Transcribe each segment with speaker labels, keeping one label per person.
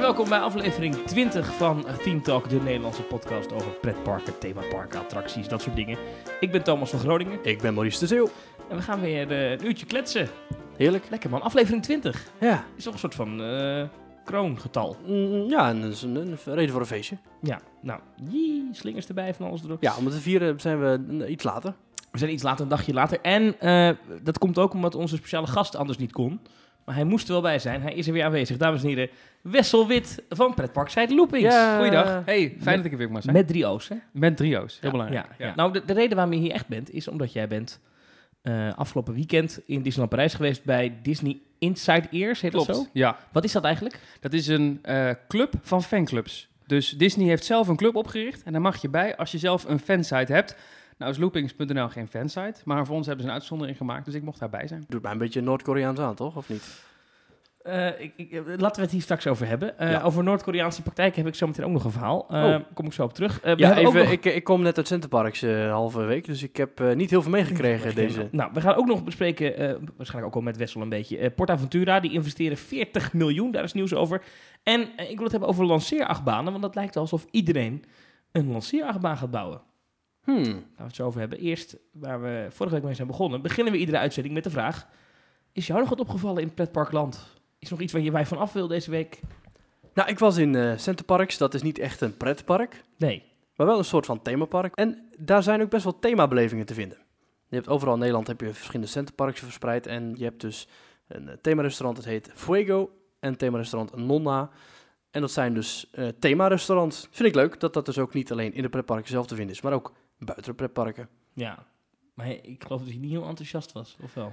Speaker 1: welkom bij aflevering 20 van Theme Talk, de Nederlandse podcast over pretparken, themaparken, attracties, dat soort dingen. Ik ben Thomas van Groningen
Speaker 2: Ik ben Maurice de Zeeuw.
Speaker 1: en we gaan weer eh, een uurtje kletsen.
Speaker 2: Heerlijk.
Speaker 1: Lekker man, aflevering 20
Speaker 2: Ja.
Speaker 1: is toch een soort van eh, kroongetal.
Speaker 2: Mm, ja, en dat is een, een reden voor een feestje.
Speaker 1: Ja, nou, jee, slingers erbij van alles erop.
Speaker 2: Ja, om het te vieren zijn we mm, iets later.
Speaker 1: We zijn iets later, een dagje later. En eh, dat komt ook omdat onze speciale gast anders niet kon. Maar hij moest er wel bij zijn. Hij is er weer aanwezig. Dames en heren, Wessel Wit van Pretpark Side Loopings.
Speaker 2: Ja.
Speaker 3: Goeiedag. Hey, fijn
Speaker 1: Met-
Speaker 3: dat ik er weer mag zijn. Met,
Speaker 1: Met drie O's, hè?
Speaker 3: trio's, heel
Speaker 1: Ja,
Speaker 3: belangrijk.
Speaker 1: Ja, ja. Nou, de, de reden waarom je hier echt bent, is omdat jij bent eh, afgelopen weekend in Disneyland Parijs geweest bij Disney Inside Ears, heet dat zo?
Speaker 3: Klopt. Ja,
Speaker 1: Wat is dat eigenlijk?
Speaker 3: dat is een eh, club van fanclubs. Dus Disney heeft zelf een club opgericht en daar mag je bij als je zelf een fansite hebt. Nou is loopings.nl geen fansite, maar voor ons hebben ze een uitzondering gemaakt, dus ik mocht daarbij zijn.
Speaker 2: Doet mij een beetje Noord-Koreaans aan, toch? Of niet?
Speaker 1: Eh, ik, ik- eh, laten we het hier straks over hebben. Eh,
Speaker 2: Ja.
Speaker 1: Over Noord-Koreaanse praktijken heb ik zo meteen ook nog een verhaal. Eh,
Speaker 2: Oh.
Speaker 1: Kom ik zo op terug. Eh, we
Speaker 2: ja,
Speaker 1: hebben ook
Speaker 2: even,
Speaker 1: nog-
Speaker 2: ik, ik kom net uit Centerparks eh halve week, dus ik heb eh, niet heel veel meegekregen deze.
Speaker 1: Nou, we gaan ook nog bespreken, eh, waarschijnlijk ook al met Wessel een beetje, eh PortAventura. Die investeren 40 miljoen, daar is nieuws over. En eh, ik wil het hebben over lanceerachtbanen, want dat lijkt alsof iedereen een lanceerachtbaan gaat bouwen.
Speaker 2: Hmm.
Speaker 1: Laten we het zo over hebben. Eerst, waar we vorige week mee zijn begonnen, beginnen we iedere uitzending met de vraag: Is jou nog wat opgevallen in pretparkland? Is nog iets waar je wij van af wil deze week?
Speaker 2: Nou, ik was in eh Centerparks. Dat is niet echt een pretpark,
Speaker 1: Nee.
Speaker 2: maar wel een soort van themapark. En daar zijn ook best wel themabelevingen te vinden. Je hebt overal in Nederland heb je verschillende Centerparks verspreid. En je hebt dus een eh, themarestaurant, dat heet Fuego. En themarestaurant Nonna. En dat zijn dus eh themarestaurants. Vind ik leuk dat dat dus ook niet alleen in de pretparken zelf te vinden is, maar ook buiten de pretparken.
Speaker 1: Ja. Maar ik geloof dat je niet heel enthousiast was, of wel?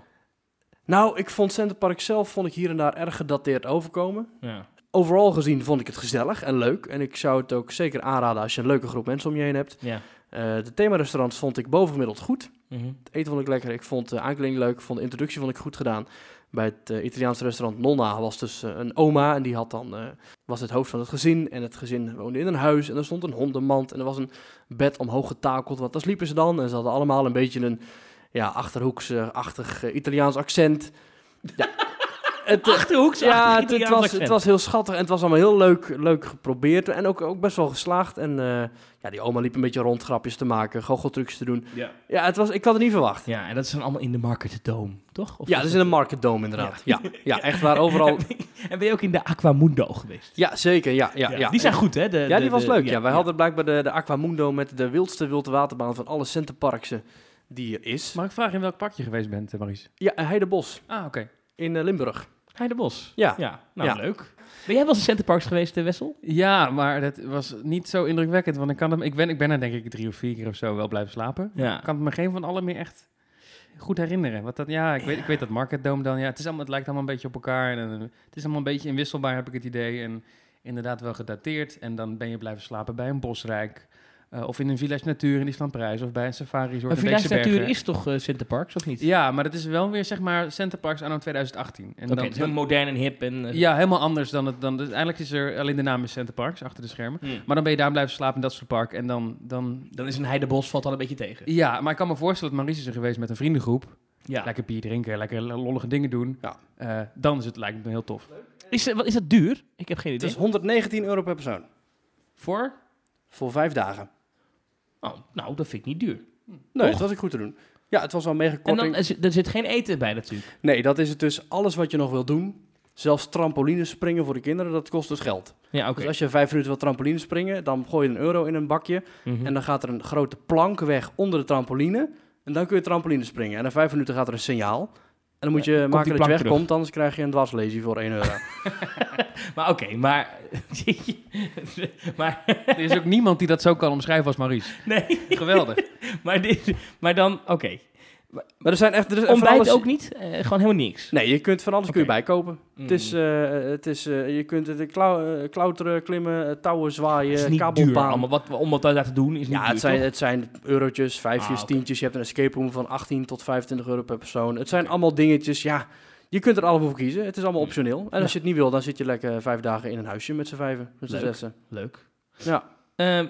Speaker 2: Nou, ik vond Centerpark zelf vond ik hier en daar erg gedateerd overkomen.
Speaker 1: Ja.
Speaker 2: Overal gezien vond ik het gezellig en leuk. En ik zou het ook zeker aanraden als je een leuke groep mensen om je heen hebt.
Speaker 1: Ja. Mhm.
Speaker 2: Eh de themarestaurants vond ik bovengemiddeld goed. Het eten vond ik lekker. Ik vond de aankleding leuk. Ik vond de introductie vond ik goed gedaan. Bij het eh, Italiaanse restaurant Nonna was dus eh, een oma. En die had dan, eh, was het hoofd van het gezin. En het gezin woonde in een huis. En er stond een hondenmand. En er was een bed omhoog getakeld. Want daar sliepen ze dan. En ze hadden allemaal een beetje een ja, achterhoeks-achtig Italiaans accent. Ja. Het, eh,
Speaker 1: Achterhoeks,
Speaker 2: ja,
Speaker 1: achter
Speaker 2: het, het was, het was heel schattig en het was allemaal heel leuk, leuk geprobeerd. En ook, ook best wel geslaagd. En eh, ja, die oma liep een beetje rond grapjes te maken, goocheltrucs te doen.
Speaker 1: Ja.
Speaker 2: Ja, het was, ik had het niet verwacht.
Speaker 1: ja, en dat is dan allemaal in de Market Dome, toch? Of
Speaker 2: ja, dat is in een market dome inderdaad. Ja, ja, echt waar, overal.
Speaker 1: En ben je ook in de Aquamundo geweest?
Speaker 2: Ja, zeker, ja. ja, ja,
Speaker 1: Die zijn goed, hè? De,
Speaker 2: Ja,
Speaker 1: de-
Speaker 2: die was
Speaker 1: de-
Speaker 2: leuk. Ja, wij hadden blijkbaar de, de Aquamundo met de wildste wilde waterbaan van alle centenparksen die er is.
Speaker 3: Mag ik vragen in welk park je geweest bent, eh, Maurice?
Speaker 2: Ja, Heidebos
Speaker 3: Ah, oké.
Speaker 2: in eh, Limburg.
Speaker 1: Hij de Bos.
Speaker 2: Ja.
Speaker 1: ja. Nou,
Speaker 2: Ja.
Speaker 1: leuk. Ben jij wel eens in Centerparks geweest, eh, Wessel?
Speaker 3: Ja, maar dat was niet zo indrukwekkend, want ik, kan hem, ik, ben, ik ben er denk ik drie of vier keer of zo wel blijven slapen.
Speaker 1: Ja.
Speaker 3: Ik kan het me geen van alle meer echt goed herinneren. Want dat, ja, ik, Weet, ik weet dat Market Dome dan. Ja, het, is allemaal, het lijkt allemaal een beetje op elkaar. En, eh, het is allemaal een beetje inwisselbaar, heb ik het idee. En inderdaad wel gedateerd. En dan ben je blijven slapen bij een bosrijk. eh, of in een Village Natuur in Island Prijs. Of bij een safari resort
Speaker 1: Maar
Speaker 3: in
Speaker 1: Village
Speaker 3: Beekse
Speaker 1: Natuur
Speaker 3: Bergen.
Speaker 1: is toch eh Centerparks, of niet?
Speaker 3: Ja, maar dat is wel weer, zeg maar, Centerparks anno 2018. En
Speaker 1: Oké, het is heel modern en hip en... eh,
Speaker 3: ja, helemaal anders dan het... Dan, dus eigenlijk is er alleen de naam is Centerparks, achter de schermen.
Speaker 1: hm.
Speaker 3: Maar dan ben je daar blijven slapen in dat soort park. En dan, dan...
Speaker 1: Dan is een Heidebos valt al een beetje tegen.
Speaker 3: Ja, maar ik kan me voorstellen dat Maurice is er geweest met een vriendengroep.
Speaker 1: Ja.
Speaker 3: Lekker bier drinken, lekker lollige dingen doen.
Speaker 2: Ja.
Speaker 3: Eh, dan is het lijkt me heel tof.
Speaker 1: Is, eh, wat, is dat duur? Ik heb geen
Speaker 2: Het
Speaker 1: idee.
Speaker 2: is 119 euro per persoon
Speaker 1: Voor?
Speaker 2: voor vijf dagen.
Speaker 1: Oh, nou, dat vind ik niet duur.
Speaker 2: Nee,
Speaker 1: Toch?
Speaker 2: dat was ik goed te doen. Ja, het was wel mega
Speaker 1: En
Speaker 2: korting.
Speaker 1: dan, er zit- er zit geen eten bij natuurlijk.
Speaker 2: Nee, dat is het dus. Alles wat je nog wil doen, zelfs trampolines springen voor de kinderen, dat kost dus geld.
Speaker 1: Ja, oké.
Speaker 2: Dus als je vijf minuten wil trampolines springen, dan gooi je een euro in een bakje.
Speaker 1: Mhm.
Speaker 2: En dan gaat er een grote plank weg onder de trampoline. En dan kun je trampolines springen. En na vijf minuten gaat er een signaal. En dan moet je
Speaker 1: Ja, Eh, komt die
Speaker 2: maken dat je
Speaker 1: plank
Speaker 2: wegkomt, anders krijg je een dwarslezing voor 1 euro.
Speaker 1: Maar oké, maar... maar,
Speaker 3: er is ook niemand die dat zo kan omschrijven als Maurice.
Speaker 1: nee,
Speaker 3: Geweldig.
Speaker 1: maar, dit, maar dan, oké.
Speaker 2: maar er zijn echt... Er is van
Speaker 1: Ontbijt
Speaker 2: alles-
Speaker 1: ook niet? Eh, gewoon helemaal niks? Mm.
Speaker 2: Nee, je kunt van alles kun je
Speaker 1: Oké. Hmm.
Speaker 2: bijkopen. Het is, eh, het is eh, je kunt het klau- eh, klauteren, klimmen, eh, touwen
Speaker 1: Het is
Speaker 2: zwaaien,
Speaker 1: niet duur
Speaker 2: kabelbaan.
Speaker 1: allemaal. Wat, om wat daar te doen is niet
Speaker 2: Ja,
Speaker 1: duur,
Speaker 2: het zijn,
Speaker 1: toch?
Speaker 2: het zijn eurotjes, vijfjes,
Speaker 1: Ah, oké.
Speaker 2: tientjes. Je hebt een escape room van 18 tot 25 euro per persoon. Het zijn allemaal dingetjes, ja. Je kunt er allemaal voor kiezen. Het is allemaal optioneel. En als je het niet wil, dan zit je lekker vijf dagen in een huisje met z'n vijven, met z'n
Speaker 1: Leuk.
Speaker 2: zessen.
Speaker 1: Leuk.
Speaker 2: Ja.
Speaker 1: Ehm,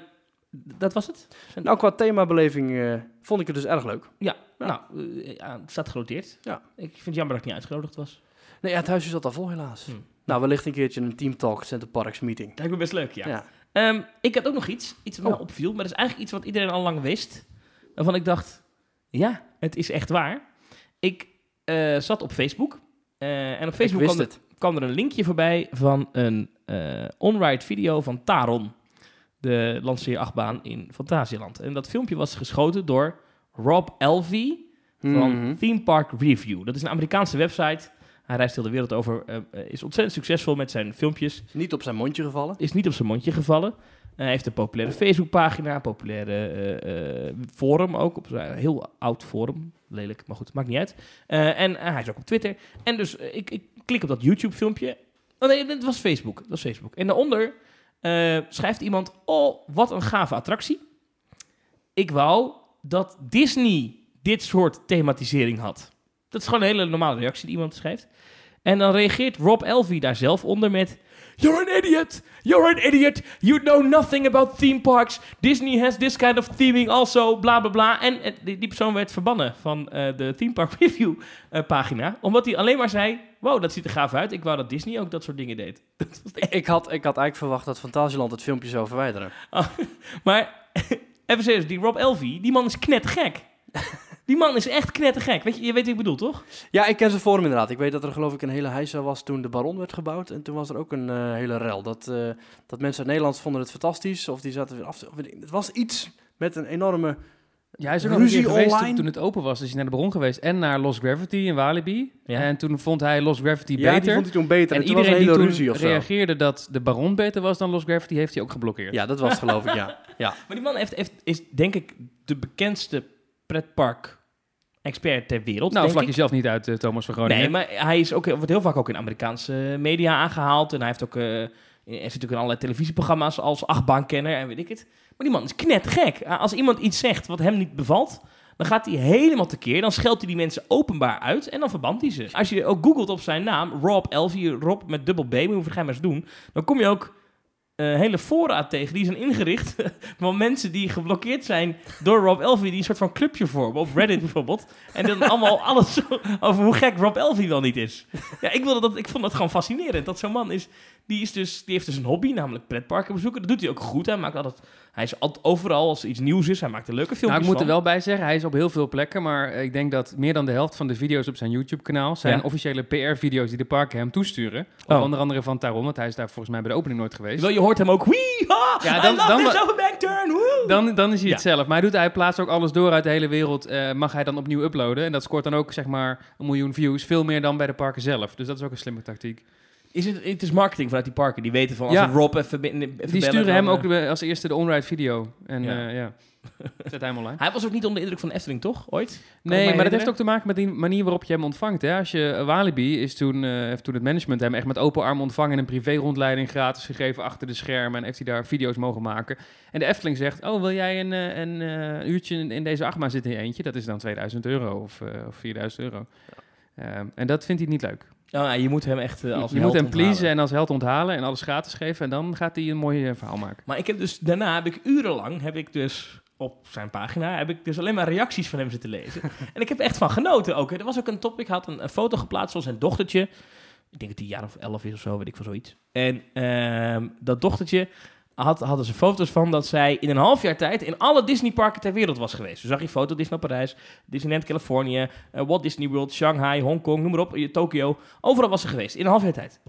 Speaker 1: dat was het?
Speaker 2: Nou, qua themabeleving eh, vond ik het dus erg leuk.
Speaker 1: Ja,
Speaker 2: Ja.
Speaker 1: nou, eh, ja, het staat genoteerd.
Speaker 2: Ja.
Speaker 1: Ik vind het jammer dat ik niet uitgenodigd was.
Speaker 2: Nou, Nee, ja, het huisje zat al vol helaas.
Speaker 1: Hmm.
Speaker 2: Nou, wellicht een keertje een teamtalk Center Parks meeting.
Speaker 1: Lijkt me best leuk, ja.
Speaker 2: Ja.
Speaker 1: Ehm, ik had ook nog iets, iets wat mij
Speaker 2: Oh.
Speaker 1: opviel, maar dat is eigenlijk iets wat iedereen al lang wist. Waarvan ik dacht, ja, het is echt waar. Ik eh, zat op Facebook eh, en op
Speaker 2: Ik
Speaker 1: Facebook
Speaker 2: wist
Speaker 1: kwam er,
Speaker 2: het.
Speaker 1: kwam er een linkje voorbij van een eh on-ride video van Taron, de lanceerachtbaan in Fantasieland. En dat filmpje was geschoten door Rob Elvey, van
Speaker 2: Mhm.
Speaker 1: Theme Park Review. Dat is een Amerikaanse website. Hij reist heel de wereld over, eh, is ontzettend succesvol met zijn filmpjes.
Speaker 2: Niet op zijn mondje gevallen.
Speaker 1: Is niet op zijn mondje gevallen. Eh, Hij heeft een populaire Facebookpagina, een populaire eh, eh, forum ook. Op zijn heel oud forum. Lelijk, maar goed, maakt niet uit. Eh, en eh, hij is ook op Twitter. En dus eh, ik, ik klik op dat YouTube-filmpje. Oh nee, dit was Facebook. Dat was Facebook. En daaronder eh, schrijft iemand... Oh, wat een gave attractie. Ik wou dat Disney dit soort thematisering had. Dat is gewoon een hele normale reactie die iemand schrijft. En dan reageert Rob Elvey daar zelf onder met... You're an idiot! You're an idiot! You know nothing about theme parks! Disney has this kind of theming also, bla bla bla. En eh, die, die persoon werd verbannen van eh, de Theme Park Review eh, pagina. Omdat hij alleen maar zei... Wow, dat ziet er gaaf uit. Ik wou dat Disney ook dat soort dingen deed. Dat was echt-
Speaker 2: Ik had, ik had eigenlijk verwacht dat Fantasieland het filmpje zou verwijderen.
Speaker 1: Maar even serieus, die Rob Elvey, die man is knettergek. die man is echt knettergek. Weet je, je weet wat ik bedoel, toch?
Speaker 2: Ja, ik ken zijn forum inderdaad. Ik weet dat er geloof ik een hele heisa was toen de Baron werd gebouwd. En toen was er ook een eh, hele rel. Dat, eh, dat mensen uit Nederland vonden het fantastisch. Of die zaten weer af te... of weet ik- Het was iets met een enorme...
Speaker 3: Ja, hij is ook nog een keer
Speaker 2: Ruzie
Speaker 3: geweest toen,
Speaker 2: online?
Speaker 3: toen het open was. Is hij naar de bron geweest en naar Lost Gravity in Walibi.
Speaker 1: Ja.
Speaker 3: En toen vond hij Lost Gravity
Speaker 2: Ja, die
Speaker 3: beter.
Speaker 2: vond hij toen beter. En,
Speaker 3: en
Speaker 2: toen was
Speaker 3: iedereen
Speaker 2: een
Speaker 3: die
Speaker 2: hele
Speaker 3: toen
Speaker 2: ruzie of zo.
Speaker 3: reageerde dat de Baron beter was dan Lost Gravity, heeft hij ook geblokkeerd.
Speaker 2: Ja, dat was het, geloof ik, ja. ja.
Speaker 1: Maar die man heeft, heeft- is denk ik de bekendste pretpark-expert ter wereld.
Speaker 3: Nou,
Speaker 1: denk
Speaker 3: vlak
Speaker 1: ik.
Speaker 3: jezelf niet uit, eh, Thomas van Groningen.
Speaker 1: Nee, maar hij is ook, wordt heel vaak ook in Amerikaanse media aangehaald. En hij heeft ook, eh, er zit natuurlijk in allerlei televisieprogramma's als achtbaankenner en weet ik het. Maar die man is knetgek. Ah, Als iemand iets zegt wat hem niet bevalt, dan gaat hij helemaal tekeer. Dan scheldt hij die mensen openbaar uit en dan verband hij ze. Als je ook googelt op zijn naam, Rob Elvie, Rob met dubbel B, maar je hoeft het geen maar eens doen. Dan kom je ook eh, hele fora tegen. Die zijn ingericht van mensen die geblokkeerd zijn door Rob Elvie. Die een soort van clubje vormen, op Reddit bijvoorbeeld. En dan allemaal alles zo- over hoe gek Rob Elvie wel niet is. Ja, ik, wilde dat, ik vond dat gewoon fascinerend. Dat zo'n man is, die, is dus, die heeft dus een hobby, namelijk pretparken bezoeken. Dat doet hij ook goed. Hij, maakt altijd, hij is altijd overal als er iets nieuws is. Hij maakt er leuke filmpjes
Speaker 3: Nou, ik moet er
Speaker 1: van.
Speaker 3: wel bij zeggen, hij is op heel veel plekken, maar eh, ik denk dat meer dan de helft van de video's op zijn YouTube-kanaal zijn
Speaker 1: Ja.
Speaker 3: officiële PR-video's die de parken hem toesturen.
Speaker 1: Oh.
Speaker 3: Onder andere van Taron, want hij is daar volgens mij bij de opening nooit geweest.
Speaker 1: Wel, je hoort hem ook. Wee, ha,
Speaker 3: Ja,
Speaker 1: I
Speaker 3: dan-
Speaker 1: love
Speaker 3: dan
Speaker 1: this
Speaker 3: wa-
Speaker 1: overbank turn. woe."
Speaker 3: Dan, dan is hij
Speaker 1: Ja.
Speaker 3: het zelf. Maar hij, doet, hij plaatst ook alles door uit de hele wereld. eh, mag hij dan opnieuw uploaden. En dat scoort dan ook zeg maar een miljoen views. Veel meer dan bij de parken zelf. Dus dat is ook een slimme tactiek.
Speaker 1: Is het, het is marketing vanuit die parken. Die weten van als
Speaker 3: Ja.
Speaker 1: we Rob even, bin- even
Speaker 3: Die
Speaker 1: bellen,
Speaker 3: sturen
Speaker 1: dan,
Speaker 3: hem
Speaker 1: eh,
Speaker 3: ook de- als eerste de onride video. En
Speaker 1: Ja.
Speaker 3: ja, ja. zet hij hem online.
Speaker 1: Hij was ook niet onder de indruk van de Efteling, toch? Ooit? me
Speaker 3: Nee, maar dat
Speaker 1: herinneren.
Speaker 3: heeft ook te maken met die manier waarop je hem ontvangt. Hè? Als je Walibi is toen, eh, heeft toen het management hem echt met open armen ontvangen en een privé rondleiding gratis gegeven achter de schermen en heeft hij daar video's mogen maken. En de Efteling zegt: "Oh, wil jij een, eh, een eh, uurtje in, in deze achtbaan zitten in je eentje? Dat is dan 2000 euro of, eh, of 4000 euro." Ehm, en dat vindt hij niet leuk.
Speaker 1: Oh, ja, je moet hem echt eh, als
Speaker 3: je moet
Speaker 1: held
Speaker 3: hem
Speaker 1: onthalen.
Speaker 3: pleasen en als held onthalen en alles gratis geven. En dan gaat hij een mooi eh, verhaal maken.
Speaker 1: Maar ik heb dus daarna heb ik urenlang heb ik dus op zijn pagina heb ik dus alleen maar reacties van hem zitten lezen. en ik heb echt van genoten ook. hè. Er was ook een topic, had een, een foto geplaatst van zijn dochtertje. Ik denk dat die een jaar of elf is of zo, weet ik van zoiets. En ehm, dat dochtertje had, hadden ze foto's van dat zij in een half jaar tijd in alle Disneyparken ter wereld was geweest. Zo zag je foto Disney Parijs, Disneyland Californië, eh, Walt Disney World, Shanghai, Hongkong, noem maar op, eh, Tokio. Overal was ze geweest in een half jaar tijd.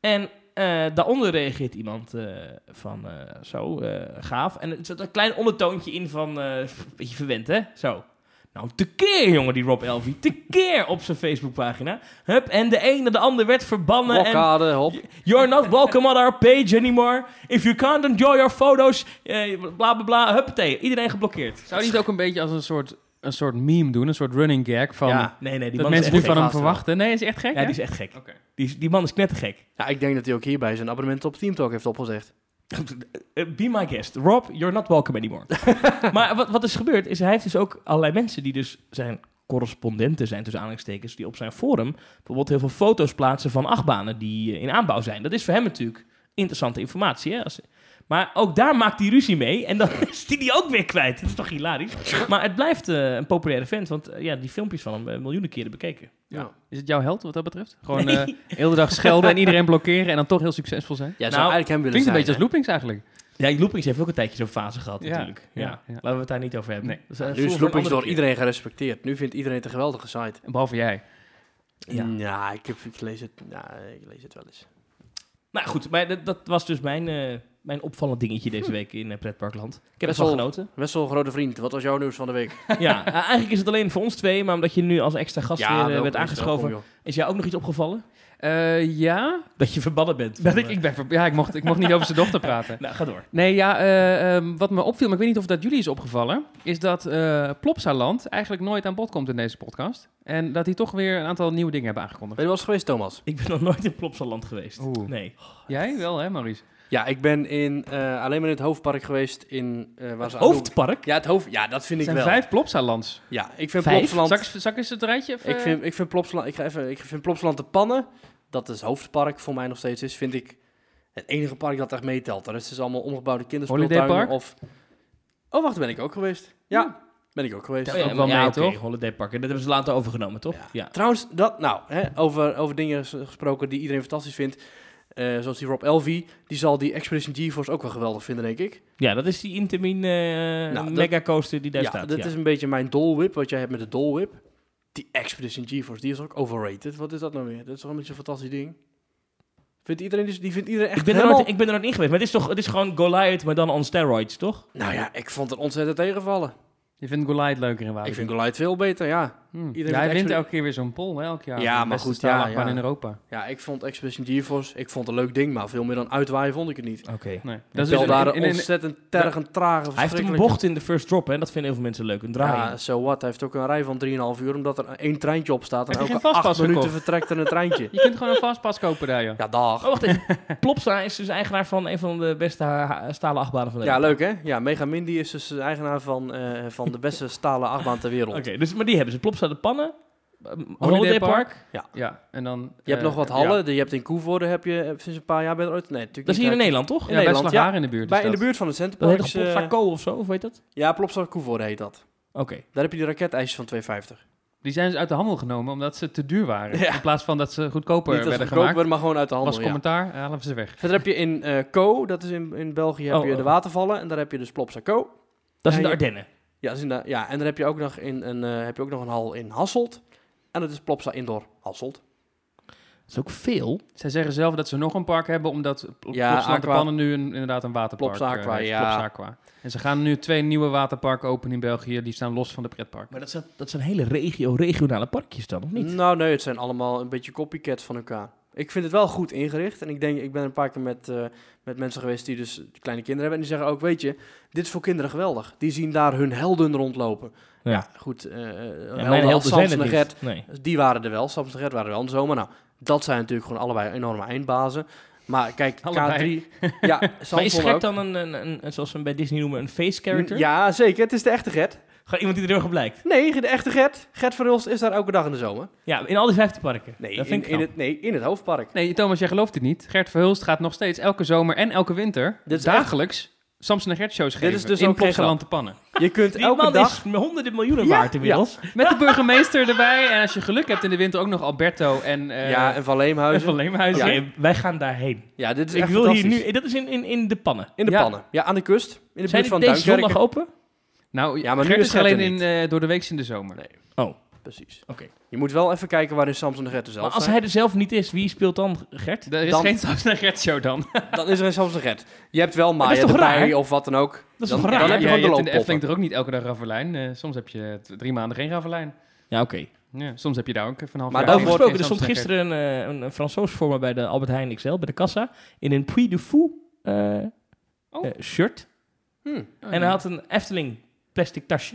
Speaker 1: En eh, daaronder reageert iemand eh, van eh, zo, eh, gaaf. En er zat een klein ondertoontje in van, eh, een beetje verwend hè, zo. Nou, tekeer jongen, die Rob Elvie. Tekeer op zijn Facebookpagina. Hup, en de een en de ander werd verbannen. en
Speaker 2: Blokkade, hop.
Speaker 1: You're not welcome on our page anymore. If you can't enjoy your photos, eh, bla bla bla. Huppatee, iedereen geblokkeerd.
Speaker 3: Zou hij het ook een beetje als een soort, een soort meme doen? Een soort running gag van...
Speaker 1: ja, nee, nee, die
Speaker 3: dat
Speaker 1: man is
Speaker 3: mensen
Speaker 1: echt
Speaker 3: nu
Speaker 1: gek.
Speaker 3: van hem
Speaker 2: gast, hoor.
Speaker 3: verwachten. Nee, is echt gek.
Speaker 1: Ja,
Speaker 3: hè?
Speaker 1: die is echt gek.
Speaker 3: Oké.
Speaker 1: Die, is- die man is knettergek.
Speaker 2: Ja, ik denk dat hij ook hierbij zijn abonnement op TeamTalk heeft opgezegd.
Speaker 1: Eh, Be my guest. Rob, you're not welcome anymore. maar wat, wat is gebeurd, is hij heeft dus ook allerlei mensen die dus zijn correspondenten zijn, tussen aanhalingstekens, die op zijn forum bijvoorbeeld heel veel foto's plaatsen van achtbanen die eh, in aanbouw zijn. Dat is voor hem natuurlijk interessante informatie. Hè? Als, maar ook daar maakt hij ruzie mee. En dan is hij die ook weer kwijt. Dat is toch hilarisch? Maar het blijft eh, een populaire vent. Want eh, ja, die filmpjes van hem eh, miljoenen keren bekeken.
Speaker 2: Ja.
Speaker 3: Is het jouw held wat dat betreft? Gewoon
Speaker 1: Nee.
Speaker 3: eh de hele dag schelden en iedereen blokkeren en dan toch heel succesvol zijn?
Speaker 2: Ja,
Speaker 1: Nou,
Speaker 2: zou eigenlijk hem willen
Speaker 3: Klinkt een
Speaker 2: zijn.
Speaker 3: beetje als loopings eigenlijk.
Speaker 1: Ja, Loopings heeft ook een tijdje zo'n fase gehad
Speaker 3: Ja,
Speaker 1: natuurlijk. Ja.
Speaker 3: ja, ja.
Speaker 1: Laten we het daar niet over hebben.
Speaker 3: Nee.
Speaker 1: Dat is, eh,
Speaker 2: hè? Nu
Speaker 1: vroeger
Speaker 2: is
Speaker 1: een
Speaker 2: Loopings
Speaker 1: andere
Speaker 2: door
Speaker 1: keer.
Speaker 2: iedereen gerespecteerd. Nu vindt iedereen het een geweldige site.
Speaker 3: Behalve jij.
Speaker 1: Ja.
Speaker 2: Ja, ik, heb, ik, lees het, ja, ik lees het wel eens.
Speaker 1: Nou goed, maar dat, dat was dus mijn, eh, mijn opvallend dingetje deze week in eh, Pretparkland. Ik heb
Speaker 2: Best
Speaker 1: ervan
Speaker 2: wel-
Speaker 1: genoten.
Speaker 2: Wessel, grote vriend, wat was jouw nieuws van de week?
Speaker 1: ja, eh, eigenlijk is het alleen voor ons twee. Maar omdat je nu als extra gast weer eh,
Speaker 2: welkom,
Speaker 1: werd
Speaker 2: is
Speaker 1: aangeschoven,
Speaker 2: welkom, joh.
Speaker 1: is jou ook nog iets opgevallen?
Speaker 3: Eh, ja,
Speaker 1: Dat je verbannen bent.
Speaker 3: dat
Speaker 1: van,
Speaker 3: ik,
Speaker 1: eh,
Speaker 3: ik, ben ver- ja ik, mocht, ik mocht niet over zijn dochter praten.
Speaker 1: Nou, ga door.
Speaker 3: Nee, ja, eh, ehm, wat me opviel, maar ik weet niet of dat jullie is opgevallen, is dat eh Plopsaland eigenlijk nooit aan bod komt in deze podcast. En dat die toch weer een aantal nieuwe dingen hebben
Speaker 2: Ben
Speaker 3: aangekondigd.
Speaker 2: je wel eens geweest, Thomas?
Speaker 1: Ik ben nog nooit in Plopsaland geweest.
Speaker 3: Oeh.
Speaker 1: Nee.
Speaker 3: Jij wel, hè, Maurice?
Speaker 2: Ja, Eh, ik ben in, eh, alleen maar in het hoofdpark geweest. In, eh, waar ze aan doen-
Speaker 1: Hoofdpark?
Speaker 2: Ja, het hoofd, ja, dat vind
Speaker 3: Er
Speaker 2: ik
Speaker 3: zijn
Speaker 2: wel.
Speaker 3: vijf Plopsalands.
Speaker 2: Ja, ik vind
Speaker 1: Vijf?
Speaker 2: Plopsland...
Speaker 3: Zal ik, zal ik eens het rijtje? even-
Speaker 2: Ik vind, ik, vind Plopsland, ik, ga even, ik vind Plopsland de Pannen, dat is hoofdpark voor mij nog steeds is, vind ik het enige park dat echt meetelt. De rest is allemaal omgebouwde kinderspeeltuinen
Speaker 3: Holidaypark?
Speaker 2: of... Oh, wacht, ben ik ook geweest. Ja, ben ik ook geweest.
Speaker 3: Ja, ook wel mee,
Speaker 1: oké,
Speaker 3: toch?
Speaker 1: Holiday Park. En dat hebben ze later overgenomen, toch? Ja.
Speaker 2: Trouwens, dat, nou, hè, over, over dingen s- gesproken die iedereen fantastisch vindt, eh, zoals die Rob Elvie, die zal die Expedition GeForce ook wel geweldig vinden, denk ik.
Speaker 1: Ja, dat is die Intamin eh
Speaker 2: dat-
Speaker 1: megacoaster die daar
Speaker 2: ja,
Speaker 1: staat.
Speaker 2: dat
Speaker 1: ja.
Speaker 2: is een beetje mijn dolwip, wat jij hebt met de dolwip. Die Expedition GeForce, die is ook overrated. Wat is dat nou weer? Dat is toch niet zo'n fantastisch ding? Vindt iedereen, dus- die vindt iedereen echt
Speaker 1: ik, ben er
Speaker 2: helemaal...
Speaker 1: nooit, ik ben er nooit in geweest, maar het is, toch, het is gewoon Goliath, maar dan on steroids, toch?
Speaker 2: Nou ja, ik vond het ontzettend tegenvallen.
Speaker 3: Je vindt Goliath leuker in Walibi.
Speaker 2: ik vind Goliath veel beter, ja.
Speaker 3: Hmm.
Speaker 2: Iedereen
Speaker 3: Ja, hij
Speaker 2: doet
Speaker 3: wint
Speaker 2: extra-
Speaker 3: elke keer weer zo'n poll, hè, elk jaar.
Speaker 2: Ja,
Speaker 3: De
Speaker 2: maar
Speaker 3: beste
Speaker 2: goed,
Speaker 3: staalachtbaan
Speaker 2: ja, ja.
Speaker 3: in Europa.
Speaker 2: Ja, ik vond Expedition GeForce, ik vond het een leuk ding, maar veel meer dan uitwaaien vond ik het niet.
Speaker 1: Oké.
Speaker 3: Nee.
Speaker 2: Dat
Speaker 3: dus
Speaker 2: wel
Speaker 3: in-
Speaker 2: daar
Speaker 3: in-
Speaker 2: een
Speaker 3: in- in-
Speaker 2: ontzettend tergend trage
Speaker 1: Hij heeft een
Speaker 2: verschrikkelijke-
Speaker 1: bocht in de first drop, hè? Dat vinden heel veel mensen leuk. Een draai.
Speaker 2: Ja, so what. Hij heeft ook een rij van 3,5 uur, omdat er één treintje op staat. En
Speaker 3: Heb je
Speaker 2: elke
Speaker 3: geen vastpas
Speaker 2: acht minuten
Speaker 3: gekocht?
Speaker 2: vertrekt er een treintje.
Speaker 3: Je kunt gewoon een fastpass kopen daar, joh.
Speaker 2: Ja, dag.
Speaker 1: Oh, wacht even. Plopsa is dus eigenaar van een van de beste ha- stalen achtbanen van de
Speaker 2: Ja, leuk hè? Ja, Mega Mindy is dus de eigenaar van, eh, van de beste stalen achtbaan ter wereld.
Speaker 1: Oké, dus, maar die hebben ze. Plopsa de Pannen, eh, Holiday, Park.
Speaker 3: Ja, en dan...
Speaker 2: Je hebt
Speaker 3: eh,
Speaker 2: nog wat
Speaker 3: ja.
Speaker 2: hallen. de- Je hebt in Koevoorde heb je eh, sinds een paar jaar... Ben je er ooit- nee, natuurlijk
Speaker 1: Dat is
Speaker 2: niet
Speaker 1: hier in
Speaker 2: uit-
Speaker 1: Nederland, toch?
Speaker 2: in
Speaker 3: Ja, bij
Speaker 2: Nederland, ja.
Speaker 3: Slagharen in de buurt is
Speaker 2: Bij, in
Speaker 3: dat.
Speaker 2: de buurt van het
Speaker 1: Dat heet
Speaker 2: Centerpark.
Speaker 1: toch Plopsa Co of zo, of weet dat?
Speaker 2: ja, Plopsa Koevoorde heet dat.
Speaker 1: Oké.
Speaker 2: Daar heb je die raketijsjes van 2,50.
Speaker 3: Die zijn dus uit de handel genomen omdat ze te duur waren.
Speaker 2: Ja.
Speaker 3: In plaats van dat ze goedkoper
Speaker 2: Niet als
Speaker 3: eh, werden
Speaker 2: goedkoop
Speaker 3: gemaakt.
Speaker 2: werden, maar gewoon uit de
Speaker 3: Als
Speaker 2: handel, ja.
Speaker 3: commentaar halen we ze weg.
Speaker 2: Verder heb je in eh Co, dat is in, in België, heb
Speaker 1: Oh,
Speaker 2: je
Speaker 1: oh.
Speaker 2: de watervallen. En daar heb je dus Plopsa Co.
Speaker 1: Dat is in
Speaker 2: Ja,
Speaker 1: de
Speaker 2: je-
Speaker 1: Ardennen.
Speaker 2: Ja, dat is in de- ja en daar heb je, ook nog in, een, eh, heb je ook nog een hal in Hasselt. En dat is Plopsa Indoor Hasselt.
Speaker 1: Dat is ook veel.
Speaker 3: Zij zeggen zelf dat ze nog een park hebben omdat Pl-
Speaker 2: Ja,
Speaker 3: Plopsa de
Speaker 2: Aqua.
Speaker 3: Pannen nu een, inderdaad een waterpark
Speaker 2: Plopsa Aqua,
Speaker 3: eh, heeft.
Speaker 2: ja.
Speaker 3: Plopsa Aqua. En ze gaan nu twee nieuwe waterparken openen in België. Die staan los van de pretpark.
Speaker 1: Maar dat zijn, dat zijn hele regio, regionale parkjes dan, of niet?
Speaker 2: Nou nee, het zijn allemaal een beetje copycat van elkaar. Ik vind het wel goed ingericht. En ik denk, ik ben een paar keer met, eh, met mensen geweest die dus kleine kinderen hebben. En die zeggen ook, weet je, dit is voor kinderen geweldig. Die zien daar hun helden rondlopen.
Speaker 1: Ja.
Speaker 2: Goed, eh helden,
Speaker 1: Ja,
Speaker 2: als
Speaker 1: helden
Speaker 2: Samson en
Speaker 1: niet.
Speaker 2: Gert.
Speaker 1: Nee.
Speaker 2: Die waren er wel, Samson en Gert waren er wel en zo. Maar nou, dat zijn natuurlijk gewoon allebei enorme eindbazen. Maar kijk,
Speaker 3: Allebei.
Speaker 2: K3... Ja,
Speaker 1: Maar is
Speaker 2: Samson
Speaker 1: Gert
Speaker 2: ook.
Speaker 1: dan een, een, een- een- zoals we hem bij Disney noemen, een face character?
Speaker 2: Ja, zeker. Het is de echte Gert.
Speaker 1: Gewoon iemand die er heel erg op lijkt.
Speaker 2: Nee, de echte Gert. Gert van Hulst is daar elke dag in de zomer.
Speaker 1: Ja, in al die vijfde parken.
Speaker 2: Nee,
Speaker 1: dat
Speaker 2: in,
Speaker 1: vind ik
Speaker 2: in
Speaker 1: knap.
Speaker 2: het, nee in het hoofdpark.
Speaker 3: Nee, Thomas, jij gelooft het niet. Gert Verhulst gaat nog steeds elke zomer en elke winter
Speaker 2: Dit is
Speaker 3: dagelijks Samson en Gert shows
Speaker 2: Dit
Speaker 3: geven
Speaker 2: is dus
Speaker 3: in
Speaker 2: ook geen
Speaker 3: Plopsaland de Pannen.
Speaker 2: Je kunt
Speaker 1: Die
Speaker 2: elke
Speaker 1: man
Speaker 2: dag...
Speaker 1: is honderden miljoenen
Speaker 2: Ja,
Speaker 1: waard inmiddels.
Speaker 3: Met de burgemeester erbij. En als je geluk hebt in de winter ook nog Alberto en, eh,
Speaker 2: ja, en Van Leemhuizen.
Speaker 3: van Leemhuizen.
Speaker 1: Oké, wij gaan daarheen. Dus
Speaker 2: Ja, dit is
Speaker 1: ik
Speaker 2: echt
Speaker 1: wil hier
Speaker 2: fantastisch.
Speaker 1: nu... Dat is in, in, in de pannen.
Speaker 2: In de
Speaker 3: Ja.
Speaker 2: pannen. Ja, aan de kust. In de
Speaker 1: Zijn
Speaker 2: buurt
Speaker 1: die
Speaker 2: van
Speaker 1: deze
Speaker 2: Duinkerken.
Speaker 1: zondag open?
Speaker 3: Nou,
Speaker 2: Ja, maar nu
Speaker 3: Gert
Speaker 2: is
Speaker 3: is
Speaker 2: Gert er
Speaker 3: alleen in, eh, door de week in de zomer.
Speaker 2: Nee.
Speaker 1: Oh,
Speaker 2: Precies.
Speaker 1: oké.
Speaker 2: Je moet wel even kijken waarin Samson de Gert er zelf
Speaker 1: Maar als
Speaker 2: zijn.
Speaker 1: hij er zelf niet is, wie speelt dan Gert?
Speaker 3: Er is
Speaker 2: Dan-
Speaker 3: geen Samson en Gert show dan.
Speaker 2: Dan is er een Samson de Gert. Je hebt wel
Speaker 1: dat is
Speaker 2: Maya
Speaker 1: toch
Speaker 2: erbij
Speaker 1: raar?
Speaker 2: of wat dan ook.
Speaker 1: is
Speaker 2: dan,
Speaker 1: toch raar?
Speaker 2: Dan heb je
Speaker 3: ja,
Speaker 2: gewoon de
Speaker 3: je hebt in de
Speaker 2: looppoppen.
Speaker 3: Efteling er ook niet elke dag Ravelijn. Eh, soms heb je t- drie maanden geen Ravelijn.
Speaker 1: Ja, oké.
Speaker 3: Ja, soms heb je daar ook van half
Speaker 2: Maar dus
Speaker 3: jaar
Speaker 1: Daarover
Speaker 2: wordt
Speaker 3: geen
Speaker 1: gesproken, er stond
Speaker 3: Samson en Gert.
Speaker 1: gisteren een, eh, een, een Fransoos voor me bij de Albert Heijn XL, bij de kassa, in een Puy de Fou eh,
Speaker 3: Oh.
Speaker 1: eh, shirt.
Speaker 2: Hmm.
Speaker 3: Oh,
Speaker 1: En
Speaker 3: ja.
Speaker 1: hij had een Efteling plastic tasje,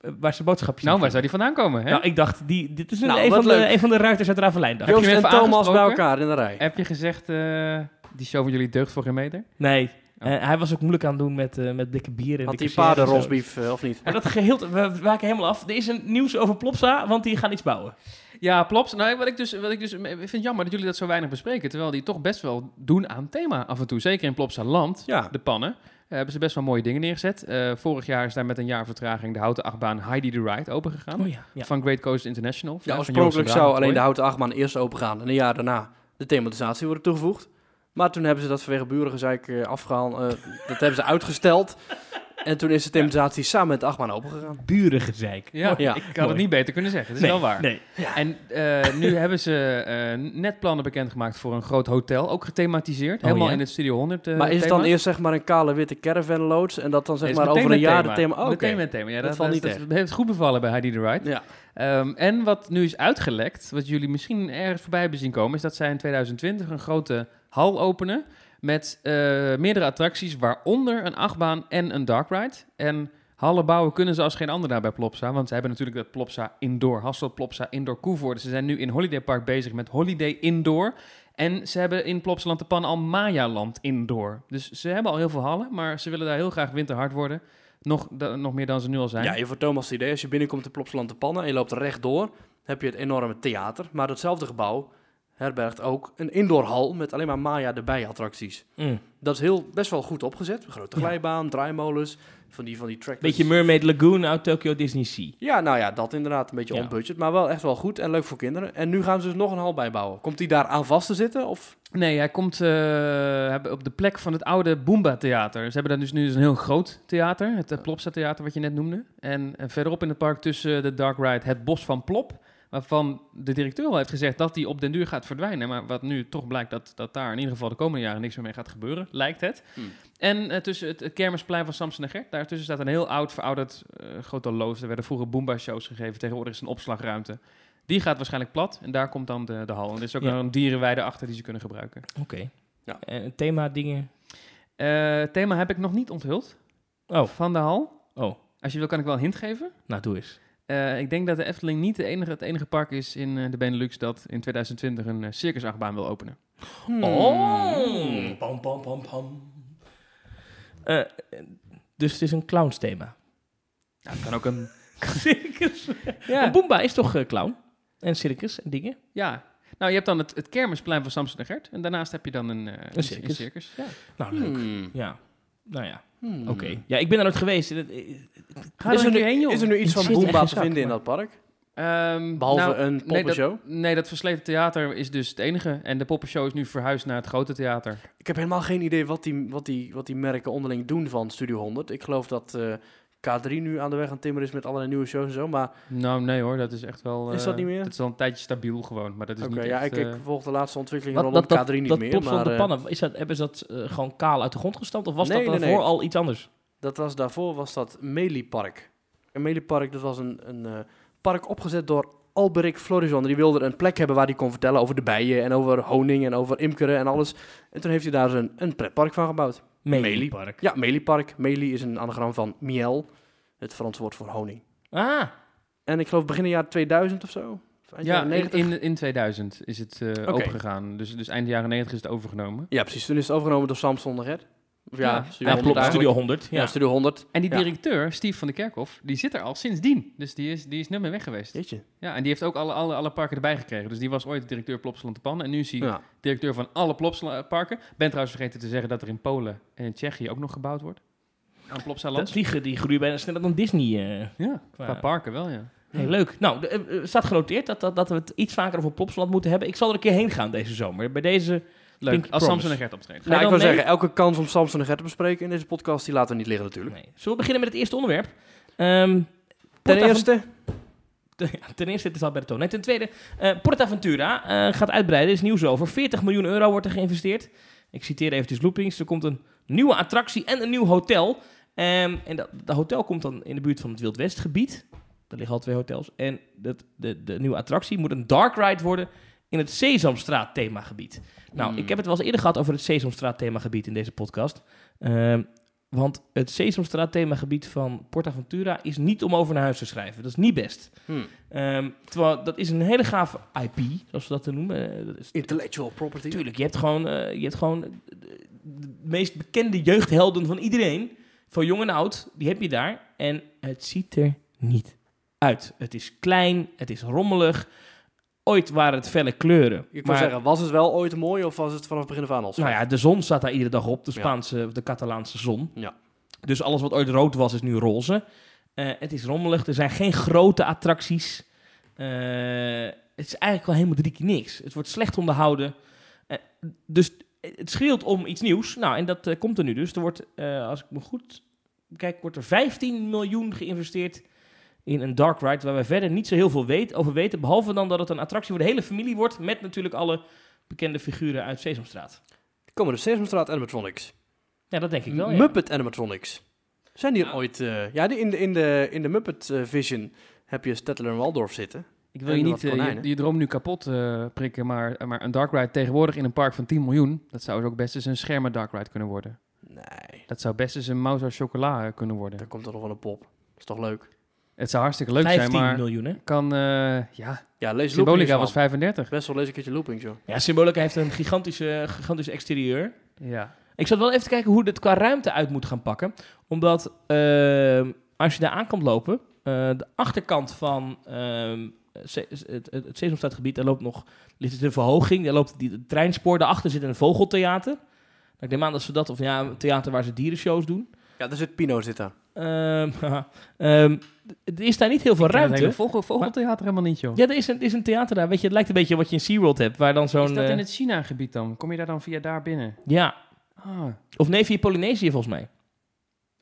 Speaker 1: eh, waar zijn boodschapjes
Speaker 3: Nou,
Speaker 1: in
Speaker 3: waar zou die vandaan komen? Hè?
Speaker 1: Nou, ik dacht, die, dit is een,
Speaker 2: Nou,
Speaker 1: een,
Speaker 2: wat
Speaker 1: van de,
Speaker 2: leuk.
Speaker 1: een van de ruiters uit Ravelijn. dacht ik.
Speaker 3: Heb je
Speaker 2: Joost
Speaker 3: hem
Speaker 2: en
Speaker 3: even
Speaker 2: Thomas bij
Speaker 3: aangesproken?
Speaker 2: elkaar in de rij.
Speaker 3: Heb je gezegd, eh, die show van jullie deugt voor geen meter?
Speaker 1: Nee,
Speaker 3: Oh.
Speaker 1: eh, hij was ook moeilijk aan het doen met, eh, met dikke bieren. en
Speaker 2: Had die
Speaker 1: dikke sherry en
Speaker 2: paarden
Speaker 1: zo.
Speaker 2: rosbief eh, of niet?
Speaker 1: Maar dat geheel, we we wijken helemaal af. Er is een nieuws over Plopsa, want die gaan iets bouwen.
Speaker 3: Ja, plops. Nou, wat ik dus, wat ik dus ik vind het jammer dat jullie dat zo weinig bespreken. Terwijl die toch best wel doen aan thema af en toe. Zeker in Plopsa Land,
Speaker 2: Ja.
Speaker 3: de pannen. eh, hebben ze best wel mooie dingen neergezet. Eh, vorig jaar is daar met een jaar vertraging de houten achtbaan Heidi the Ride open gegaan.
Speaker 1: Oh ja, ja.
Speaker 3: Van Great Coast International.
Speaker 2: Ja,
Speaker 3: van
Speaker 2: oorspronkelijk
Speaker 3: Joost
Speaker 2: zou
Speaker 3: Raad,
Speaker 2: alleen de
Speaker 3: mooi.
Speaker 2: houten achtbaan eerst opengaan en een jaar daarna de thematisatie worden toegevoegd. Maar toen hebben ze dat vanwege burengezeik eh, afgehaald. eh, dat hebben ze uitgesteld. En toen is de thematisatie samen met de achtbaan opengegaan.
Speaker 1: Burengezeik.
Speaker 3: Ja,
Speaker 2: Ja,
Speaker 3: ik had
Speaker 1: mooi.
Speaker 3: het niet beter kunnen zeggen. Dat is
Speaker 1: Nee,
Speaker 3: wel waar.
Speaker 1: Nee.
Speaker 3: En eh, nu hebben ze eh, net plannen bekendgemaakt voor een groot hotel. Ook gethematiseerd.
Speaker 1: Oh,
Speaker 3: Helemaal
Speaker 1: ja?
Speaker 3: in het Studio 100 eh,
Speaker 2: maar is het dan
Speaker 3: thema.
Speaker 2: eerst zeg maar een kale witte caravan loods en dat dan zeg
Speaker 3: Is
Speaker 2: maar
Speaker 3: meteen
Speaker 2: over een
Speaker 3: met
Speaker 2: jaar de thema... Oh, oké.
Speaker 3: Meteen met thema. Ja, dat,
Speaker 2: Dat valt
Speaker 3: dat-
Speaker 2: niet
Speaker 3: dat heeft goed bevallen bij Heidi the Ride.
Speaker 2: Ja.
Speaker 3: Ehm, en wat nu is uitgelekt, wat jullie misschien ergens voorbij hebben zien komen, is dat zij in 2020 een grote hal openen met eh, meerdere attracties, waaronder een achtbaan en een dark ride. En hallen bouwen kunnen ze als geen ander daar bij Plopsa, want ze hebben natuurlijk dat Plopsa Indoor, Hassel Plopsa Indoor Koevoort. Dus ze zijn nu in Holiday Park bezig met Holiday Indoor. En ze hebben in Plopsaland de Pan al Mayaland Indoor. Dus ze hebben al heel veel hallen, maar ze willen daar heel graag winterhard worden. Nog, da- nog meer dan ze nu al zijn.
Speaker 2: Ja, je voor Thomas het idee, als je binnenkomt in Plopsaland de Pannen en je loopt rechtdoor, heb je het enorme theater. Maar datzelfde gebouw herbergt ook een indoorhal met alleen maar Maya erbij attracties.
Speaker 1: Mm.
Speaker 2: Dat is heel, best wel goed opgezet. Grote glijbaan, draaimolens, van die, van die track.
Speaker 1: Beetje Mermaid Lagoon uit Tokyo Disney Sea.
Speaker 2: Ja, nou ja, dat inderdaad. Een beetje
Speaker 1: Ja.
Speaker 2: on budget, maar wel echt wel goed en leuk voor kinderen. En nu gaan ze dus nog een hal bijbouwen. Komt die daar aan vast te zitten? Of?
Speaker 3: Nee, hij komt eh, hebben- op de plek van het oude Boomba Theater. Ze hebben daar dus nu dus een heel groot theater, het eh, Plopsa Theater wat je net noemde. En eh, verderop in het park tussen de Dark Ride het Bos van Plop, waarvan de directeur al heeft gezegd dat die op den duur gaat verdwijnen. Maar wat nu toch blijkt dat, dat daar in ieder geval de komende jaren niks meer mee gaat gebeuren, lijkt het.
Speaker 2: Hmm.
Speaker 3: En eh, tussen het, het kermisplein van Samson en Gert, daartussen staat een heel oud verouderd eh, grote loods. Er werden vroeger Boomba shows gegeven, tegenwoordig is het een opslagruimte. Die gaat waarschijnlijk plat en daar komt dan de, de hal. En er is ook
Speaker 1: Ja.
Speaker 3: nog een dierenweide achter die ze kunnen gebruiken.
Speaker 1: Oké.
Speaker 2: Ja.
Speaker 1: Eh, thema dingen.
Speaker 3: Eh, thema heb ik nog niet onthuld
Speaker 1: Oh,
Speaker 3: van de hal.
Speaker 1: oh.
Speaker 3: Als je wil, kan ik wel een hint geven.
Speaker 1: Nou, doe eens.
Speaker 3: Eh, ik denk dat de Efteling niet de enige, het enige park is in eh, de Benelux dat in 2020 een eh, circusachtbaan wil openen.
Speaker 2: Hmm.
Speaker 1: Oh.
Speaker 2: Mm.
Speaker 1: Pam, pam, pam, pam. Eh, eh, dus het is een clowns thema.
Speaker 3: Nou, het kan ook een...
Speaker 1: circus. Maar
Speaker 3: ja.
Speaker 1: Boomba is toch eh, clown? En circus en dingen.
Speaker 3: ja. Nou, je hebt dan het, het kermisplein van Samson en Gert. En daarnaast heb je dan een, eh, een
Speaker 1: circus.
Speaker 3: circus. Ja.
Speaker 1: Nou, leuk.
Speaker 2: Hmm.
Speaker 1: Ja. Nou ja,
Speaker 2: Hmm.
Speaker 1: oké. Ja, ik ben er nooit geweest. Het- eh,
Speaker 3: Ga
Speaker 2: Is, er nu,
Speaker 3: keer heen, joh.
Speaker 2: is er nu iets
Speaker 1: Ik
Speaker 2: van
Speaker 1: zit echt
Speaker 2: Boomba
Speaker 1: in
Speaker 2: te
Speaker 1: zak,
Speaker 2: vinden in
Speaker 1: maar-
Speaker 2: dat park?
Speaker 3: Ehm,
Speaker 2: Behalve
Speaker 3: nou,
Speaker 2: een poppenshow?
Speaker 3: Nee, dat versleten theater is dus het enige. En de poppenshow is nu verhuisd naar het grote theater.
Speaker 2: Ik heb helemaal geen idee wat die, wat die, wat die merken onderling doen van Studio 100. Ik geloof dat eh, K3 nu aan de weg aan timmer is met allerlei nieuwe shows en zo. Maar
Speaker 3: Nou, nee hoor, dat is echt wel...
Speaker 2: Is
Speaker 3: eh,
Speaker 2: dat niet meer?
Speaker 3: Dat is al een tijdje stabiel gewoon, maar dat is
Speaker 2: oké,
Speaker 3: niet
Speaker 2: ja,
Speaker 3: echt,
Speaker 2: ik,
Speaker 3: eh,
Speaker 2: ik volg de laatste ontwikkelingen
Speaker 1: Wat-
Speaker 2: rondom
Speaker 1: dat-
Speaker 2: K3 niet
Speaker 1: dat
Speaker 2: meer.
Speaker 1: popsel op
Speaker 2: Maar
Speaker 1: de
Speaker 2: eh,
Speaker 1: pannen, is dat, hebben ze dat eh, gewoon kaal uit de grond gestampt? Of was
Speaker 2: Nee,
Speaker 1: dat
Speaker 2: nee,
Speaker 1: daarvoor
Speaker 2: nee.
Speaker 1: al iets anders?
Speaker 2: dat was, daarvoor was dat Meliepark. En Meliepark dat was een, een eh, park opgezet door Alberic Florizon. Die wilde een plek hebben waar hij kon vertellen over de bijen en over honing en over imkeren en alles. En toen heeft hij daar een, een pretpark van gebouwd. Melie.
Speaker 1: Park.
Speaker 2: Ja, Meliepark. Melie is een anagram van miel, het Frans woord voor honing.
Speaker 1: Ah,
Speaker 2: En ik geloof begin in jaar 2000 of zo. Of eind
Speaker 3: Ja,
Speaker 2: jaren
Speaker 3: in,
Speaker 2: 90.
Speaker 3: in, in 2000 is het eh opengegaan. Dus, dus eind jaren 90 is het overgenomen.
Speaker 2: Ja, precies. Toen is het overgenomen door Samson de Red. Of ja,
Speaker 3: Ja,
Speaker 2: Studio
Speaker 1: ja,
Speaker 2: 100
Speaker 1: klopt.
Speaker 2: eigenlijk.
Speaker 1: Studio 100.
Speaker 2: Ja,
Speaker 1: Ja.
Speaker 2: Studio 100.
Speaker 3: En die
Speaker 2: Ja.
Speaker 3: directeur, Steve van de Kerkhof, die zit er al sindsdien. Dus die is, die is nooit meer weg geweest.
Speaker 2: Jeetje.
Speaker 3: Ja, en die heeft ook alle, alle, alle parken erbij gekregen. Dus die was ooit directeur Plopsaland de Pan. En nu is hij
Speaker 2: Ja.
Speaker 3: directeur van alle Plopsla- parken. Ben trouwens vergeten te zeggen dat er in Polen en in Tsjechië ook nog gebouwd wordt. Aan
Speaker 1: Dat,
Speaker 3: Plopsaland.
Speaker 1: die, ge- die groeien bijna sneller dan Disney. eh.
Speaker 3: Ja, qua
Speaker 1: Qua-
Speaker 3: parken wel, ja.
Speaker 1: Hey, leuk. Nou, de- eh, eh, staat genoteerd dat, dat, dat we het iets vaker over Plopsland moeten hebben. Ik zal er een keer heen gaan deze zomer. Bij deze...
Speaker 3: Leuk,
Speaker 1: Pinky
Speaker 3: als
Speaker 1: Promise.
Speaker 3: Samson en Gert optreden.
Speaker 1: Ga je
Speaker 2: Nou, ik
Speaker 1: dan
Speaker 2: wil
Speaker 1: mee?
Speaker 2: zeggen, elke kans om Samson en Gert te bespreken in deze podcast, die laten we niet liggen natuurlijk.
Speaker 1: Nee. Zullen we beginnen met het eerste onderwerp? Ehm,
Speaker 2: Ten
Speaker 1: Porta-
Speaker 2: eerste,
Speaker 1: Ja, ten eerste, het is Alberto. Nee, ten tweede, eh PortAventura eh, gaat uitbreiden. Er is nieuws over. 40 miljoen euro wordt er geïnvesteerd. Ik citeer eventjes loopings. Er komt een nieuwe attractie en een nieuw hotel. Ehm, en dat, dat hotel komt dan in de buurt van het Wild Westgebied. Er liggen al twee hotels. En dat, de, de nieuwe attractie moet een dark ride worden in het Sesamstraat themagebied. Nou,
Speaker 2: Hmm.
Speaker 1: ik heb het wel eens eerder gehad over het Sesamstraat themagebied in deze podcast. Ehm, want het Sesamstraat themagebied van PortAventura is niet om over naar huis te schrijven. Dat is niet best.
Speaker 2: hmm,
Speaker 1: Ehm, terwijl dat is een hele gave IP, zoals we dat te noemen. Eh, dat is,
Speaker 2: intellectual property.
Speaker 1: tuurlijk, je hebt gewoon, eh, je hebt gewoon eh, de, de meest bekende jeugdhelden van iedereen, van jong en oud, die heb je daar. En het ziet er niet uit. Het is klein, het is rommelig. ooit waren het felle kleuren.
Speaker 2: Ik wil
Speaker 1: maar,
Speaker 2: zeggen, was het wel ooit mooi of was het vanaf het begin af aan al zo?
Speaker 1: nou ja, de zon staat daar iedere dag op. De
Speaker 2: Ja.
Speaker 1: Spaanse, of de Catalaanse zon.
Speaker 2: Ja.
Speaker 1: Dus alles wat ooit rood was, is nu roze. Eh, het is rommelig. Er zijn geen grote attracties. Eh, het is eigenlijk wel helemaal drie keer niks. Het wordt slecht onderhouden. Eh, dus het schreeuwt om iets nieuws. Nou, en dat eh, komt er nu dus. Er wordt, eh, als ik me goed kijk, wordt er 15 miljoen geïnvesteerd in een dark ride... waar wij verder niet zo heel veel weet, over weten... behalve dan dat het een attractie voor de hele familie wordt... met natuurlijk alle bekende figuren uit Sesamstraat.
Speaker 2: Er Komen de Sesamstraat animatronics.
Speaker 1: Ja, dat denk ik wel, ja.
Speaker 2: Muppet animatronics. Zijn die er
Speaker 1: Ja.
Speaker 2: ooit... eh, ja, die in de, in de, in de Muppet eh, Vision heb je Stettler en Waldorf zitten.
Speaker 3: Ik wil
Speaker 2: En
Speaker 3: je
Speaker 2: wat
Speaker 3: niet eh,
Speaker 2: konijnen.
Speaker 3: je, je droom nu kapot eh, prikken, maar, maar een dark ride tegenwoordig in een park van 10 miljoen, dat zou dus ook best eens een schermen dark ride kunnen worden.
Speaker 2: Nee,
Speaker 3: Dat zou best eens een mouse uit chocola eh, kunnen worden.
Speaker 2: daar komt er nog wel een pop. Dat is toch leuk?
Speaker 3: Het zou hartstikke leuk
Speaker 1: 15
Speaker 3: zijn, maar
Speaker 1: miljoen, hè?
Speaker 3: kan, eh, ja,
Speaker 2: Ja, lees
Speaker 3: Symbolica
Speaker 2: Loopings,
Speaker 3: was 35.
Speaker 2: man. Best wel lees een keertje Loopings, joh.
Speaker 1: Ja, Symbolica heeft een gigantische, gigantisch exterieur.
Speaker 3: Ja.
Speaker 1: Ik zat wel even te kijken hoe dit qua ruimte uit moet gaan pakken. Omdat ehm, als je daar aan komt lopen, eh, de achterkant van ehm, Se- het, het, het Sesamstraatgebied, daar loopt nog ligt het een verhoging. Daar loopt die, het treinspoor. Daarachter zit een vogeltheater. Nou, Ik neem aan dat ze dat, of ja, een theater waar ze dierenshows doen.
Speaker 2: Ja, daar zit Pino zit daar.
Speaker 1: Ehm, haha. Ehm, er is daar niet heel veel ruimte.
Speaker 3: Ruimte. Vogel, vogeltheater helemaal niet, joh.
Speaker 1: Ja, er is, een, er is een theater daar. Weet je, het lijkt een beetje wat je in SeaWorld hebt. Waar dan zo'n...
Speaker 3: Is dat
Speaker 1: eh,
Speaker 3: in het China-gebied dan? Kom je daar dan via daar binnen?
Speaker 1: Ja,
Speaker 3: Ah.
Speaker 1: Of nee, via Polynesië volgens mij.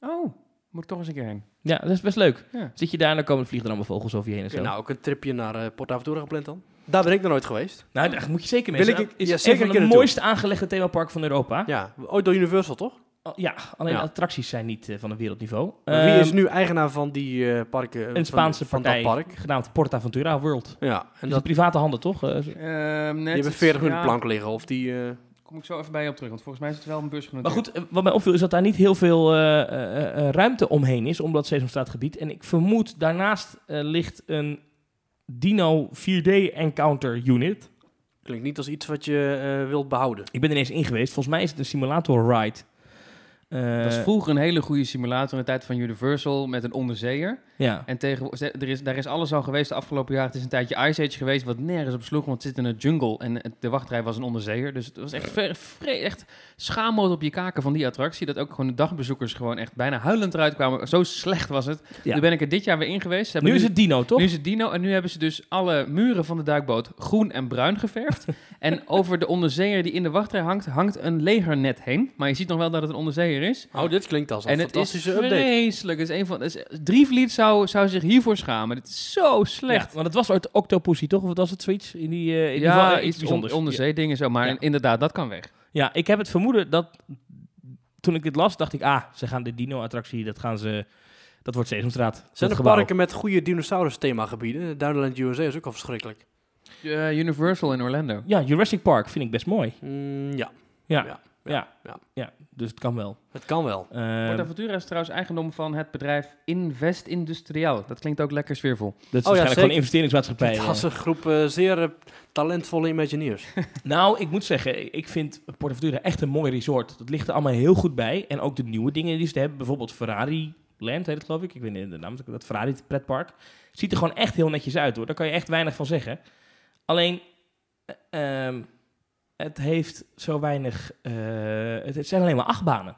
Speaker 3: Oh, moet ik toch eens een keer heen.
Speaker 1: Ja, dat is best leuk.
Speaker 3: Ja.
Speaker 1: Zit je daar en dan komen vliegen er allemaal vogels over je heen en zo.
Speaker 2: Oké, nou, ook een tripje naar eh Porta Ventura gepland dan? Daar ben ik nog nooit geweest.
Speaker 1: Nou, daar moet je zeker mee.
Speaker 2: Wil
Speaker 1: Het
Speaker 2: ik-
Speaker 1: is
Speaker 2: ja,
Speaker 1: een
Speaker 2: zeker een
Speaker 1: van
Speaker 2: keer
Speaker 1: de
Speaker 2: naartoe.
Speaker 1: mooist aangelegde themaparken van Europa. Ja,
Speaker 2: Ja, ooit door Universal, toch?
Speaker 1: ja alleen
Speaker 2: Ja.
Speaker 1: de attracties zijn niet eh, van een wereldniveau.
Speaker 2: Maar Wie is
Speaker 1: Ehm,
Speaker 2: nu eigenaar van die eh, parken? eh, van-
Speaker 1: een Spaanse
Speaker 2: van
Speaker 1: partij Dus
Speaker 2: dat park.
Speaker 1: genaamd PortAventura World. En
Speaker 2: Ja, en
Speaker 1: dat is
Speaker 2: dat,
Speaker 1: in private handen, toch? Eh, zo-
Speaker 3: Ehm,
Speaker 2: die
Speaker 3: net
Speaker 2: hebben
Speaker 3: iets-
Speaker 2: 40 minuten
Speaker 3: ja,
Speaker 2: plank liggen. Of die, eh,
Speaker 3: Kom ik zo even bij je op terug, want volgens mij is het wel een beurs
Speaker 1: maar goed, eh, wat mij opviel is dat daar niet heel veel eh, eh, eh, ruimte omheen is, om dat Sesamstraatgebied. En ik vermoed, daarnaast eh, ligt een Dino 4D Encounter Unit.
Speaker 2: klinkt niet als iets wat je eh, wilt behouden.
Speaker 1: Ik ben er ineens in geweest. Volgens mij is het een simulator ride. Eh,
Speaker 3: Dat is vroeger een hele goede simulator in de tijd van Universal met een onderzeeër.
Speaker 1: Ja.
Speaker 3: En tegenwoordig, ze- er is, daar is alles al geweest de afgelopen jaar. Het is een tijdje Ice Age geweest, wat nergens op sloeg, want het zit in een jungle. En het- de wachtrij was een onderzeeër. Dus het was echt, ver, vre- echt schaamrood op je kaken van die attractie. Dat ook gewoon de dagbezoekers gewoon echt bijna huilend eruit kwamen. Zo slecht was het.
Speaker 1: Ja.
Speaker 3: Nu ben ik er dit jaar weer in geweest. Ze hebben
Speaker 1: Nu is het Dino, toch?
Speaker 3: Nu is het dino en nu hebben ze dus alle muren van de duikboot groen en bruin geverfd. en over de onderzeeër die in de wachtrij hangt, hangt een legernet heen. Maar je ziet nog wel dat het een onderzeeër is.
Speaker 2: Oh, dit klinkt als een
Speaker 3: en het is
Speaker 2: fantastische update.
Speaker 3: vreselijk. Het is een van, het is, Drievliet zou, zou zich hiervoor schamen. Dit is zo
Speaker 1: Ja,
Speaker 3: slecht.
Speaker 1: want het was ooit Octopussy, toch? Of was het zoiets? In die, eh, in ieder geval
Speaker 3: Ja,
Speaker 1: iets
Speaker 3: iets on,
Speaker 1: bijzonders.
Speaker 3: onderzeedingen zo. Maar
Speaker 1: Ja.
Speaker 3: inderdaad, dat kan weg.
Speaker 1: Ja. Ja, ik heb het vermoeden dat... Toen ik dit las, dacht ik... Ah, ze gaan de Dino-attractie, dat gaan ze... Dat wordt Sesamstraat.
Speaker 2: Zijn
Speaker 1: dat
Speaker 2: er
Speaker 1: gebouw.
Speaker 2: parken met goede dinosaurus themagebieden? Duinland USA is ook al verschrikkelijk.
Speaker 3: Eh, Universal in Orlando.
Speaker 1: Ja, Jurassic Park vind ik best mooi.
Speaker 2: Mm, ja,
Speaker 1: Ja, ja,
Speaker 2: Ja,
Speaker 1: ja.
Speaker 2: ja.
Speaker 1: dus het kan wel.
Speaker 2: het kan wel.
Speaker 1: Ehm,
Speaker 3: PortAventura is trouwens eigendom van het bedrijf Invest Industrial. Dat klinkt ook lekker sfeervol.
Speaker 1: dat is
Speaker 2: ja,
Speaker 1: waarschijnlijk gewoon
Speaker 2: zeker.
Speaker 1: een investeringsmaatschappij.
Speaker 2: Het
Speaker 1: eh.
Speaker 2: was een groep eh, zeer eh, talentvolle Imagineers.
Speaker 1: Nou, ik moet zeggen, ik vind PortAventura echt een mooi resort. Dat ligt er allemaal heel goed bij. En ook de nieuwe dingen die ze hebben. Bijvoorbeeld Ferrari Land heet het geloof ik. Ik weet niet de naam. Dat Ferrari pretpark. Ziet er gewoon echt heel netjes uit hoor. Daar kan je echt weinig van zeggen. Alleen, eh, ehm, het heeft zo weinig... eh, het, het zijn alleen maar achtbanen.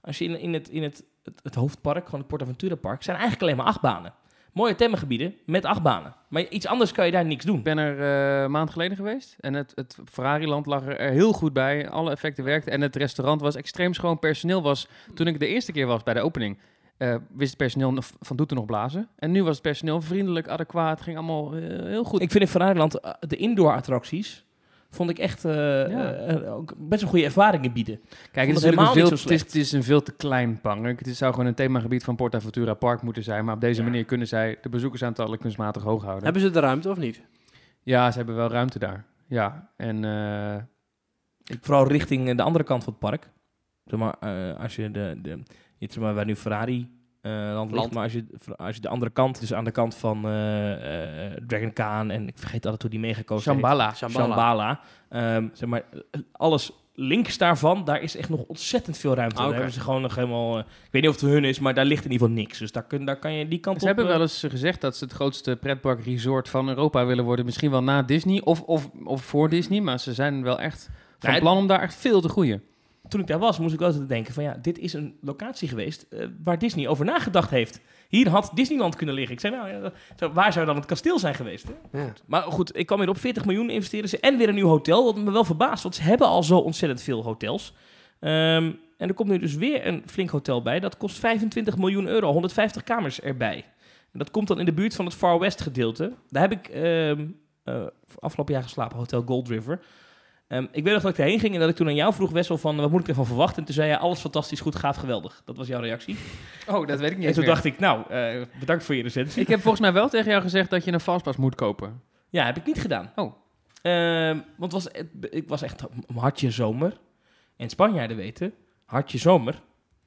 Speaker 1: Als je in, in, het, in het, het, het hoofdpark, gewoon het PortAventura park... zijn eigenlijk alleen maar achtbanen. Mooie themagebieden met achtbanen. Maar iets anders kan je daar niks doen.
Speaker 3: Ik ben er eh, een maand geleden geweest en het, het Ferrari-land lag er, er heel goed bij. Alle effecten werkten en het restaurant was extreem schoon. Personeel was, toen ik de eerste keer was bij de opening, eh, wist het personeel nog- van Doeten nog blazen. En nu was het personeel vriendelijk, adequaat, ging allemaal eh, heel goed.
Speaker 1: Ik vind in Ferrariland eh, de indoor attracties vond ik echt eh,
Speaker 3: Ja.
Speaker 1: eh, ook best een goede ervaringen bieden.
Speaker 3: Kijk,
Speaker 1: vond
Speaker 3: het is,
Speaker 1: het
Speaker 3: natuurlijk
Speaker 1: helemaal
Speaker 3: een veel,
Speaker 1: niet zo
Speaker 3: het, is, het is een veel te klein park. Het is- zou gewoon een themagebied van PortAventura Park moeten zijn. Maar op deze
Speaker 1: Ja.
Speaker 3: manier kunnen zij de bezoekersaantallen kunstmatig hoog houden.
Speaker 2: Hebben ze de ruimte of niet?
Speaker 3: Ja, ze hebben wel ruimte daar. Ja, en eh,
Speaker 1: Vooral richting eh, de andere kant van het park. Zeg maar, eh, als je de, de niet zeg maar waar nu Ferrari eh, land ligt,
Speaker 2: Land.
Speaker 1: maar als je, als je de andere kant, dus aan de kant van eh, eh, Dragon Khan en ik vergeet altijd hoe die meegekozen heet.
Speaker 3: Shambhala.
Speaker 2: Shambhala.
Speaker 1: Shambhala. Ehm, zeg maar, eh, alles links daarvan, daar is echt nog ontzettend veel ruimte.
Speaker 2: Ah, oké.
Speaker 1: Daar hebben ze gewoon nog helemaal... eh, ik weet niet of het hun is, maar daar ligt in ieder geval niks. Dus daar, kun, daar kan je die kant
Speaker 3: Ze
Speaker 1: op...
Speaker 3: hebben
Speaker 1: eh,
Speaker 3: wel eens eh, gezegd dat ze het grootste pretparkresort van Europa willen worden. Misschien wel na Disney of, of, of voor Disney. Maar ze zijn wel echt van
Speaker 1: het-
Speaker 3: plan om daar echt veel te groeien.
Speaker 1: toen ik daar was, moest ik altijd denken van ja, dit is een locatie geweest eh, waar Disney over nagedacht heeft. Hier had Disneyland kunnen liggen. Ik zei nou, ja, dat- zo, waar zou dan het kasteel zijn geweest? Hè?
Speaker 2: Ja.
Speaker 1: Maar goed, ik kwam hier op 40 miljoen investeren ze en weer een nieuw hotel. Wat me wel verbaast, want ze hebben al zo ontzettend veel hotels. Ehm, en er komt nu dus weer een flink hotel bij. Dat kost 25 miljoen euro, 150 kamers erbij. En dat komt dan in de buurt van het Far West gedeelte. Daar heb ik ehm, eh, afgelopen jaar geslapen, Hotel Gold River. Ehm, ik weet nog dat ik daarheen ging en dat ik toen aan jou vroeg, Wessel, van wat moet ik ervan verwachten? En toen zei je, alles fantastisch, goed, gaaf, geweldig. Dat was jouw reactie.
Speaker 3: Oh, dat weet ik niet
Speaker 1: en toen dacht ik, nou, eh, bedankt voor je recensie.
Speaker 3: Ik heb volgens mij wel tegen jou gezegd dat je een fastpass moet kopen.
Speaker 1: Ja, heb ik niet gedaan.
Speaker 3: Oh.
Speaker 1: Ehm, want het was, het, ik was echt een hartje zomer. En Spanjaarden weten, hartje zomer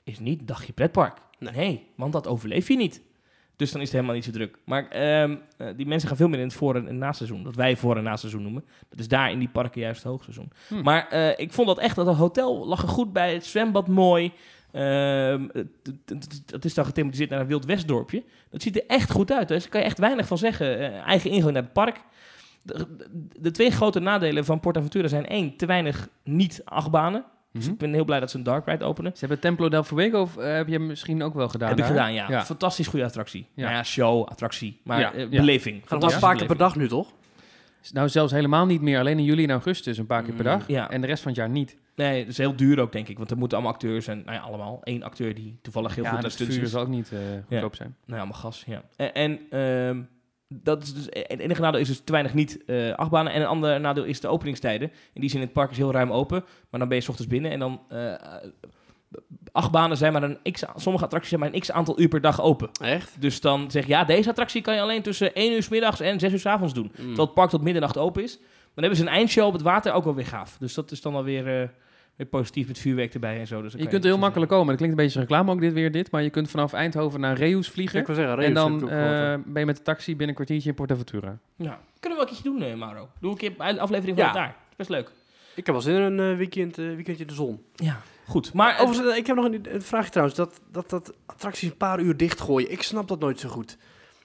Speaker 1: is niet dagje pretpark. Nee. want dat overleef je niet. Dus dan is het helemaal niet zo druk. Maar ehm, eh, die mensen gaan veel meer in het voor- en naseizoen. Dat wij voor- en naseizoen noemen. Dat is daar in die parken juist het hoogseizoen.
Speaker 3: Hmm.
Speaker 1: Maar eh, ik vond dat echt, dat hotel lag er goed bij. Het zwembad mooi. Ehm, het- het- het- Het is dan gethematiseerd naar een wild westdorpje. Dat ziet er echt goed uit. Dus Daar kan je echt weinig van zeggen. Eh, eigen ingang naar het park. De, de- de twee grote nadelen van PortAventura zijn één, te weinig niet-achtbanen.
Speaker 3: Hm?
Speaker 1: Dus ik ben heel blij dat ze een dark ride openen.
Speaker 3: Ze hebben Templo del Fuego, of, eh, heb je misschien ook wel gedaan?
Speaker 1: Heb ik
Speaker 3: daar?
Speaker 1: gedaan, ja.
Speaker 3: Ja.
Speaker 1: Fantastisch goede attractie. Nou
Speaker 3: Ja.
Speaker 1: Ja, ja show, attractie, maar
Speaker 3: Ja,
Speaker 1: eh,
Speaker 3: ja.
Speaker 1: beleving.
Speaker 2: Gaat nog maar een paar keer per dag nu, toch?
Speaker 3: Nou, zelfs helemaal niet meer. Alleen in juli en augustus een paar keer per
Speaker 2: Mm,
Speaker 3: dag.
Speaker 1: ja.
Speaker 3: En de rest van het jaar niet.
Speaker 1: Nee, dat is heel duur ook, denk ik. Want er moeten allemaal acteurs en, nou ja, allemaal. Eén acteur die toevallig heel
Speaker 3: ja,
Speaker 1: goed aan
Speaker 3: dat
Speaker 1: stunts
Speaker 3: vuur
Speaker 1: is.
Speaker 3: zal ook niet eh, goedkoop zijn.
Speaker 1: Nou ja, mijn gas, ja. En, en ehm, dat is dus, het enige nadeel is dus te weinig niet eh, achtbanen. En een ander nadeel is de openingstijden. In die zin, het park is heel ruim open. Maar dan ben je 's ochtends binnen en dan... eh, achtbanen zijn maar een x... Sommige attracties zijn maar een x aantal uur per dag open.
Speaker 2: Echt?
Speaker 1: Dus dan zeg je, ja, deze attractie kan je alleen tussen 1 uur s middags en 6 uur s avonds
Speaker 3: Hm.
Speaker 1: doen.
Speaker 2: Mm.
Speaker 1: Terwijl het park tot middernacht open is. Dan hebben ze een eindshow op het water ook wel weer gaaf. Dus dat is dan alweer eh weer positief met vuurwerk erbij en zo. Dus dan
Speaker 3: Je
Speaker 1: kan
Speaker 3: kunt er heel makkelijk komen. Dat klinkt een beetje reclame ook dit weer dit. Maar je kunt vanaf Eindhoven naar Reus vliegen.
Speaker 2: Ik wil zeggen,
Speaker 3: en
Speaker 2: Reus heb ik
Speaker 3: dan
Speaker 2: ook gehoord,
Speaker 3: eh, ben je met de taxi binnen een kwartiertje in PortAventura.
Speaker 1: Ja. Kunnen we wel een keertje doen, eh, Mauro. Doe een keer een aflevering
Speaker 2: Ja.
Speaker 1: van het daar. Is best leuk.
Speaker 2: hè. Ik heb al zin in een eh, weekend, eh, weekendje de zon.
Speaker 1: Ja, goed. Maar het-
Speaker 2: Overigens, eh, ik heb nog een, een vraagje trouwens. Dat, dat, dat attracties een paar uur dichtgooien, ik snap dat nooit zo goed.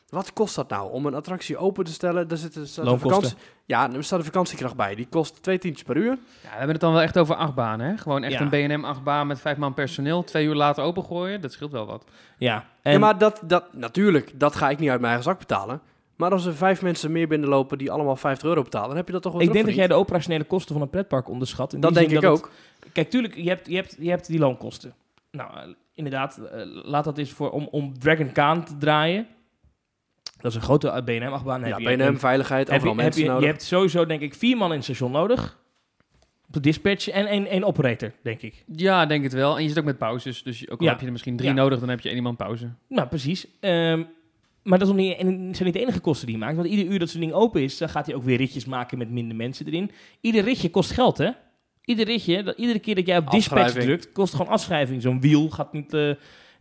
Speaker 2: Wat kost dat nou? Om een attractie open te stellen, daar zit, er staat een
Speaker 1: Loonkosten.
Speaker 2: vakantie... Ja, er staat een vakantiekracht bij. Die kost twee tientjes per uur.
Speaker 3: Ja, we hebben het dan wel echt over achtbanen, hè? Gewoon echt
Speaker 1: Ja.
Speaker 3: een BNM achtbaan met vijf man personeel. Twee uur later opengooien, dat scheelt wel wat.
Speaker 1: ja, en,
Speaker 2: Ja, maar dat, dat, natuurlijk, dat ga ik niet uit mijn eigen zak betalen. Maar als er vijf mensen meer binnenlopen die allemaal 50 euro betalen, dan heb je dat toch wel
Speaker 1: ik denk dat jij
Speaker 2: terugverdiend.
Speaker 1: de operationele kosten van een pretpark onderschat. In
Speaker 2: Dat
Speaker 1: die
Speaker 2: denk
Speaker 1: zin
Speaker 2: ik
Speaker 1: dat
Speaker 2: ook.
Speaker 1: het- kijk, tuurlijk, je hebt, je, hebt, je hebt die loonkosten. Nou, eh, inderdaad, eh, laat dat eens voor om, om Dragon Khan te draaien. Dat is een grote eh, BNM-achtbaan. Dan
Speaker 2: Ja,
Speaker 1: heb je
Speaker 2: BNM,
Speaker 1: een-
Speaker 2: veiligheid,
Speaker 1: heb je,
Speaker 2: overal
Speaker 1: heb
Speaker 2: mensen
Speaker 1: je,
Speaker 2: nodig.
Speaker 1: je hebt sowieso, denk ik, vier man in het station nodig. Op de dispatch en één, één operator, denk ik.
Speaker 3: Ja, denk het wel. En je zit ook met pauzes. Dus ook al
Speaker 1: Ja.
Speaker 3: heb je er misschien drie
Speaker 1: Ja.
Speaker 3: nodig, dan heb je één iemand pauze.
Speaker 1: Nou, precies. Ehm, maar dat is nog niet, en het zijn niet de enige kosten die hij maakt. Want ieder uur dat zo'n ding open is, dan gaat hij ook weer ritjes maken met minder mensen erin. Ieder ritje kost geld, hè? Ieder ritje, dat, iedere keer dat jij op dispatch
Speaker 2: Afschrijving.
Speaker 1: drukt, kost gewoon afschrijving. Zo'n wiel gaat niet... eh,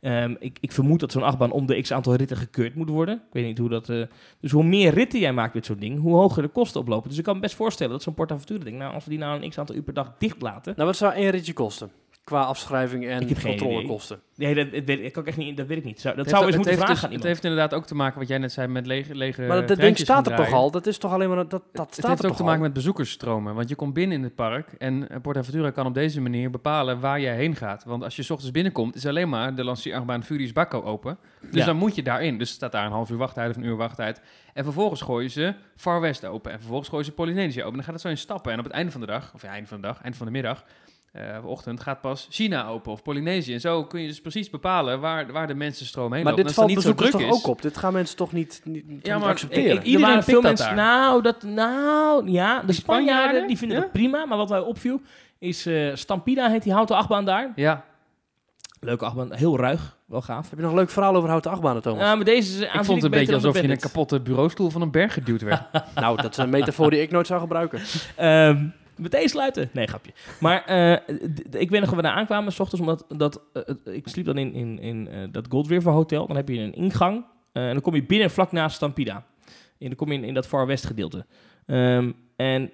Speaker 1: ehm, ik, ik vermoed dat zo'n achtbaan om de x aantal ritten gekeurd moet worden. Ik weet niet hoe dat... eh, dus hoe meer ritten jij maakt met zo'n ding, hoe hoger de kosten oplopen. Dus ik kan me best voorstellen dat zo'n PortAventura ding, nou, als we die nou een x aantal uur per dag dicht laten...
Speaker 2: Nou, wat zou één ritje kosten? Qua afschrijving
Speaker 1: Ik
Speaker 2: en
Speaker 1: heb geen Eh,
Speaker 2: controlekosten.
Speaker 1: Nee, dat, dat weet, ik kan ik echt niet, dat weet ik niet. Zou, dat
Speaker 3: Het
Speaker 1: zou
Speaker 3: heeft-
Speaker 1: eens moeten
Speaker 3: het
Speaker 1: vragen aan
Speaker 3: heeft dus-
Speaker 1: iemand.
Speaker 3: Het heeft inderdaad ook te maken, wat jij net zei, met lege lege
Speaker 2: Maar dat, dat ding
Speaker 3: treintjes gaan
Speaker 2: staat er toch
Speaker 3: draaien.
Speaker 2: al? Dat is toch alleen maar... Dat, dat
Speaker 3: Het
Speaker 2: staat
Speaker 3: heeft
Speaker 2: er
Speaker 3: ook
Speaker 2: toch
Speaker 3: te
Speaker 2: al?
Speaker 3: maken met bezoekersstromen. Want je komt binnen in het park en eh, PortAventura kan op deze manier bepalen waar jij heen gaat. Want als je 's ochtends binnenkomt, is alleen maar de lanceerbaan Furious Bacco open. Dus
Speaker 1: Ja.
Speaker 3: dan moet je daarin. Dus staat daar een half uur wachttijd of een uur wachttijd. En vervolgens gooien ze Far West open. En vervolgens gooien ze Polynesia open. Dan gaat het zo in stappen. En op het einde van de dag, of ja, einde van de dag, eind van de middag, eh, of ochtend, gaat pas China open of Polynesië. En zo kun je dus precies bepalen waar, waar de mensenstroom heen
Speaker 2: Maar
Speaker 3: loopt.
Speaker 2: dit
Speaker 3: en
Speaker 2: valt
Speaker 3: als het niet
Speaker 2: bezoekers
Speaker 3: zo druk
Speaker 2: toch
Speaker 3: is,
Speaker 2: ook op? Dit gaan mensen toch niet, niet, niet
Speaker 3: Ja, maar
Speaker 2: accepteren?
Speaker 3: ik- Iedereen
Speaker 1: er waren veel
Speaker 3: pikt dat
Speaker 1: mensen.
Speaker 3: daar.
Speaker 1: Nou, dat, nou, ja, de Spanjaarden
Speaker 3: Spanjaarden?
Speaker 1: die vinden
Speaker 3: Ja?
Speaker 1: dat prima. Maar wat mij opviel is eh, Stampida heet die houten achtbaan daar.
Speaker 3: Ja,
Speaker 1: Leuke achtbaan, heel ruig, wel gaaf.
Speaker 2: Heb je nog een leuk verhaal over houten achtbanen, Thomas?
Speaker 1: Ja, maar deze is
Speaker 3: ik vond
Speaker 1: aanzienlijk
Speaker 3: het een beetje
Speaker 1: beter dan de
Speaker 3: alsof je een
Speaker 1: Bandit.
Speaker 3: kapotte bureaustoel van een berg geduwd werd.
Speaker 2: Nou, dat is een metafoor die ik nooit zou gebruiken.
Speaker 1: Ehm, meteen sluiten. Nee, grapje. Maar eh, d- d- ik weet nog dat we daar aankwamen, s ochtends, omdat dat, eh, het- ik sliep dan in, in, in eh, dat Gold River Hotel. Dan heb je een ingang eh, en dan kom je binnen vlak naast Stampida. En dan kom je in, in dat Far West gedeelte. Ehm, en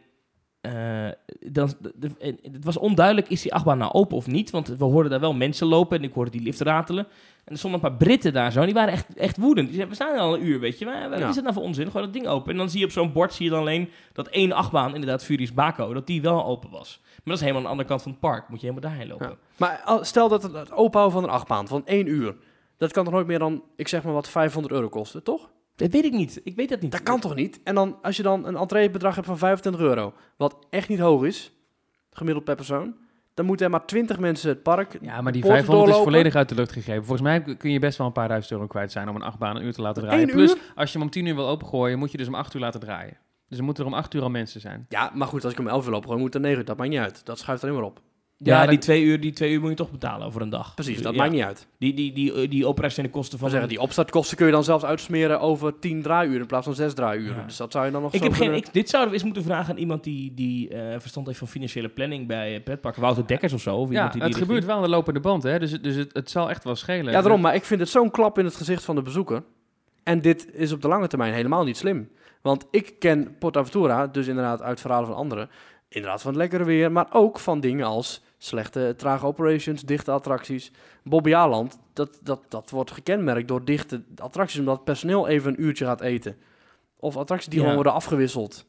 Speaker 1: eh, eh, dan, de- de- en het was onduidelijk, is die achtbaan nou open of niet? Want we hoorden daar wel mensen lopen en ik hoorde die lift ratelen. En er stonden een paar Britten daar zo en die waren echt, echt woedend. Die zeiden, we staan hier al een uur, weet je. Waar- Wat
Speaker 2: Ja.
Speaker 1: is dat nou voor onzin? Gewoon dat ding open. En dan zie je op zo'n bord zie je dan alleen dat één achtbaan, inderdaad Furies Baco, dat die wel open was. Maar dat is helemaal aan de andere kant van het park. Moet je helemaal daarheen lopen.
Speaker 2: Ja. Maar al- stel dat het, het openhouden van een achtbaan van één uur, dat kan toch nooit meer dan, ik zeg maar wat, 500 euro kosten, toch?
Speaker 1: Dat weet ik niet. Ik weet dat niet.
Speaker 2: Dat kan toch niet? En dan, als je dan een entreebedrag hebt van 25 euro, wat echt niet hoog is, gemiddeld per persoon, dan moeten er maar 20 mensen het park...
Speaker 3: Ja, maar
Speaker 2: poorten
Speaker 3: die 500 is
Speaker 2: doorlopen.
Speaker 3: volledig uit de lucht gegrepen. Volgens mij kun je best wel een paar duizend euro kwijt zijn om een achtbaan een uur te laten draaien.
Speaker 2: Eén
Speaker 3: Plus, als je hem om 10 uur wil opengooien, moet je dus om 8 uur laten draaien. Dus er moeten er om 8 uur al mensen zijn.
Speaker 2: Ja, maar goed, als ik hem 11 wil opgooien, moet er 9 uur, dat maakt niet uit. Dat schuift alleen maar op.
Speaker 1: Ja,
Speaker 3: Ja,
Speaker 1: die,
Speaker 3: dat-
Speaker 1: twee uur, die twee uur moet je toch betalen over een dag.
Speaker 2: Precies,
Speaker 1: Dus,
Speaker 2: dat
Speaker 1: ja.
Speaker 2: maakt niet uit.
Speaker 1: Die, die, die, eh, die operationele kosten van...
Speaker 2: Maar zeggen, die opstartkosten kun je dan zelfs uitsmeren over 10 draaiuren in plaats van 6 draaiuren.
Speaker 1: Ja.
Speaker 2: Dus dat zou je dan nog
Speaker 1: Ik
Speaker 2: zo
Speaker 1: heb geen,
Speaker 2: kunnen-
Speaker 1: ik, dit zouden we eens moeten vragen aan iemand die, die eh, verstand heeft van financiële planning bij eh, pretparken. Wouter Dekkers of zo. Of iemand
Speaker 3: Ja,
Speaker 1: die
Speaker 3: het
Speaker 1: die richting-
Speaker 3: gebeurt wel aan de lopende band, hè? Dus, het- dus het, het zal echt wel schelen.
Speaker 2: Ja, daarom. Maar ik vind het zo'n klap in het gezicht van de bezoeker. En dit is op de lange termijn helemaal niet slim. Want ik ken PortAventura, dus inderdaad uit verhalen van anderen. Inderdaad van het lekkere weer, maar ook van dingen als slechte, trage operations, dichte attracties. Bobby Aland, dat, dat, dat wordt gekenmerkt door dichte attracties, omdat het personeel even een uurtje gaat eten. Of attracties die
Speaker 1: Ja.
Speaker 2: gewoon worden afgewisseld.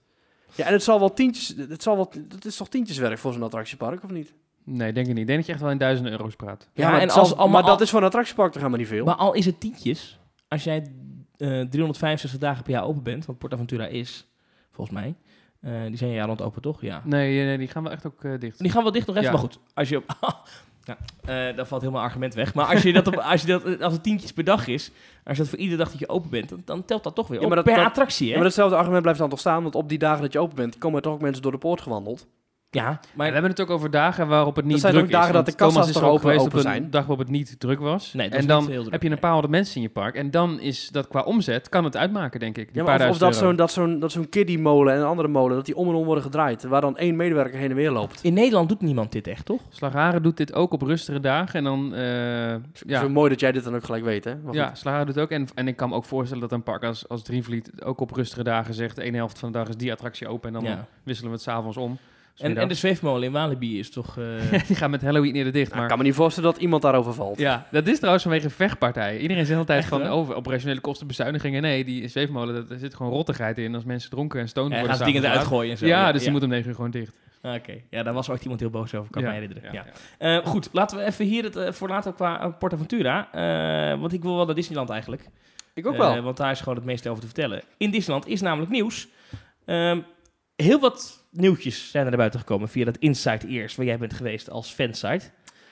Speaker 2: Ja, en het zal wel tientjes, het zal wel, dat is toch tientjeswerk voor zo'n attractiepark, of niet?
Speaker 3: Nee, denk ik niet. Ik denk dat je echt wel in duizenden euro's praat.
Speaker 1: Ja, en
Speaker 2: het zal-
Speaker 1: als allemaal-
Speaker 2: maar dat is voor een attractiepark toch helemaal niet veel?
Speaker 1: Maar al is het tientjes, als jij eh 365 dagen per jaar open bent, wat PortAventura is, volgens mij. eh, die zijn jaar rond open, toch? Ja.
Speaker 3: Nee, eh, nee, die gaan wel echt ook eh, dicht.
Speaker 1: Die gaan wel dicht nog even,
Speaker 3: Ja.
Speaker 1: maar goed. Als je op... ja, eh, daar valt helemaal argument weg. Maar als, je dat op, als, je dat, eh, als het tientjes per dag is, als dat voor iedere dag dat je open bent, dan, dan telt dat toch weer
Speaker 2: Ja,
Speaker 1: op
Speaker 2: maar dat-
Speaker 1: per
Speaker 2: dat-
Speaker 1: attractie, hè?
Speaker 2: Ja, maar datzelfde argument blijft dan toch staan, want op die dagen dat je open bent, komen er toch ook mensen door de poort gewandeld.
Speaker 1: Ja,
Speaker 3: Maar we hebben het ook over dagen waarop het niet
Speaker 2: zijn
Speaker 3: druk
Speaker 2: ook dagen
Speaker 3: is.
Speaker 2: dat
Speaker 3: want
Speaker 2: de kassa's
Speaker 3: Thomas is
Speaker 2: toch
Speaker 3: er ook
Speaker 2: open-
Speaker 3: geweest
Speaker 2: open
Speaker 3: op
Speaker 2: zijn?
Speaker 3: een dag waarop het niet druk was.
Speaker 1: Nee, het was
Speaker 3: en dan
Speaker 1: niet heel druk,
Speaker 3: heb je een paar honderd mensen in je park. En dan is dat qua omzet, kan het uitmaken, denk ik. Die
Speaker 2: Ja,
Speaker 3: paar
Speaker 2: maar of, of
Speaker 3: duizend
Speaker 2: dat
Speaker 3: euro.
Speaker 2: zo'n dat zo'n dat zo'n kiddie molen en een andere molen, dat die om en om worden gedraaid, waar dan één medewerker heen en weer loopt.
Speaker 1: in Nederland doet niemand dit echt, toch?
Speaker 3: Slagharen doet dit ook op rustige dagen. En dan, eh, ja,
Speaker 2: Zo mooi dat jij dit dan ook gelijk weet, hè? Maar
Speaker 3: ja
Speaker 2: goed.
Speaker 3: Slagharen doet het ook. En, en ik kan me ook voorstellen dat een park als, als Drievliet ook op rustige dagen zegt... de ene helft van de dag is die attractie open en dan
Speaker 1: Ja.
Speaker 3: wisselen we het s'avonds om.
Speaker 1: En, en de zweefmolen in Walibi is toch... eh,
Speaker 3: Die gaan met Halloween eerder dicht,
Speaker 2: Nou, ik
Speaker 3: maar...
Speaker 2: kan me niet voorstellen dat iemand daarover valt.
Speaker 3: Ja, dat is trouwens vanwege vechtpartijen. Iedereen zegt altijd
Speaker 1: Echt,
Speaker 3: van
Speaker 1: hè?
Speaker 3: over operationele kosten, bezuinigingen. Nee, die zweefmolen, dat, daar zit gewoon rottigheid in als mensen dronken en stoned
Speaker 1: Ja, hij
Speaker 3: worden.
Speaker 1: gaat dingen eruit
Speaker 3: s'avonds
Speaker 1: gooien en zo.
Speaker 3: laat. Ja, dus die moet om negen uur gewoon dicht.
Speaker 1: Ah, Oké, ja, daar was ooit iemand heel boos over, kan
Speaker 3: Ja,
Speaker 1: mij herinneren. Ja.
Speaker 3: ja.
Speaker 1: Eh, goed, laten we even hier het eh, voor laten qua eh, PortAventura. eh, want ik wil wel naar Disneyland eigenlijk.
Speaker 2: Ik ook wel.
Speaker 1: Eh, want daar is gewoon het meeste over te vertellen. In Disneyland is namelijk nieuws. Ehm, heel wat nieuwtjes zijn er naar buiten gekomen via dat Inside Ears, waar jij bent geweest als fansite.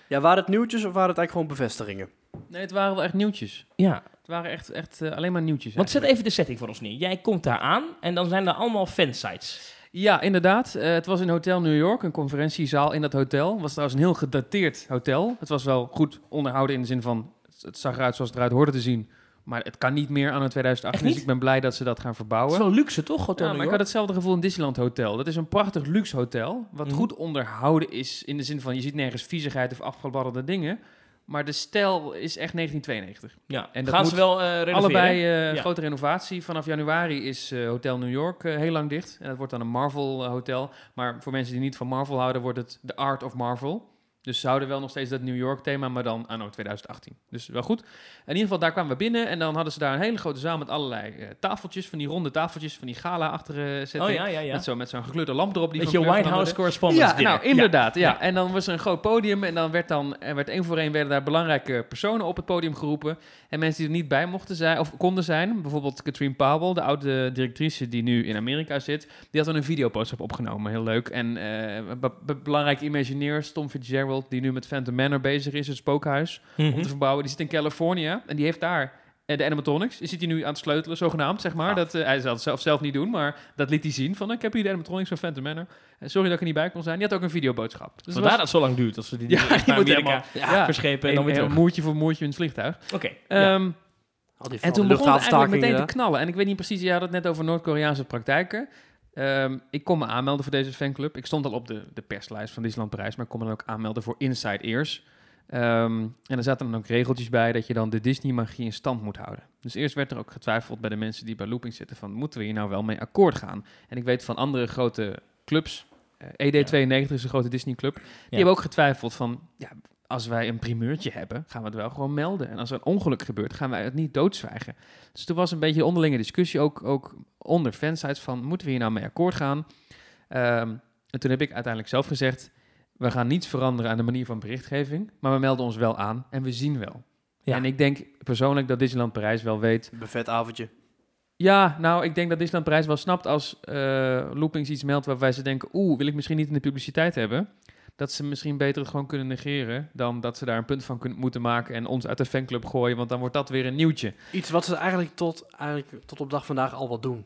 Speaker 2: Ja, waren het nieuwtjes of waren het eigenlijk gewoon bevestigingen?
Speaker 3: Nee, het waren wel echt nieuwtjes.
Speaker 1: Ja,
Speaker 3: Het waren echt, echt eh, alleen maar nieuwtjes.
Speaker 1: want zet
Speaker 3: eigenlijk.
Speaker 1: even de setting voor ons neer. Jij komt daar aan en dan zijn er allemaal fansites.
Speaker 3: Ja, inderdaad. Eh, het was in Hotel New York, een conferentiezaal in dat hotel. Het was trouwens een heel gedateerd hotel. Het was wel goed onderhouden in de zin van, het- het zag eruit zoals het eruit hoorde te zien. Maar het kan niet meer aan het 2008.
Speaker 1: Echt
Speaker 3: Dus
Speaker 1: niet?
Speaker 3: ik ben blij dat ze dat gaan
Speaker 1: Het is
Speaker 3: verbouwen.
Speaker 1: wel luxe, toch? Hotel
Speaker 3: ja, maar
Speaker 1: New
Speaker 3: ik
Speaker 1: York?
Speaker 3: had hetzelfde gevoel in Disneyland Hotel. Dat is een prachtig luxe hotel, wat
Speaker 1: Mhm.
Speaker 3: goed onderhouden is in de zin van je ziet nergens viezigheid of afgebaddelde dingen. Maar de stijl is echt 1992.
Speaker 1: Ja,
Speaker 3: en
Speaker 1: en
Speaker 3: dat
Speaker 1: gaan
Speaker 3: moet
Speaker 1: ze wel eh renoveren?
Speaker 3: Allebei eh,
Speaker 1: Ja.
Speaker 3: grote renovatie. Vanaf januari is eh, Hotel New York eh, heel lang dicht. En dat wordt dan een Marvel eh, hotel. Maar voor mensen die niet van Marvel houden, wordt het The Art of Marvel. Dus ze houden wel nog steeds dat New York thema, maar dan anno 2018. Dus wel goed. In ieder geval, daar kwamen we binnen. En dan hadden ze daar een hele grote zaal met allerlei eh, tafeltjes. Van die ronde tafeltjes, van die gala-achtige setting.
Speaker 1: Oh ja, ja, ja.
Speaker 3: Met zo'n met zo'n gekleurde lamp erop. Die
Speaker 1: Beetje
Speaker 3: van kleur
Speaker 1: White House
Speaker 3: veranderde.
Speaker 1: correspondence
Speaker 3: Ja,
Speaker 1: dinner.
Speaker 3: nou, inderdaad. Ja. En dan was er een groot podium. En dan werd dan, er werd één voor één werden daar belangrijke personen op het podium geroepen. En mensen die er niet bij mochten zijn, of konden zijn. Bijvoorbeeld Katrine Powell, de oude directrice die nu in Amerika zit. Die had dan een videoboodschap opgenomen. Heel leuk. En eh, een be- be- belangrijke imagineers, Tom Fitzgerald, die nu met Phantom Manor bezig is, het spookhuis
Speaker 1: Mhm.
Speaker 3: om te verbouwen. Die zit in Californië en die heeft daar eh, de animatronics. Die zit hij nu aan het sleutelen, zogenaamd, zeg maar.
Speaker 1: Ah.
Speaker 2: Gaaf.
Speaker 3: Dat, eh, hij zal het zelf, zelf niet doen, maar dat liet hij zien. Van, ik heb hier de animatronics van Phantom Manor. Eh, sorry dat ik er niet bij kon zijn. Die had ook een videoboodschap. Dus het
Speaker 1: Vandaar
Speaker 3: was-
Speaker 1: dat het zo lang duurt. Als ze die
Speaker 3: Ja,
Speaker 1: dingen
Speaker 3: die
Speaker 1: echt naar
Speaker 3: moet
Speaker 1: Amerika
Speaker 3: helemaal- ja,
Speaker 1: verschepen en dan weer
Speaker 3: een- een
Speaker 1: terug.
Speaker 3: moertje voor moertje in het vliegtuig.
Speaker 1: Oké. ja.
Speaker 2: Al
Speaker 3: Ehm,
Speaker 2: die
Speaker 3: en
Speaker 2: van de
Speaker 3: toen begon het eigenlijk
Speaker 2: luchthavenstaking,
Speaker 3: meteen te
Speaker 2: ja.
Speaker 3: knallen. En ik weet niet precies, je had het net over Noord-Koreaanse praktijken. Ehm, ik kon me aanmelden voor deze fanclub. Ik stond al op de, de perslijst van Disneyland Parijs, maar ik kon me dan ook aanmelden voor Inside Ears. Ehm, en er zaten dan ook regeltjes bij dat je dan de Disney-magie in stand moet houden. Dus eerst werd er ook getwijfeld bij de mensen die bij Looping zitten van, moeten we hier nou wel mee akkoord gaan? En ik weet van andere grote clubs, eh, ED92 is een grote Disney Club. Die hebben ook getwijfeld van, ja, als wij een primeurtje hebben, gaan we het wel gewoon melden. En als er een ongeluk gebeurt, gaan wij het niet doodzwijgen. Dus toen was een beetje onderlinge discussie, ook, ook onder fansites, van moeten we hier nou mee akkoord gaan? Ehm, en toen heb ik uiteindelijk zelf gezegd, we gaan niets veranderen aan de manier van berichtgeving, maar we melden ons wel aan en we zien wel.
Speaker 1: Ja.
Speaker 3: En ik denk persoonlijk dat Disneyland Parijs wel weet
Speaker 2: Buffet avondje.
Speaker 3: ja, nou, ik denk dat Disneyland Parijs wel snapt als eh, Loopings iets meldt waarbij ze denken, oeh, wil ik misschien niet in de publiciteit hebben. Dat ze misschien beter het gewoon kunnen negeren dan dat ze daar een punt van kunnen, moeten maken en ons uit de fanclub gooien, want dan wordt dat weer een nieuwtje.
Speaker 2: Iets wat ze eigenlijk tot, eigenlijk tot op dag vandaag al wat doen.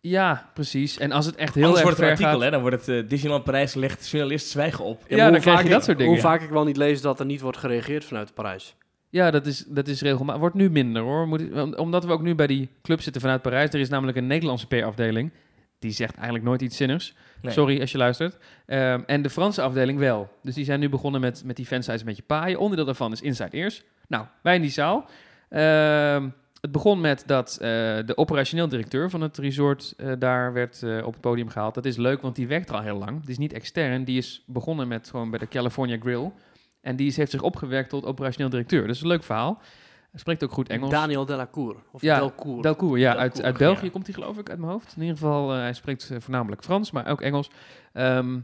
Speaker 3: Ja, precies. En als het echt heel
Speaker 1: Anders
Speaker 3: erg
Speaker 1: wordt het een
Speaker 3: ver
Speaker 1: artikel,
Speaker 3: gaat,
Speaker 1: hè? Dan wordt het eh, Disneyland Parijs legt journalist zwijgen op.
Speaker 3: Ja, dan krijg je
Speaker 2: ik-
Speaker 3: dat soort dingen.
Speaker 2: Hoe vaak ik wel niet lees dat er niet wordt gereageerd vanuit Parijs.
Speaker 3: Ja, dat is, dat is regelmatig. Wordt nu minder hoor. Moet, om- omdat we ook nu bij die club zitten vanuit Parijs. Er is namelijk een Nederlandse PR-afdeling. Die zegt eigenlijk nooit iets zinnigs.
Speaker 1: Nee.
Speaker 3: Sorry als je luistert. Ehm, en de Franse afdeling wel. Dus die zijn nu begonnen met, met die fansites een beetje paaien. Onderdeel daarvan is Inside Ears. Nou, wij in die zaal. Ehm, het begon met dat eh, de operationeel directeur van het resort eh, daar werd eh, op het podium gehaald. Dat is leuk, want die werkt er al heel lang. Die is niet extern. Die is begonnen met gewoon bij de California Grill. En die is, heeft zich opgewerkt tot operationeel directeur. Dus een leuk verhaal. Hij spreekt ook goed Engels.
Speaker 2: Daniel Delacour. Of
Speaker 3: Ja,
Speaker 2: Delcour.
Speaker 3: Delcourt, ja, uit,
Speaker 1: Delcourt,
Speaker 3: uit België
Speaker 1: ja.
Speaker 3: komt hij geloof ik uit mijn hoofd. In ieder geval, eh, hij spreekt eh, voornamelijk Frans, maar ook Engels. Ehm,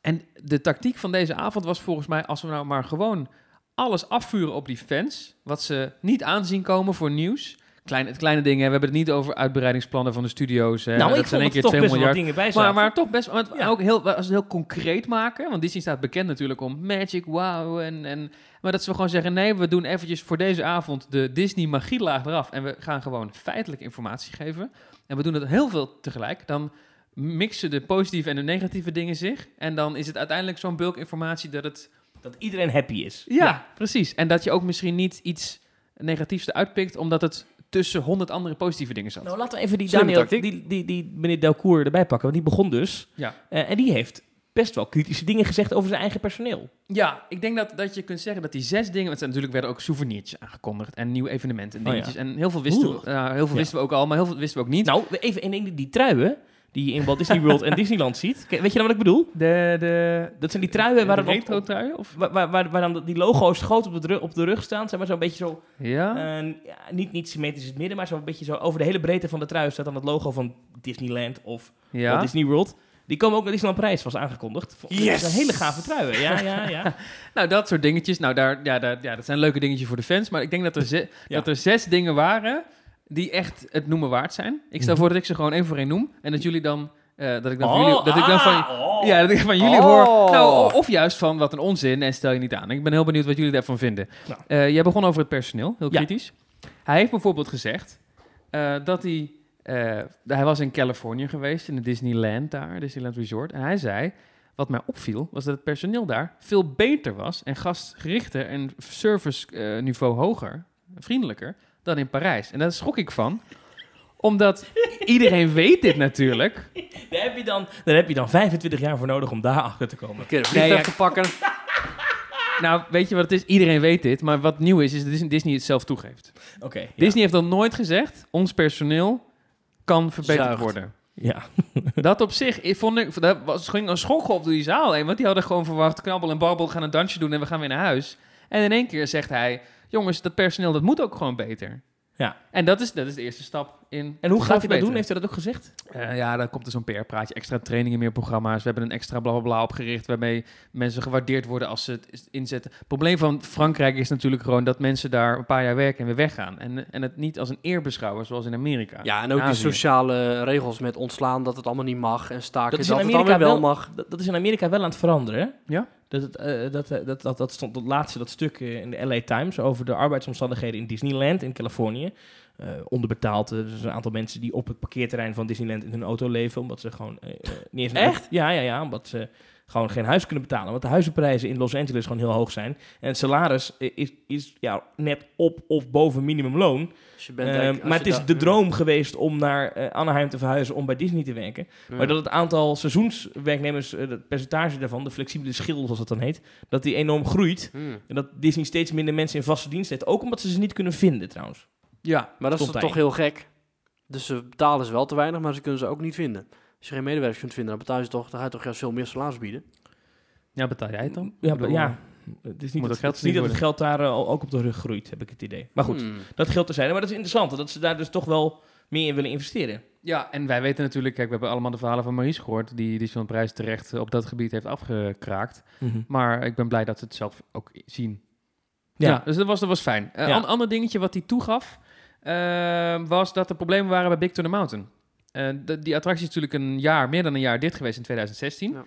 Speaker 3: en de tactiek van deze avond was volgens mij, als we nou maar gewoon alles afvuren op die fans, wat ze niet aanzien komen voor nieuws. Kleine, kleine dingen, hè. we hebben het niet over uitbreidingsplannen van de studio's. Hè.
Speaker 1: nou,
Speaker 3: dat
Speaker 1: ik
Speaker 3: ze
Speaker 1: vond
Speaker 3: in één
Speaker 1: er
Speaker 3: keer
Speaker 1: toch
Speaker 3: 2
Speaker 1: best wel wat
Speaker 3: miljard
Speaker 1: dingen bij
Speaker 3: maar,
Speaker 1: zaten.
Speaker 3: maar toch best want
Speaker 1: Ja.
Speaker 3: ook heel, als we het heel concreet maken. Want Disney staat bekend natuurlijk om Magic, wow. En, en, maar dat ze gewoon zeggen, nee, we doen eventjes voor deze avond de Disney magielaag eraf. En we gaan gewoon feitelijk informatie geven. En we doen dat heel veel tegelijk. Dan mixen de positieve en de negatieve dingen zich. En dan is het uiteindelijk zo'n bulk informatie dat het...
Speaker 1: Dat iedereen happy is.
Speaker 3: Ja, precies. En dat je ook misschien niet iets negatiefs eruit pikt, omdat het tussen honderd andere positieve dingen zat.
Speaker 1: Nou, laten we even die
Speaker 2: Slimme
Speaker 1: Daniel,
Speaker 2: tactiek.
Speaker 1: die, die, die meneer Delcourt erbij pakken. Want die begon dus.
Speaker 3: Ja.
Speaker 1: Eh, en die heeft best wel kritische dingen gezegd over zijn eigen personeel.
Speaker 3: Ja, ik denk dat, dat je kunt zeggen dat die zes dingen... Want er natuurlijk werden ook souvenirtjes aangekondigd en nieuwe evenementen en
Speaker 1: Oh ja.
Speaker 3: dingetjes. En heel veel, wisten,
Speaker 1: Oeh.
Speaker 3: we, nou, heel veel
Speaker 1: Ja.
Speaker 3: wisten we ook al, maar heel veel wisten we ook niet.
Speaker 1: Nou, even één ding. Die truien die je in Walt Disney World en Disneyland ziet. Kijk, Weet je nou wat ik bedoel?
Speaker 3: de, de,
Speaker 1: Dat zijn die truien waar,
Speaker 3: de
Speaker 1: dan op-
Speaker 3: retro truien? Of?
Speaker 1: waar, waar, waar, waar dan die logo's groot op de, dru- op de rug staan. Zeg maar zo'n beetje zo...
Speaker 3: Ja.
Speaker 1: eh, ja, niet, niet symmetrisch in het midden, maar zo'n beetje zo... Over de hele breedte van de trui staat dan het logo van Disneyland of
Speaker 3: ja.
Speaker 1: Walt Disney World. Die komen ook naar Disneyland Parijs, was aangekondigd. Vond- dat
Speaker 2: Yes!
Speaker 1: zijn hele gave truien. Ja, ja, ja.
Speaker 3: Nou, dat soort dingetjes. Nou, daar, ja, daar, ja, dat zijn leuke dingetjes voor de fans. Maar ik denk dat er, ze-
Speaker 1: Ja.
Speaker 3: dat er zes dingen waren die echt het noemen waard zijn. Ik stel
Speaker 1: Mhm.
Speaker 3: voor dat ik ze gewoon één voor één noem. En dat jullie dan... eh, dat ik dan van
Speaker 1: Oh,
Speaker 3: jullie... Dat ik dan van,
Speaker 1: ah, oh.
Speaker 3: Ja, dat ik van jullie
Speaker 2: Oh.
Speaker 3: hoor. Nou, o- of juist van wat een onzin en stel je niet aan. Ik ben heel benieuwd wat jullie daarvan vinden.
Speaker 1: Nou.
Speaker 3: Eh, jij begon over het personeel, heel
Speaker 1: Ja.
Speaker 3: kritisch. Hij heeft bijvoorbeeld gezegd eh, dat hij. eh, hij was in Californië geweest, in de Disneyland daar, Disneyland Resort. En hij zei: Wat mij opviel, was dat het personeel daar veel beter was en gastgerichter en service eh, niveau hoger, vriendelijker, dan in Parijs. En daar schrok ik van, omdat iedereen weet dit natuurlijk.
Speaker 1: Daar heb, je dan, daar heb je dan 25 jaar voor nodig om daar achter te komen.
Speaker 2: Een keer een
Speaker 3: Nee,
Speaker 2: vliegtuig
Speaker 3: ja.
Speaker 2: te pakken.
Speaker 3: Nou, weet je wat het is? Iedereen weet dit. Maar wat nieuw is, is dat Disney- Disney het zelf toegeeft.
Speaker 1: Oké. ja.
Speaker 3: Disney heeft dan nooit gezegd, ons personeel kan verbeterd
Speaker 2: Zuigt.
Speaker 3: worden.
Speaker 1: Ja.
Speaker 3: Dat op zich, ik vond ik, dat was, ging een schok op door die zaal heen. Want die hadden gewoon verwacht, knabbel en babbel, gaan een dansje doen en we gaan weer naar huis. En in één keer zegt hij, jongens, dat personeel, dat moet ook gewoon beter.
Speaker 1: Ja.
Speaker 3: En dat is, dat is de eerste stap in...
Speaker 1: En hoe
Speaker 3: het
Speaker 1: gaat hij dat doen?
Speaker 3: verbeteren.
Speaker 1: Heeft hij dat ook gezegd?
Speaker 3: Eh, ja, dan komt er zo'n PR-praatje. Extra trainingen, meer programma's. We hebben een extra blablabla opgericht... waarmee mensen gewaardeerd worden als ze het is- inzetten. Het probleem van Frankrijk is natuurlijk gewoon... dat mensen daar een paar jaar werken en weer weggaan. En, en het niet als een eer beschouwen, zoals in Amerika.
Speaker 2: Ja, en ook die
Speaker 3: Azië.
Speaker 2: sociale regels met ontslaan dat het allemaal niet mag en staken
Speaker 1: Dat
Speaker 2: dat,
Speaker 1: is in
Speaker 2: het
Speaker 1: Amerika
Speaker 2: allemaal wel
Speaker 1: wel-
Speaker 2: mag.
Speaker 1: Dat, dat is in Amerika wel aan het veranderen. hè?
Speaker 3: Ja.
Speaker 1: Dat, het, eh, dat, eh, dat, dat, dat stond dat laatste dat stuk eh, in de LA Times over de arbeidsomstandigheden in Disneyland in Californië. Eh, onderbetaald. eh, dus een aantal mensen die op het parkeerterrein van Disneyland in hun auto leven. Omdat ze gewoon eh, eh, niet eens een
Speaker 2: Echt?
Speaker 1: auto- Ja, ja, ja. Omdat ze gewoon geen huis kunnen betalen. Want de huizenprijzen in Los Angeles gewoon heel hoog zijn. En het salaris eh, is, is ja, net op of boven minimumloon.
Speaker 2: Dus je bent
Speaker 1: Ehm,
Speaker 2: eigenlijk- als
Speaker 1: maar
Speaker 2: je
Speaker 1: het is
Speaker 2: daar-
Speaker 1: de droom geweest om naar eh, Anaheim te verhuizen om bij Disney te werken.
Speaker 2: Ja.
Speaker 1: Maar dat het aantal seizoenswerknemers, eh, het percentage daarvan, de flexibele schil zoals dat dan heet, dat die enorm groeit.
Speaker 2: Hmm.
Speaker 1: En dat Disney steeds minder mensen in vaste dienst heeft. Ook omdat ze ze niet kunnen vinden trouwens.
Speaker 2: Ja, maar dat is
Speaker 1: Stond
Speaker 2: toch
Speaker 1: hij.
Speaker 2: heel gek. Dus ze betalen ze wel te weinig, maar ze kunnen ze ook niet vinden. Als je geen medewerkers kunt vinden, dan betaal je ze toch, dan ga je toch juist veel meer salaris bieden.
Speaker 3: Ja, betaal jij het dan?
Speaker 1: Ja,
Speaker 3: Ik bedoel,
Speaker 1: ja. Het is niet,
Speaker 3: Moet
Speaker 1: dat,
Speaker 3: dat geld
Speaker 1: het is niet dat het
Speaker 3: worden?
Speaker 1: geld daar eh, al- ook op de rug groeit, heb ik het idee. Maar goed,
Speaker 2: Hmm.
Speaker 1: dat geld te zijn. Maar dat is interessant, dat ze daar dus toch wel meer in willen investeren.
Speaker 3: Ja, en wij weten natuurlijk, kijk, we hebben allemaal de verhalen van Maurice gehoord, die, die zo'n prijs terecht op dat gebied heeft afgekraakt. Maar ik ben blij dat ze het zelf ook zien.
Speaker 1: Ja.
Speaker 3: Ja, dus dat was, dat was fijn. Een
Speaker 1: Ja.
Speaker 3: ander dingetje wat hij toegaf, eh, was dat er problemen waren bij Big Thunder Mountain. Eh, de- die attractie is natuurlijk een jaar, meer dan een jaar dicht geweest in 2016.
Speaker 2: Ja.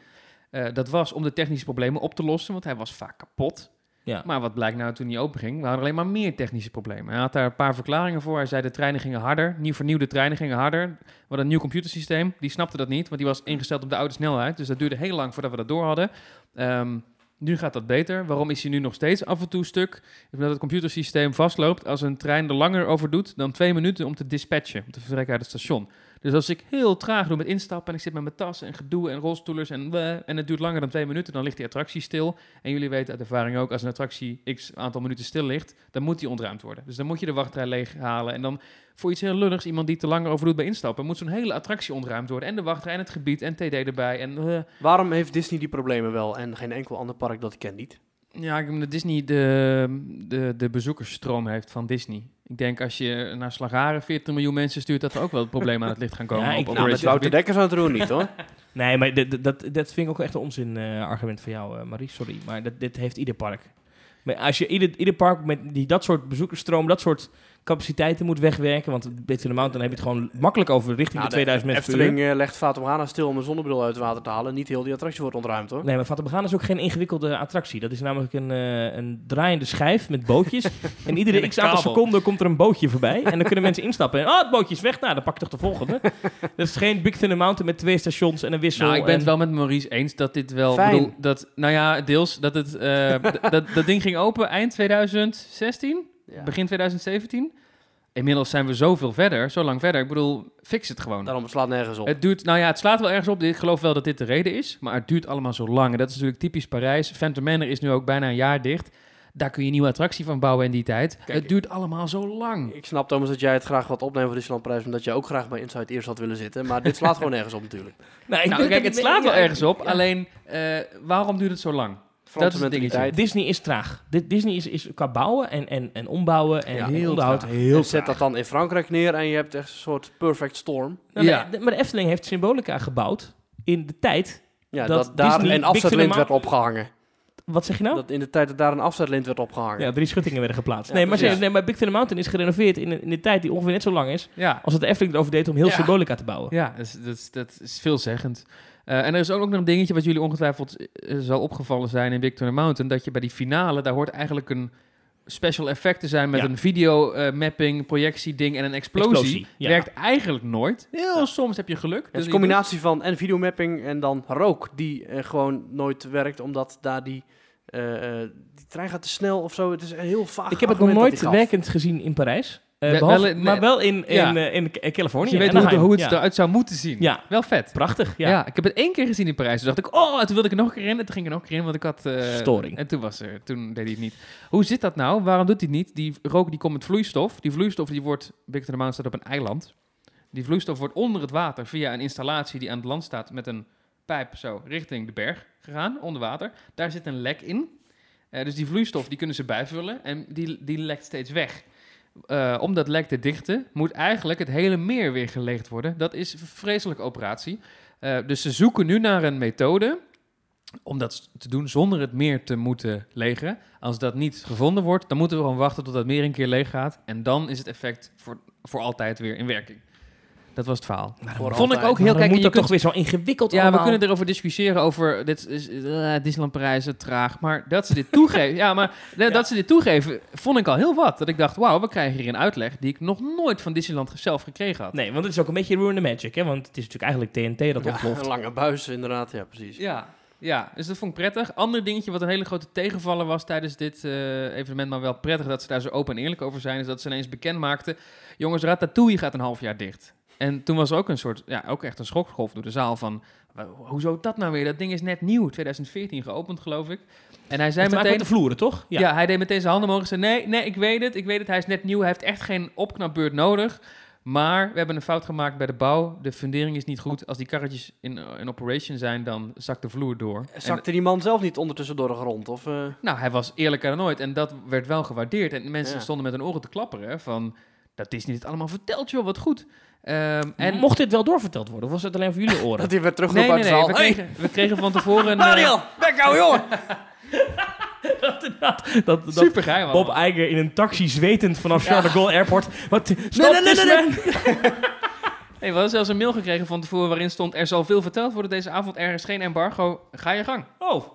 Speaker 3: Eh, dat was om de technische problemen op te lossen, want hij was vaak kapot.
Speaker 1: Ja.
Speaker 3: Maar wat blijkt nou toen hij openging? We hadden alleen maar meer technische problemen. Hij had daar een paar verklaringen voor. Hij zei de treinen gingen harder. Nieuw vernieuwde treinen gingen harder. We hadden een nieuw computersysteem. Die snapte dat niet, want die was ingesteld op de oude snelheid. Dus dat duurde heel lang voordat we dat door hadden. Ehm, nu gaat dat beter. Waarom is hij nu nog steeds af en toe stuk? Is Omdat het computersysteem vastloopt. Als een trein er langer over doet dan twee minuten om te dispatchen. Om te vertrekken uit het station. Dus als ik heel traag doe met instappen en ik zit met mijn tas en gedoe en rolstoelers en bleh, en het duurt langer dan twee minuten, dan ligt die attractie stil. En jullie weten uit ervaring ook, als een attractie x aantal minuten stil ligt, dan moet die ontruimd worden. Dus dan moet je de wachtrij leeghalen en dan voor iets heel lulligs, iemand die te lang over doet bij instappen, moet zo'n hele attractie ontruimd worden. En de wachtrij en het gebied en TD erbij en... eh,
Speaker 2: Waarom heeft Disney die problemen wel en geen enkel ander park dat ik ken
Speaker 1: Nou,
Speaker 2: niet?
Speaker 3: Ja, ik denk dat Disney de, de, de bezoekersstroom heeft van Disney. Ik denk als je naar Slagaren 40 miljoen mensen stuurt, dat er ook wel het probleem aan het licht gaan komen.
Speaker 1: Ja,
Speaker 3: op
Speaker 1: ik-
Speaker 2: Nou, met
Speaker 3: operational
Speaker 2: Wouter
Speaker 3: gebied.
Speaker 2: Dekkers aan het roer niet hoor.
Speaker 1: Nee, maar dit- dit- dat, dat vind ik ook echt een onzin eh, argument van jou, eh, Marie. Sorry, maar dat, dit heeft ieder park. Maar als je ieder, ieder park met die, dat soort bezoekersstroom, dat soort capaciteiten moet wegwerken, want Bit in the Mountain heb je het gewoon makkelijk over richting
Speaker 2: Nou,
Speaker 1: de 2000 mensen per uur.
Speaker 2: Efteling eh, legt Fata Morgana stil om een zonnebril uit het water te halen. Niet heel die attractie wordt ontruimd hoor.
Speaker 1: Nee, maar Fata Morgana is ook geen ingewikkelde attractie. Dat is namelijk een, eh, een draaiende schijf met bootjes. en iedere
Speaker 3: En een
Speaker 1: x aantal
Speaker 3: kabel.
Speaker 1: seconden komt er een bootje voorbij. En dan kunnen mensen instappen. En, oh, het bootje is weg. Nou, dan pak ik toch de volgende. dat is geen Big Thunder Mountain met twee stations en een wissel.
Speaker 3: Nou, ik ben het
Speaker 1: en-
Speaker 3: wel met Maurice eens dat dit wel...
Speaker 2: Fijn.
Speaker 3: Bedoel, dat, nou ja, deels dat het... eh, d- dat, dat ding ging open eind 2016,
Speaker 2: Ja.
Speaker 3: begin 2017. Inmiddels zijn we zoveel verder, zo lang verder. Ik bedoel, fix het gewoon.
Speaker 2: Daarom het slaat nergens op.
Speaker 3: Het duurt, nou ja, het slaat wel ergens op. Ik geloof wel dat dit de reden is. Maar het duurt allemaal zo lang. En dat is natuurlijk typisch Parijs. Phantom Manor is nu ook bijna een jaar dicht. Daar kun je een nieuwe attractie van bouwen in die tijd. het duurt allemaal zo lang.
Speaker 2: Ik snap Thomas dat jij het graag wat opneemt voor Disneyland Prijs, omdat jij ook graag bij Inside Ears had willen zitten. Maar dit slaat gewoon nergens op natuurlijk.
Speaker 1: Nou, ik
Speaker 3: Nou,
Speaker 1: ben-
Speaker 3: kijk,
Speaker 1: ik
Speaker 3: het
Speaker 1: ben-
Speaker 3: slaat wel
Speaker 1: ja,
Speaker 3: ergens op.
Speaker 1: ja.
Speaker 3: Alleen, eh, waarom duurt het zo lang?
Speaker 2: Franse
Speaker 3: het dingetje.
Speaker 2: mentaliteit.
Speaker 1: Disney is traag. Di- Disney is, is qua bouwen en, en, en ombouwen en,
Speaker 2: Ja,
Speaker 1: en
Speaker 3: heel
Speaker 1: onderhoud
Speaker 3: traag.
Speaker 1: heel
Speaker 2: En Zet dat dan in Frankrijk neer en je hebt echt een soort perfect storm.
Speaker 1: Nou,
Speaker 3: Ja.
Speaker 1: de- de- maar de Efteling heeft Symbolica gebouwd in de tijd.
Speaker 2: Ja,
Speaker 1: Dat
Speaker 2: dat, daar
Speaker 1: Disney
Speaker 2: een
Speaker 1: Big
Speaker 2: afzetlint
Speaker 1: Cinema-
Speaker 2: werd opgehangen.
Speaker 1: Wat zeg je nou?
Speaker 2: Dat in de tijd dat daar een afzetlint werd opgehangen.
Speaker 1: Ja, drie schuttingen werden geplaatst.
Speaker 2: Ja,
Speaker 1: nee, maar,
Speaker 2: precies.
Speaker 1: nee, maar Big Thunder Mountain is gerenoveerd in, een- in de tijd die ongeveer net zo lang is
Speaker 3: Ja,
Speaker 1: als het de Efteling erover deed om heel
Speaker 2: Ja.
Speaker 1: Symbolica te bouwen.
Speaker 3: ja dat, is, dat, is, dat is veelzeggend. Eh, en er is ook nog een dingetje wat jullie ongetwijfeld eh, zal opgevallen zijn in Victor Mountain. Dat je bij die finale, daar hoort eigenlijk een special effect te zijn met
Speaker 1: Ja.
Speaker 3: een video eh, mapping, projectie ding en een explosie.
Speaker 1: ja.
Speaker 3: Werkt eigenlijk nooit. Heel soms heb je geluk.
Speaker 1: dus
Speaker 3: Dus
Speaker 2: Het is een
Speaker 3: je doet-
Speaker 2: combinatie van en videomapping en dan rook, die eh, gewoon nooit werkt, omdat daar die, eh, eh, die trein gaat te snel of zo. Het is een heel vaag
Speaker 1: Ik heb het nog
Speaker 2: argument
Speaker 1: nooit
Speaker 2: dat hij gaf.
Speaker 1: werkend gezien in Parijs. Eh,
Speaker 3: Wel-
Speaker 1: behalve-
Speaker 3: wel in-
Speaker 1: maar wel in, in,
Speaker 3: Ja.
Speaker 1: eh, in, eh, Californië.
Speaker 3: Dus je weet
Speaker 1: en
Speaker 3: hoe, het- hoe het
Speaker 1: Anaheim. ja.
Speaker 3: eruit zou moeten zien.
Speaker 1: Ja,
Speaker 3: Wel vet.
Speaker 1: prachtig.
Speaker 3: Ja.
Speaker 1: Ja.
Speaker 3: ik heb het één keer gezien in Parijs. Toen dacht ik, oh, en toen wilde ik er nog een keer in. En toen ging ik er nog een keer in, want ik had... eh,
Speaker 1: Storing.
Speaker 3: En toen was er, toen deed hij het niet. Hoe zit dat nou? Waarom doet hij het niet? Die rook die komt met vloeistof. Die vloeistof die wordt, Victor de Maan staat op een eiland. Die vloeistof wordt onder het water via een installatie die aan het land staat met een pijp zo richting de berg gegaan, onder water. Daar zit een lek in. Eh, dus die vloeistof die kunnen ze bijvullen en die, die lekt steeds weg. Eh, om dat lek te dichten moet eigenlijk het hele meer weer geleegd worden. Dat is een vreselijke operatie. Eh, dus ze zoeken nu naar een methode om dat te doen zonder het meer te moeten legeren. Als dat niet gevonden wordt, dan moeten we gewoon wachten tot dat meer een keer leeg gaat. En dan is het effect voor, voor altijd weer in werking. Dat was het verhaal.
Speaker 2: Voor
Speaker 3: Vond ik
Speaker 2: altijd.
Speaker 3: ook heel
Speaker 1: Maar dan
Speaker 3: kijk.
Speaker 1: moet
Speaker 3: Je
Speaker 1: dat
Speaker 3: kunt
Speaker 1: toch weer zo ingewikkeld
Speaker 3: ja,
Speaker 1: allemaal.
Speaker 3: we kunnen erover discussiëren over dit is eh, Disneyland Parijs het traag, maar dat ze dit toegeven. ja, maar dat
Speaker 1: Ja.
Speaker 3: ze dit toegeven vond ik al heel wat. Dat ik dacht, wauw, we krijgen hier een uitleg die ik nog nooit van Disneyland zelf gekregen had.
Speaker 1: Nee, want het is ook een beetje Ruin the Magic, hè? Want het is natuurlijk eigenlijk TNT dat
Speaker 2: Ja, een
Speaker 1: ontploft.
Speaker 2: lange buis inderdaad, ja precies.
Speaker 3: Ja. Ja, dus dat vond ik prettig. Ander dingetje wat een hele grote tegenvaller was tijdens dit eh, evenement, maar wel prettig dat ze daar zo open en eerlijk over zijn, is dat ze ineens bekend maakten, jongens, Ratatouille gaat een half jaar dicht. En toen was er ook een soort, ja, ook echt een schokgolf door de zaal van, "Wa- hoezo dat nou weer? Dat ding is net nieuw, 2014 geopend geloof ik. En hij zei
Speaker 1: Het maakt
Speaker 3: meteen,
Speaker 1: met de vloeren, toch?
Speaker 3: Ja. hij deed meteen zijn handen omhoog en zei... Nee, nee, ik weet het, ik weet het. Hij is net nieuw, hij heeft echt geen opknapbeurt nodig. Maar we hebben een fout gemaakt bij de bouw. De fundering is niet goed. Als die karretjes in, eh, in operation zijn, dan zakt de vloer door. En-
Speaker 2: Zakte die man zelf niet ondertussen door de grond? Of, eh,
Speaker 3: nou, hij was eerlijker dan ooit. En dat werd wel gewaardeerd. En mensen
Speaker 2: Ja.
Speaker 3: stonden met hun oren te klapperen. hè, Van, dat is niet allemaal verteld, joh. Wat goed. Ehm, en
Speaker 1: En mocht dit wel doorverteld worden, of was het alleen voor jullie oren?
Speaker 2: dat hij werd
Speaker 3: nee,
Speaker 2: teruggeroepen
Speaker 3: nee, nee.
Speaker 2: uit
Speaker 3: We
Speaker 2: de zaal. Hey,
Speaker 3: kregen, we kregen van tevoren... eh, Een,
Speaker 2: Daniel, weg nou, jongen!
Speaker 1: dat, dat,
Speaker 3: super geheim.
Speaker 1: Bob Iger in een taxi zwetend vanaf Charles de Gaulle Airport. Wat? Stop
Speaker 2: nee, nee,
Speaker 1: this
Speaker 2: nee,
Speaker 1: man!
Speaker 3: Hey, we hadden zelfs een mail gekregen van tevoren waarin stond... Er zal veel verteld worden deze avond. Er is geen embargo. Ga je gang.
Speaker 1: Oh,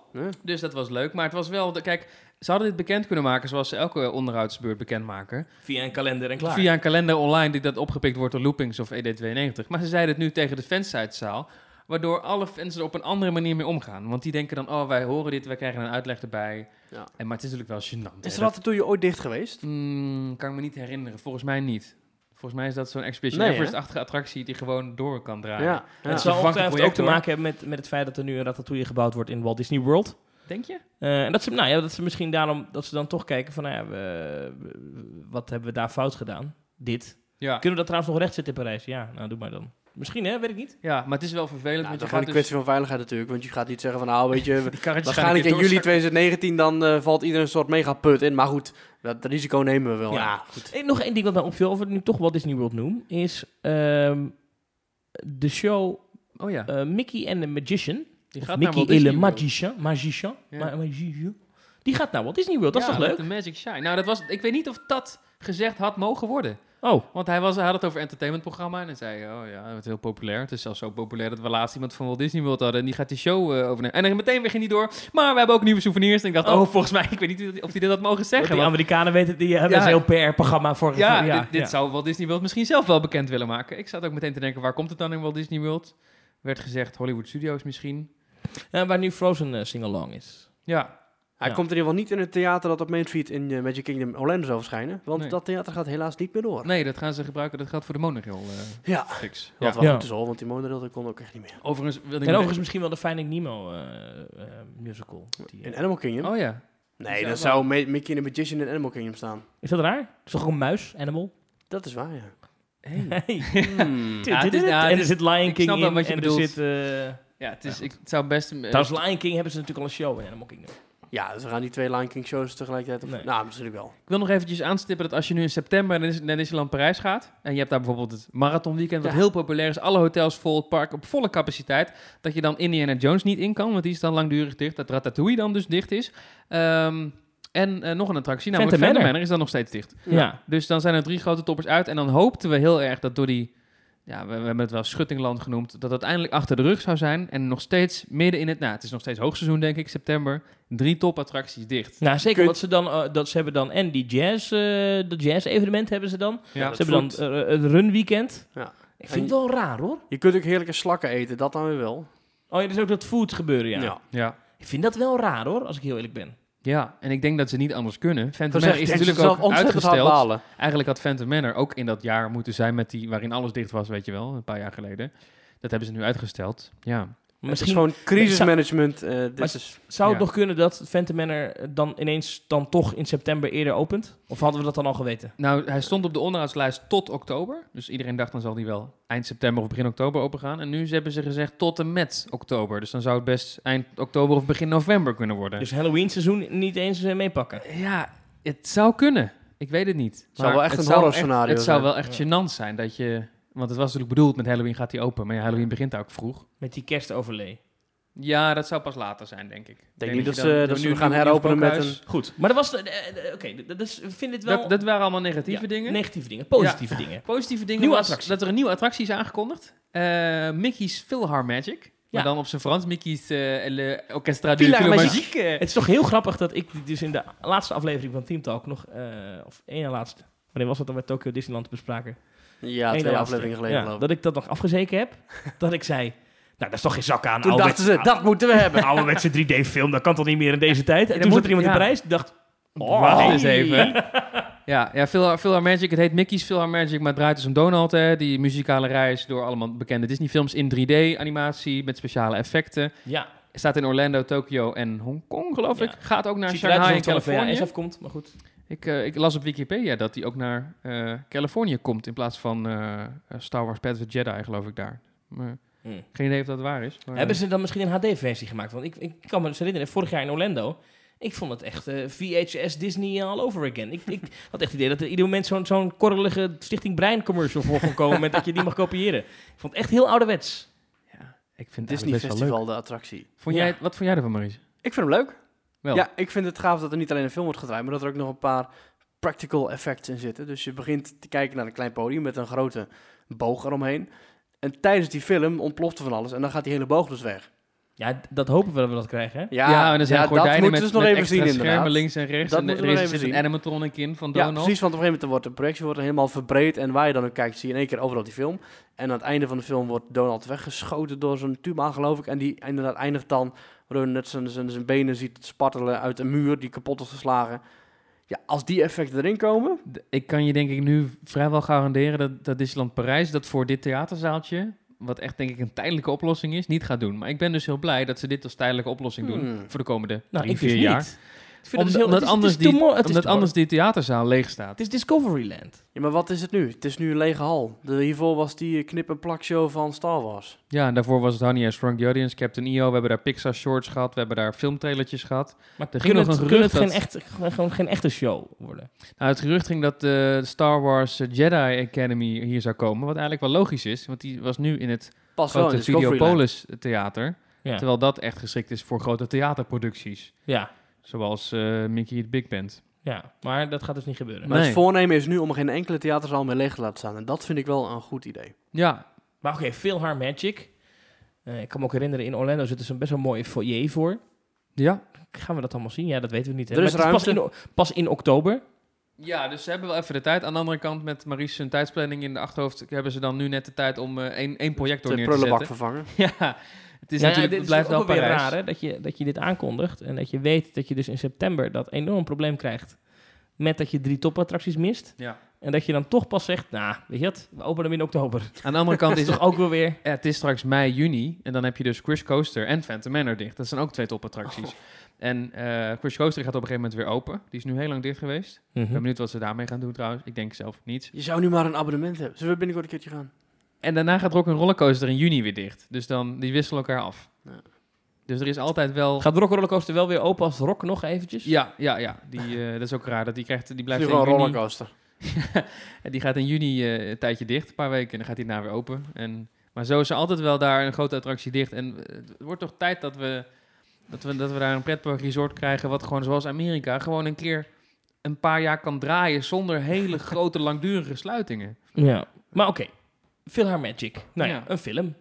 Speaker 3: Dus dat was leuk. Maar het was wel... De, kijk, ze hadden dit bekend kunnen maken zoals ze elke onderhoudsbeurt bekend maken.
Speaker 1: via een kalender en klaar.
Speaker 3: Via een kalender online die dat opgepikt wordt door Loopings of ED92. Maar ze zeiden het nu tegen de fansidezaal. Waardoor alle fans er op een andere manier mee omgaan. Want die denken dan, oh, wij horen dit, wij krijgen een uitleg erbij.
Speaker 2: Ja.
Speaker 3: En, maar het is natuurlijk wel gênant.
Speaker 2: Is
Speaker 3: hè.
Speaker 2: er altijd toen je ooit dicht geweest?
Speaker 3: Mm, kan ik me niet herinneren. Volgens mij niet. Volgens mij is dat zo'n Expedition
Speaker 2: Nee, hè?
Speaker 3: Everest-achtige attractie die gewoon door kan draaien.
Speaker 2: Ja. ja.
Speaker 1: Het zal
Speaker 3: Vervangt
Speaker 1: ongetwijfeld ook
Speaker 3: project,
Speaker 1: te
Speaker 3: hoor.
Speaker 1: maken hebben met, met het feit dat er nu een ratatouille gebouwd wordt in Walt Disney World.
Speaker 3: Denk je?
Speaker 1: Eh, en dat ze, nou ja, dat ze misschien daarom, dat ze dan toch kijken van, nou ja, we- we- wat hebben we daar fout gedaan? Dit.
Speaker 3: Ja.
Speaker 1: Kunnen we dat trouwens nog recht zetten in Parijs? Ja, nou doe maar dan. Misschien hè, weet ik niet.
Speaker 3: ja, maar het is wel vervelend.
Speaker 2: Ja, het
Speaker 3: want
Speaker 2: is
Speaker 3: je
Speaker 2: gewoon
Speaker 3: gaat
Speaker 2: een
Speaker 3: dus
Speaker 2: kwestie van veiligheid natuurlijk. Want je gaat niet zeggen van nou weet je,
Speaker 3: die karretjes gaan een
Speaker 2: waarschijnlijk
Speaker 3: keer
Speaker 2: in juli
Speaker 3: doorzakken.
Speaker 2: 2019 dan eh, valt iedereen een soort mega put in. Maar goed, dat risico nemen we wel.
Speaker 1: Ja.
Speaker 2: Ja, goed.
Speaker 1: Eh, nog één ding wat mij opviel, of we het nu toch Walt Disney World noem, is ehm, de show
Speaker 3: Oh ja,
Speaker 1: eh, Mickey and the Magician.
Speaker 3: die
Speaker 1: Of
Speaker 3: gaat dus naar
Speaker 1: Mickey et
Speaker 3: Walt Disney
Speaker 1: le
Speaker 3: World.
Speaker 1: Magician. Magician.
Speaker 3: Ja.
Speaker 1: Ma- Magician. Die gaat naar Walt Disney World, dat is
Speaker 3: Ja,
Speaker 1: toch leuk?
Speaker 3: met De Magic Shine. Nou, dat was, ik weet niet of dat gezegd had mogen worden.
Speaker 1: Oh,
Speaker 3: Want hij, was, hij had het over entertainmentprogramma en hij zei, oh ja, het wordt heel populair. Het is zelfs zo populair dat we laatst iemand van Walt Disney World hadden en die gaat die show eh, overnemen. En dan meteen weer ging die door, maar we hebben ook nieuwe souvenirs. En ik dacht,
Speaker 1: Oh.
Speaker 3: oh, volgens mij, ik weet niet of hij dit had mogen
Speaker 1: die
Speaker 3: zeggen. want-
Speaker 1: Amerikanen weten, die hebben
Speaker 3: Ja.
Speaker 1: een heel PR-programma voor.
Speaker 3: ja,
Speaker 1: voor-
Speaker 3: dit, dit zou Walt Disney World misschien zelf wel bekend willen maken. Ik zat ook meteen te denken, waar komt het dan in Walt Disney World? Werd gezegd Hollywood Studios misschien.
Speaker 1: Ja, waar nu Frozen eh, sing-along is.
Speaker 3: Ja,
Speaker 2: Hij
Speaker 1: Ja.
Speaker 2: komt in ieder geval niet in het theater dat op Main Street in eh, Magic Kingdom Orlando zou verschijnen. Want
Speaker 3: Nee.
Speaker 2: dat theater gaat helaas niet meer door.
Speaker 3: nee, dat gaan ze gebruiken. Dat geldt voor de monorail eh,
Speaker 2: Ja,
Speaker 3: fix.
Speaker 2: wat
Speaker 3: Ja.
Speaker 2: wel
Speaker 1: Ja.
Speaker 2: goed is al, want die monorail dat kon ook echt niet meer.
Speaker 3: Overigens wilde ik...
Speaker 1: En overigens misschien wel de Finding Nemo eh, eh, musical. Die, eh,
Speaker 2: In Animal Kingdom?
Speaker 3: Oh ja.
Speaker 2: nee,
Speaker 3: zou
Speaker 2: dan
Speaker 3: wel-
Speaker 2: zou Ma- Mickey in the Magician in Animal Kingdom staan.
Speaker 1: Is dat raar? Het is toch ook een muis, animal?
Speaker 2: Dat is waar, ja.
Speaker 3: Hey.
Speaker 2: Hmm.
Speaker 3: Ja, het is- ja, het
Speaker 1: en er
Speaker 3: is-
Speaker 1: zit Lion
Speaker 3: ik
Speaker 1: King
Speaker 3: snap wel
Speaker 1: in.
Speaker 3: wat je
Speaker 1: en
Speaker 3: bedoelt.
Speaker 1: Er zit, eh,
Speaker 3: Ja, het,
Speaker 1: Ja,
Speaker 3: is,
Speaker 1: goed.
Speaker 3: ik, het zou best... eh,
Speaker 1: trouwens, dus Lion King hebben ze natuurlijk al een show in Animal Kingdom.
Speaker 2: Ja, dus we gaan die twee Lion King shows tegelijkertijd op...
Speaker 1: Nee.
Speaker 2: Nou, misschien wel.
Speaker 3: Ik wil nog eventjes aanstippen dat als je nu in september naar Dis- naar Disneyland Parijs gaat... en je hebt daar bijvoorbeeld het marathonweekend, wat
Speaker 2: Ja.
Speaker 3: heel populair is... alle hotels vol, het park op volle capaciteit... dat je dan Indiana Jones niet in kan, want die is dan langdurig dicht. Dat Ratatouille dan dus dicht is. Ehm, en eh, nog een attractie, namelijk
Speaker 1: Phantom
Speaker 3: Phantom Manor.
Speaker 1: Manor.
Speaker 3: is dan nog steeds dicht.
Speaker 1: Ja.
Speaker 3: Dus dan zijn er drie grote toppers uit. En dan hoopten we heel erg dat door die... Ja, we, we hebben het wel Schuttingland genoemd. Dat het eindelijk achter de rug zou zijn. En nog steeds midden in het... Nou, het is nog steeds hoogseizoen, denk ik, september. Drie topattracties dicht.
Speaker 1: Nou, zeker,
Speaker 2: Kun-
Speaker 1: want ze, dan, eh, dat ze hebben dan en die jazz, eh dat jazz-evenement hebben ze dan.
Speaker 2: Ja,
Speaker 1: Ze
Speaker 2: dat
Speaker 1: hebben dan
Speaker 2: voelt-
Speaker 1: eh, het Run Weekend.
Speaker 2: Ja.
Speaker 1: Ik vind het wel raar, hoor.
Speaker 2: Je kunt ook heerlijke slakken eten, dat dan weer wel.
Speaker 1: Oh, ja, er is ook dat food gebeuren, ja.
Speaker 3: Ja.
Speaker 1: Ik vind dat wel raar, hoor, als ik heel eerlijk ben.
Speaker 3: Ja, en ik denk dat ze niet anders kunnen. Phantom
Speaker 2: Dat
Speaker 3: Manor is natuurlijk
Speaker 2: dus
Speaker 3: ook uitgesteld.
Speaker 2: balen.
Speaker 3: Eigenlijk had Phantom Manor ook in dat jaar moeten zijn met die waarin alles dicht was, weet je wel, een paar jaar geleden. Dat hebben ze nu uitgesteld. Ja.
Speaker 1: Maar
Speaker 2: Het is
Speaker 1: Misschien
Speaker 2: gewoon crisismanagement. eh, dit
Speaker 1: Maar-
Speaker 2: is,
Speaker 1: zou het
Speaker 3: ja.
Speaker 1: nog kunnen dat Phantom Manor eh, dan ineens dan toch in september eerder opent? Of hadden we dat dan al geweten?
Speaker 3: Nou, hij stond op de onderhoudslijst tot oktober. Dus iedereen dacht dan zal die wel eind september of begin oktober opengaan. En nu ze- hebben ze gezegd tot en met oktober. Dus dan zou het best eind oktober of begin november kunnen worden.
Speaker 1: Dus Halloween seizoen niet eens eh, meepakken.
Speaker 3: ja, het zou kunnen. Ik weet het niet. Maar Het
Speaker 2: zou wel echt een
Speaker 3: zou
Speaker 2: horrorscenario
Speaker 3: echt- Het zou
Speaker 2: zijn.
Speaker 3: wel echt gênant zijn dat je... Want het was natuurlijk bedoeld met Halloween gaat hij open. Maar ja, Halloween begint ook vroeg.
Speaker 1: Met die kerstoverlay.
Speaker 3: Ja, dat zou pas later zijn, denk ik. Ik
Speaker 2: denk niet dat
Speaker 3: je
Speaker 2: ze-
Speaker 3: dan-
Speaker 2: dat
Speaker 3: dan
Speaker 2: ze
Speaker 3: nu
Speaker 2: hem gaan
Speaker 3: een nieuw
Speaker 2: heropenen met
Speaker 3: spookhuis-
Speaker 1: Goed. Maar dat was... de- de- de- Oké, dat- dat is- ik vind dit wel...
Speaker 3: Dat, dat waren allemaal negatieve
Speaker 1: ja,
Speaker 3: dingen.
Speaker 1: Negatieve dingen, positieve dingen.
Speaker 3: Positieve dingen
Speaker 1: Nieuwe
Speaker 3: was
Speaker 1: attractie.
Speaker 3: dat er een nieuwe attractie is aangekondigd. Eh, Mickey's Philhar Magic. Maar dan op zijn Frans. Mickey's eh, le Orchestra du
Speaker 1: Philhar
Speaker 3: Philharmagique.
Speaker 1: Het is toch heel grappig dat ik dus in de laatste aflevering van Team Talk nog... eh, of één na laatste... Wanneer was dat dan bij Tokyo Disneyland bespraken?
Speaker 2: ja,
Speaker 1: Eén
Speaker 2: twee
Speaker 1: na
Speaker 2: afleveringen
Speaker 1: laatste.
Speaker 2: geleden
Speaker 1: Ja,
Speaker 2: geloof ik.
Speaker 1: Dat ik dat nog afgezeken heb. dat ik zei... Nou, dat is toch geen zak aan.
Speaker 2: Toen
Speaker 1: oude-
Speaker 2: dachten ze, dat moeten we hebben.
Speaker 1: Een ouderwetse 3D-film, dat kan toch niet meer in deze tijd? En
Speaker 3: Ja,
Speaker 1: toen
Speaker 3: dat
Speaker 1: zat er
Speaker 3: moet-
Speaker 1: iemand in
Speaker 3: ja.
Speaker 1: Parijs die dacht... Oh,
Speaker 3: Wacht
Speaker 1: hey.
Speaker 3: eens even. Ja, ja Philhar, Philhar Magic. Het heet Mickey's Philhar Magic, maar het draait dus om Donald. Hè, die muzikale reis door allemaal bekende Disney-films in 3D-animatie met speciale effecten.
Speaker 1: Ja,
Speaker 3: Staat in Orlando, Tokio en Hongkong, geloof
Speaker 1: Ja.
Speaker 3: ik. Gaat ook naar
Speaker 1: ziet eruit
Speaker 3: Shanghai
Speaker 1: alsof
Speaker 3: en
Speaker 1: het wel een
Speaker 3: Californië.
Speaker 1: VHS afkomt, maar goed.
Speaker 3: Ik, eh, ik las op Wikipedia dat hij ook naar eh, Californië komt in plaats van eh, eh, Star Wars Path of the Jedi, geloof ik daar. Maar
Speaker 1: Hmm.
Speaker 3: geen idee of dat waar is. maar-
Speaker 1: Hebben ze dan misschien een HD-versie gemaakt? Want ik, ik kan me dus herinneren, vorig jaar in Orlando, ik vond het echt eh, VHS Disney all over again. Ik, ik had echt het idee dat er ieder moment zo'n zo'n korrelige Stichting Brein commercial voor kon komen en dat je die mag kopiëren. Ik vond het echt heel ouderwets.
Speaker 3: Ja, ik vind het
Speaker 2: Disney
Speaker 3: eigenlijk best wel leuk.
Speaker 2: Festival, de attractie.
Speaker 3: Vond
Speaker 1: Ja.
Speaker 3: jij, wat vond jij ervan, Maurice?
Speaker 2: Ik vind hem leuk.
Speaker 3: Wel.
Speaker 2: Ja, ik vind het gaaf dat er niet alleen een film wordt gedraaid, maar dat er ook nog een paar practical effects in zitten. Dus je begint te kijken naar een klein podium met een grote boog eromheen. En tijdens die film ontploft er van alles en dan gaat die hele boog dus weg.
Speaker 1: Ja, d- dat hopen we dat we dat krijgen, hè?
Speaker 3: Ja, en er zijn
Speaker 2: ja,
Speaker 3: gordijnen
Speaker 2: moeten
Speaker 3: met,
Speaker 2: we dus nog
Speaker 3: met
Speaker 2: even
Speaker 3: extra
Speaker 2: zien
Speaker 3: schermen
Speaker 2: inderdaad.
Speaker 3: links en rechts.
Speaker 2: Dat
Speaker 3: en
Speaker 2: moeten
Speaker 3: er
Speaker 2: we nog
Speaker 3: is
Speaker 2: even
Speaker 3: een
Speaker 2: zien.
Speaker 3: animatronic in van
Speaker 2: Ja,
Speaker 3: Donald.
Speaker 2: precies, want op een gegeven moment wordt de projectie wordt helemaal verbreed en waar je dan ook kijkt zie je in één keer overal die film. En aan het einde van de film wordt Donald weggeschoten door zo'n tuma geloof ik. En die inderdaad eindigt dan, waardoor je net zijn, zijn, zijn benen ziet spartelen uit een muur die kapot is geslagen. Ja, als die effecten erin komen,
Speaker 3: D- Ik kan je denk ik nu vrijwel garanderen dat, dat Disneyland Parijs dat voor dit theaterzaaltje, wat echt denk ik een tijdelijke oplossing is, niet gaat doen. Maar ik ben dus heel blij dat ze dit als tijdelijke oplossing doen
Speaker 2: Hmm.
Speaker 3: voor de komende
Speaker 1: Nou,
Speaker 3: drie,
Speaker 1: ik dus
Speaker 3: vier jaar.
Speaker 1: niet. Ik vind het dus heel,
Speaker 3: Omdat- omdat
Speaker 1: het is,
Speaker 3: anders
Speaker 1: het is
Speaker 3: die-
Speaker 1: too mo- het is
Speaker 3: Omdat
Speaker 1: too mo-
Speaker 3: anders die theaterzaal leeg staat.
Speaker 1: Het is Discoveryland.
Speaker 2: Ja, maar wat is het nu? Het is nu een lege hal. De, hiervoor was die eh, knip- en plakshow van Star Wars.
Speaker 3: Ja, en daarvoor was het Honey I Shrunk the Audience, Captain EO. We hebben daar Pixar shorts gehad, we hebben daar filmtrailertjes gehad.
Speaker 1: Maar
Speaker 3: Er ging
Speaker 1: kun
Speaker 3: nog
Speaker 1: het,
Speaker 3: een
Speaker 1: kunnen
Speaker 3: gerucht
Speaker 1: het geen,
Speaker 3: dat-
Speaker 1: echt, gewoon geen echte show worden?
Speaker 3: Nou, het gerucht ging dat de Star Wars eh, Jedi Academy hier zou komen, wat eigenlijk wel logisch is, want die was nu in het
Speaker 2: Pas wel in
Speaker 3: grote
Speaker 2: Discoveryland.
Speaker 3: Videopolis theater,
Speaker 1: Ja.
Speaker 3: terwijl dat echt geschikt is voor grote theaterproducties,
Speaker 1: Ja,
Speaker 3: zoals eh, Mickey het Big Band.
Speaker 1: ja, maar dat gaat dus niet gebeuren.
Speaker 2: Maar
Speaker 3: Nee.
Speaker 2: het voornemen is nu om geen enkele theaterzaal meer leeg te laten staan. En dat vind ik wel een goed idee.
Speaker 3: Ja,
Speaker 1: Maar oké, veel haar Magic. Eh, ik kan me ook herinneren, in Orlando zit dus een best wel mooie foyer voor.
Speaker 3: ja.
Speaker 1: Gaan we dat allemaal zien? Ja, dat weten we niet. hè.
Speaker 2: Er is
Speaker 1: Maar het pas, in,
Speaker 2: ruimte.
Speaker 1: o- pas in oktober.
Speaker 3: Ja, dus ze hebben wel even de tijd. Aan de andere kant, met Maries zijn tijdsplanning in de achterhoofd, hebben ze dan nu net de tijd om eh, één, één project door
Speaker 2: De
Speaker 3: neer te
Speaker 2: prullenbak
Speaker 3: zetten.
Speaker 2: vervangen.
Speaker 3: Ja, het is
Speaker 1: Nou ja,
Speaker 3: natuurlijk,
Speaker 1: dit
Speaker 3: het blijft wel
Speaker 1: ook weer
Speaker 3: Parijs.
Speaker 1: raar, hè, dat, je, dat je dit aankondigt en dat je weet dat je dus in september dat enorm probleem krijgt met dat je drie topattracties mist.
Speaker 3: Ja.
Speaker 1: En dat je dan toch pas zegt, nou, weet je het, we openen hem in oktober.
Speaker 3: Aan de andere kant
Speaker 1: Dat
Speaker 3: is
Speaker 1: is
Speaker 3: het,
Speaker 1: toch ook wel weer...
Speaker 3: ja, het is straks mei, juni. En dan heb je dus Crush Coaster en Phantom Manor dicht. Dat zijn ook twee topattracties.
Speaker 1: Oh.
Speaker 3: En eh Crush Coaster gaat op een gegeven moment weer open. Die is nu heel lang dicht geweest. Ik
Speaker 1: Mhm.
Speaker 3: ben benieuwd wat ze daarmee gaan doen trouwens. Ik denk zelf niets.
Speaker 2: Je zou nu maar een abonnement hebben. Zullen we binnenkort een keertje gaan?
Speaker 3: En daarna gaat Rock Rollercoaster in juni weer dicht. Dus dan, die wisselen elkaar af.
Speaker 2: Ja.
Speaker 3: Dus er is altijd wel...
Speaker 1: Gaat Rock Rollercoaster wel weer open als Rock nog eventjes?
Speaker 3: Ja, ja, ja. Die, eh, dat is ook raar. Dat die, krijgt, die
Speaker 2: Blijf
Speaker 3: blijft in
Speaker 2: gewoon een
Speaker 3: juni...
Speaker 2: rollercoaster.
Speaker 3: En die gaat in juni eh, een tijdje dicht, een paar weken, en dan gaat die daarna weer open. En, maar zo is er altijd wel daar een grote attractie dicht. En eh, het wordt toch tijd dat we, dat we, dat we daar een pretpark resort krijgen, wat gewoon zoals Amerika, gewoon een keer een paar jaar kan draaien zonder hele grote langdurige sluitingen.
Speaker 1: Ja. Maar oké, Veel haar Magic. Nou ja,
Speaker 3: Ja.
Speaker 1: een film.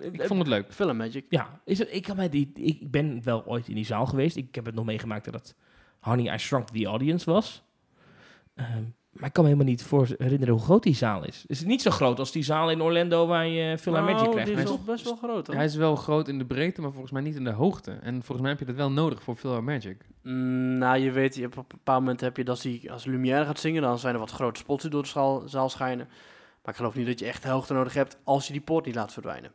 Speaker 1: Eh,
Speaker 3: Ik vond het leuk.
Speaker 2: Film Magic.
Speaker 1: Ja, is het, ik, kan mij die, ik ik ben wel ooit in die zaal geweest. Ik heb het nog meegemaakt dat het Honey, I Shrunk the Audience was. Ehm, maar ik kan me helemaal niet voor herinneren hoe groot die zaal is. Is het niet zo groot als die zaal in Orlando waar je Villa
Speaker 2: Nou,
Speaker 1: Magic krijgt?
Speaker 2: die is
Speaker 1: mensen?
Speaker 2: toch best wel groot hoor.
Speaker 3: Hij is wel groot in de breedte, maar volgens mij niet in de hoogte. En volgens mij heb je dat wel nodig voor Philhar Magic.
Speaker 2: Mm, nou, je weet, je- op een bepaald moment heb je dat die als Lumière gaat zingen. Dan zijn er wat grote spots die door de schaal- zaal schijnen. Maar ik geloof niet dat je echt de hoogte nodig hebt als je die poort niet laat verdwijnen.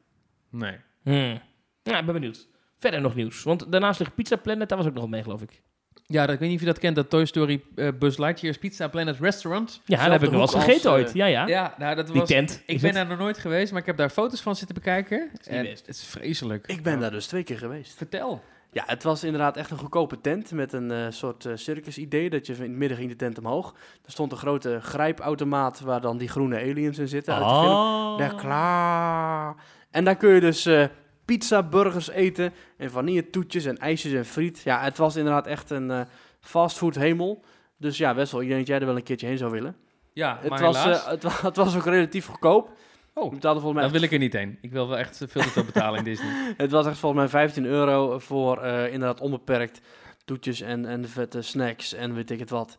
Speaker 3: Nee.
Speaker 1: Hmm. Ja, ik ben benieuwd. Verder nog nieuws. Want daarnaast ligt Pizza Planet, daar was ook nog mee, geloof ik.
Speaker 3: Ja, dat, ik weet niet of je dat kent, dat Toy Story eh, Buzz Lightyear's Pizza Planet Restaurant.
Speaker 1: Ja, daar heb ik nog wat
Speaker 2: hoek als,
Speaker 1: gegeten
Speaker 2: eh,
Speaker 1: ooit. Ja, ja.
Speaker 3: Ja, nou, dat
Speaker 1: die
Speaker 3: was...
Speaker 1: tent.
Speaker 3: Ik
Speaker 1: is
Speaker 3: ben
Speaker 1: het?
Speaker 3: daar nog nooit geweest, maar ik heb daar foto's van zitten bekijken.
Speaker 1: niet
Speaker 3: En
Speaker 1: best.
Speaker 3: Het is vreselijk.
Speaker 2: Ik ben
Speaker 3: Ja.
Speaker 2: daar dus twee keer geweest.
Speaker 3: Vertel.
Speaker 2: Ja, het was inderdaad echt een goedkope tent met een eh, soort eh, circus-idee. Dat je in het midden ging de tent omhoog. Er stond een grote grijpautomaat waar dan die groene aliens in zitten. Uit de film.
Speaker 1: Oh.
Speaker 2: Daar klaar. En daar kun je dus eh, pizza, burgers eten en vanilletoetjes en ijsjes en friet. Ja, het was inderdaad echt een eh fastfood hemel. Dus ja, Wessel, ik denk dat jij er wel een keertje heen zou willen.
Speaker 3: Ja,
Speaker 2: Het
Speaker 3: maar
Speaker 2: was,
Speaker 3: helaas,
Speaker 2: eh, het, wa- het was ook relatief goedkoop.
Speaker 3: Oh,
Speaker 2: Ik betaalde volgens mij
Speaker 3: dan wil ik er niet heen. Ik wil wel echt veel te veel betalen in Disney.
Speaker 2: Het was echt volgens mij 15 euro voor eh, inderdaad onbeperkt toetjes en, en vette snacks en weet ik het wat.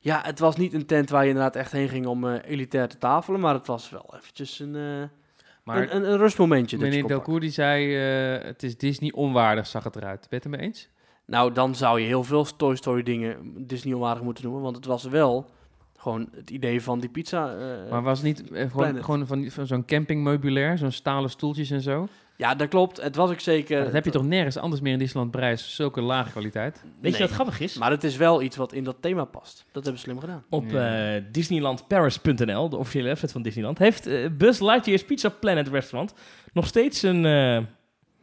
Speaker 2: Ja, het was niet een tent waar je inderdaad echt heen ging om eh, elitair te tafelen, maar het was wel eventjes een, eh,
Speaker 3: Maar
Speaker 2: een, een, een rustmomentje. dat je
Speaker 3: meneer
Speaker 2: kon pakken.
Speaker 3: Delcour die zei, eh, het is Disney onwaardig, zag het eruit. Ben je het ermee eens?
Speaker 2: Nou, dan zou je heel veel Toy Story dingen Disney onwaardig moeten noemen, want het was wel Gewoon het idee van die pizza. eh,
Speaker 3: Maar was het niet eh, gewoon,
Speaker 2: Planet.
Speaker 3: gewoon van, die- van zo'n campingmeubilair, zo'n stalen stoeltjes en zo?
Speaker 2: ja, dat klopt. Het was ook zeker.
Speaker 3: dat heb je toch nergens anders meer in Disneyland prijs, zulke lage kwaliteit.
Speaker 1: Weet
Speaker 2: Nee.
Speaker 1: je wat grappig is?
Speaker 2: Maar het is wel iets wat in dat thema past. Dat hebben ze slim gedaan.
Speaker 1: Op
Speaker 3: Ja.
Speaker 1: eh, disneylandparis.nl, de officiële website van Disneyland, heeft eh, Buzz Lightyear's Pizza Planet Restaurant nog steeds een... eh,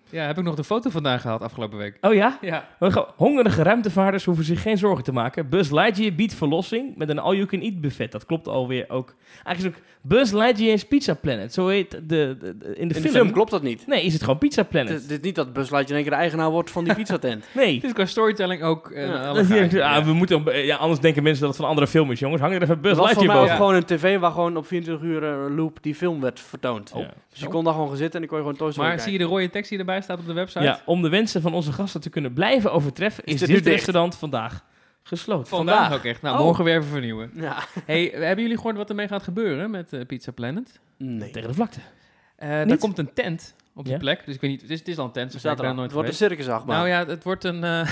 Speaker 3: Ja, heb ik nog de foto vandaag gehad afgelopen week.
Speaker 1: oh ja?
Speaker 3: Ja.
Speaker 1: Hongerige ruimtevaarders hoeven zich geen zorgen te maken. Buzz Lightyear biedt verlossing met een all-you-can-eat buffet. Dat klopt alweer ook. Eigenlijk is ook Buzz Lightyear's Pizza Planet. Zo heet de, de- de- in de
Speaker 2: in
Speaker 1: film.
Speaker 2: de film klopt dat niet.
Speaker 1: Nee, is het gewoon Pizza
Speaker 2: Het
Speaker 1: Planet.
Speaker 2: is, dit niet dat Buzz Lightyear in één keer de eigenaar wordt van die pizzatent.
Speaker 1: Nee.
Speaker 3: Het is qua storytelling ook... eh,
Speaker 2: Ja,
Speaker 3: een
Speaker 1: Dat is niet-
Speaker 3: allegaartje,
Speaker 1: ah,
Speaker 3: ja.
Speaker 1: we moeten, eh, ja, anders denken mensen dat het van een andere film is, jongens. Hang er even
Speaker 2: Het
Speaker 1: Buzz
Speaker 2: was voor
Speaker 1: Lightyear
Speaker 2: mij ook
Speaker 1: boven.
Speaker 3: boven.
Speaker 2: gewoon een tv waar gewoon op 24 uur eh, loop die film werd vertoond.
Speaker 1: Ja.
Speaker 2: Dus je kon daar gewoon gaan zitten en dan kon je gewoon Toy Story
Speaker 3: Oh. Maar zie
Speaker 2: kijken.
Speaker 3: je de rode tekst die erbij staat op de website?
Speaker 1: Ja, om de wensen van onze gasten te kunnen blijven overtreffen, is,
Speaker 2: Is dit
Speaker 1: dit
Speaker 2: nu dicht?
Speaker 1: restaurant vandaag gesloten.
Speaker 3: Vandaag.
Speaker 2: Vandaag.
Speaker 3: ook echt. Nou,
Speaker 2: Oh.
Speaker 3: morgen weer even vernieuwen.
Speaker 2: Ja.
Speaker 3: hey, hebben jullie gehoord wat ermee gaat gebeuren met eh, Pizza Planet?
Speaker 2: Nee.
Speaker 1: Tegen de vlakte.
Speaker 3: Eh
Speaker 1: Niet?
Speaker 3: daar komt een tent op die
Speaker 1: Ja.
Speaker 3: plek. Dus ik weet niet, het is, het is al een tent,
Speaker 2: Er
Speaker 3: dus
Speaker 2: staat
Speaker 3: ik
Speaker 2: er
Speaker 3: ben er
Speaker 2: aan.
Speaker 3: nooit
Speaker 2: Het wordt een
Speaker 3: geweest.
Speaker 2: circusdag, maar.
Speaker 3: Nou ja, het wordt een, eh,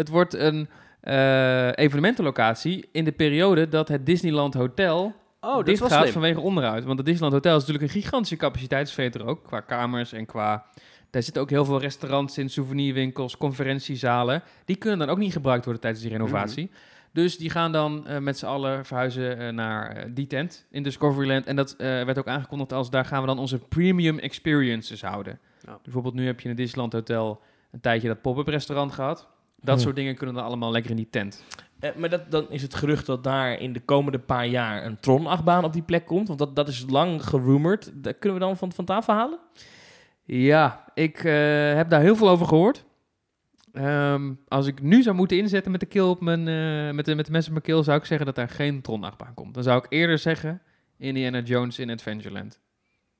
Speaker 3: het wordt een eh, evenementenlocatie in de periode dat het Disneyland Hotel
Speaker 2: Oh, dit
Speaker 3: dicht
Speaker 2: was
Speaker 3: gaat
Speaker 2: slim.
Speaker 3: vanwege onderhoud. Want het Disneyland Hotel is natuurlijk een gigantische dus capaciteitsveter ook, qua kamers en qua... Daar zitten ook heel veel restaurants in, souvenirwinkels, conferentiezalen. Die kunnen dan ook niet gebruikt worden tijdens die renovatie.
Speaker 2: Mhm.
Speaker 3: Dus die gaan dan eh, met z'n allen verhuizen eh, naar eh, die tent in Discoveryland. En dat eh, werd ook aangekondigd als daar gaan we dan onze premium experiences houden.
Speaker 2: Ja.
Speaker 3: Bijvoorbeeld nu heb je in het Disneyland Hotel een tijdje dat pop-up restaurant gehad. Dat
Speaker 1: Hm.
Speaker 3: soort dingen kunnen dan allemaal lekker in die tent.
Speaker 1: Eh, maar dat, dan is het gerucht dat daar in de komende paar jaar een Tron-achtbaan op die plek komt. Want dat, dat is lang gerumord. Dat kunnen we dan van, van tafel halen?
Speaker 3: Ja, ik eh, heb daar heel veel over gehoord. Ehm, als ik nu zou moeten inzetten met de keel op mijn, eh, met, de, met de mes op mijn keel, zou ik zeggen dat daar geen Tron-achtbaan komt. Dan zou ik eerder zeggen Indiana Jones in Adventureland.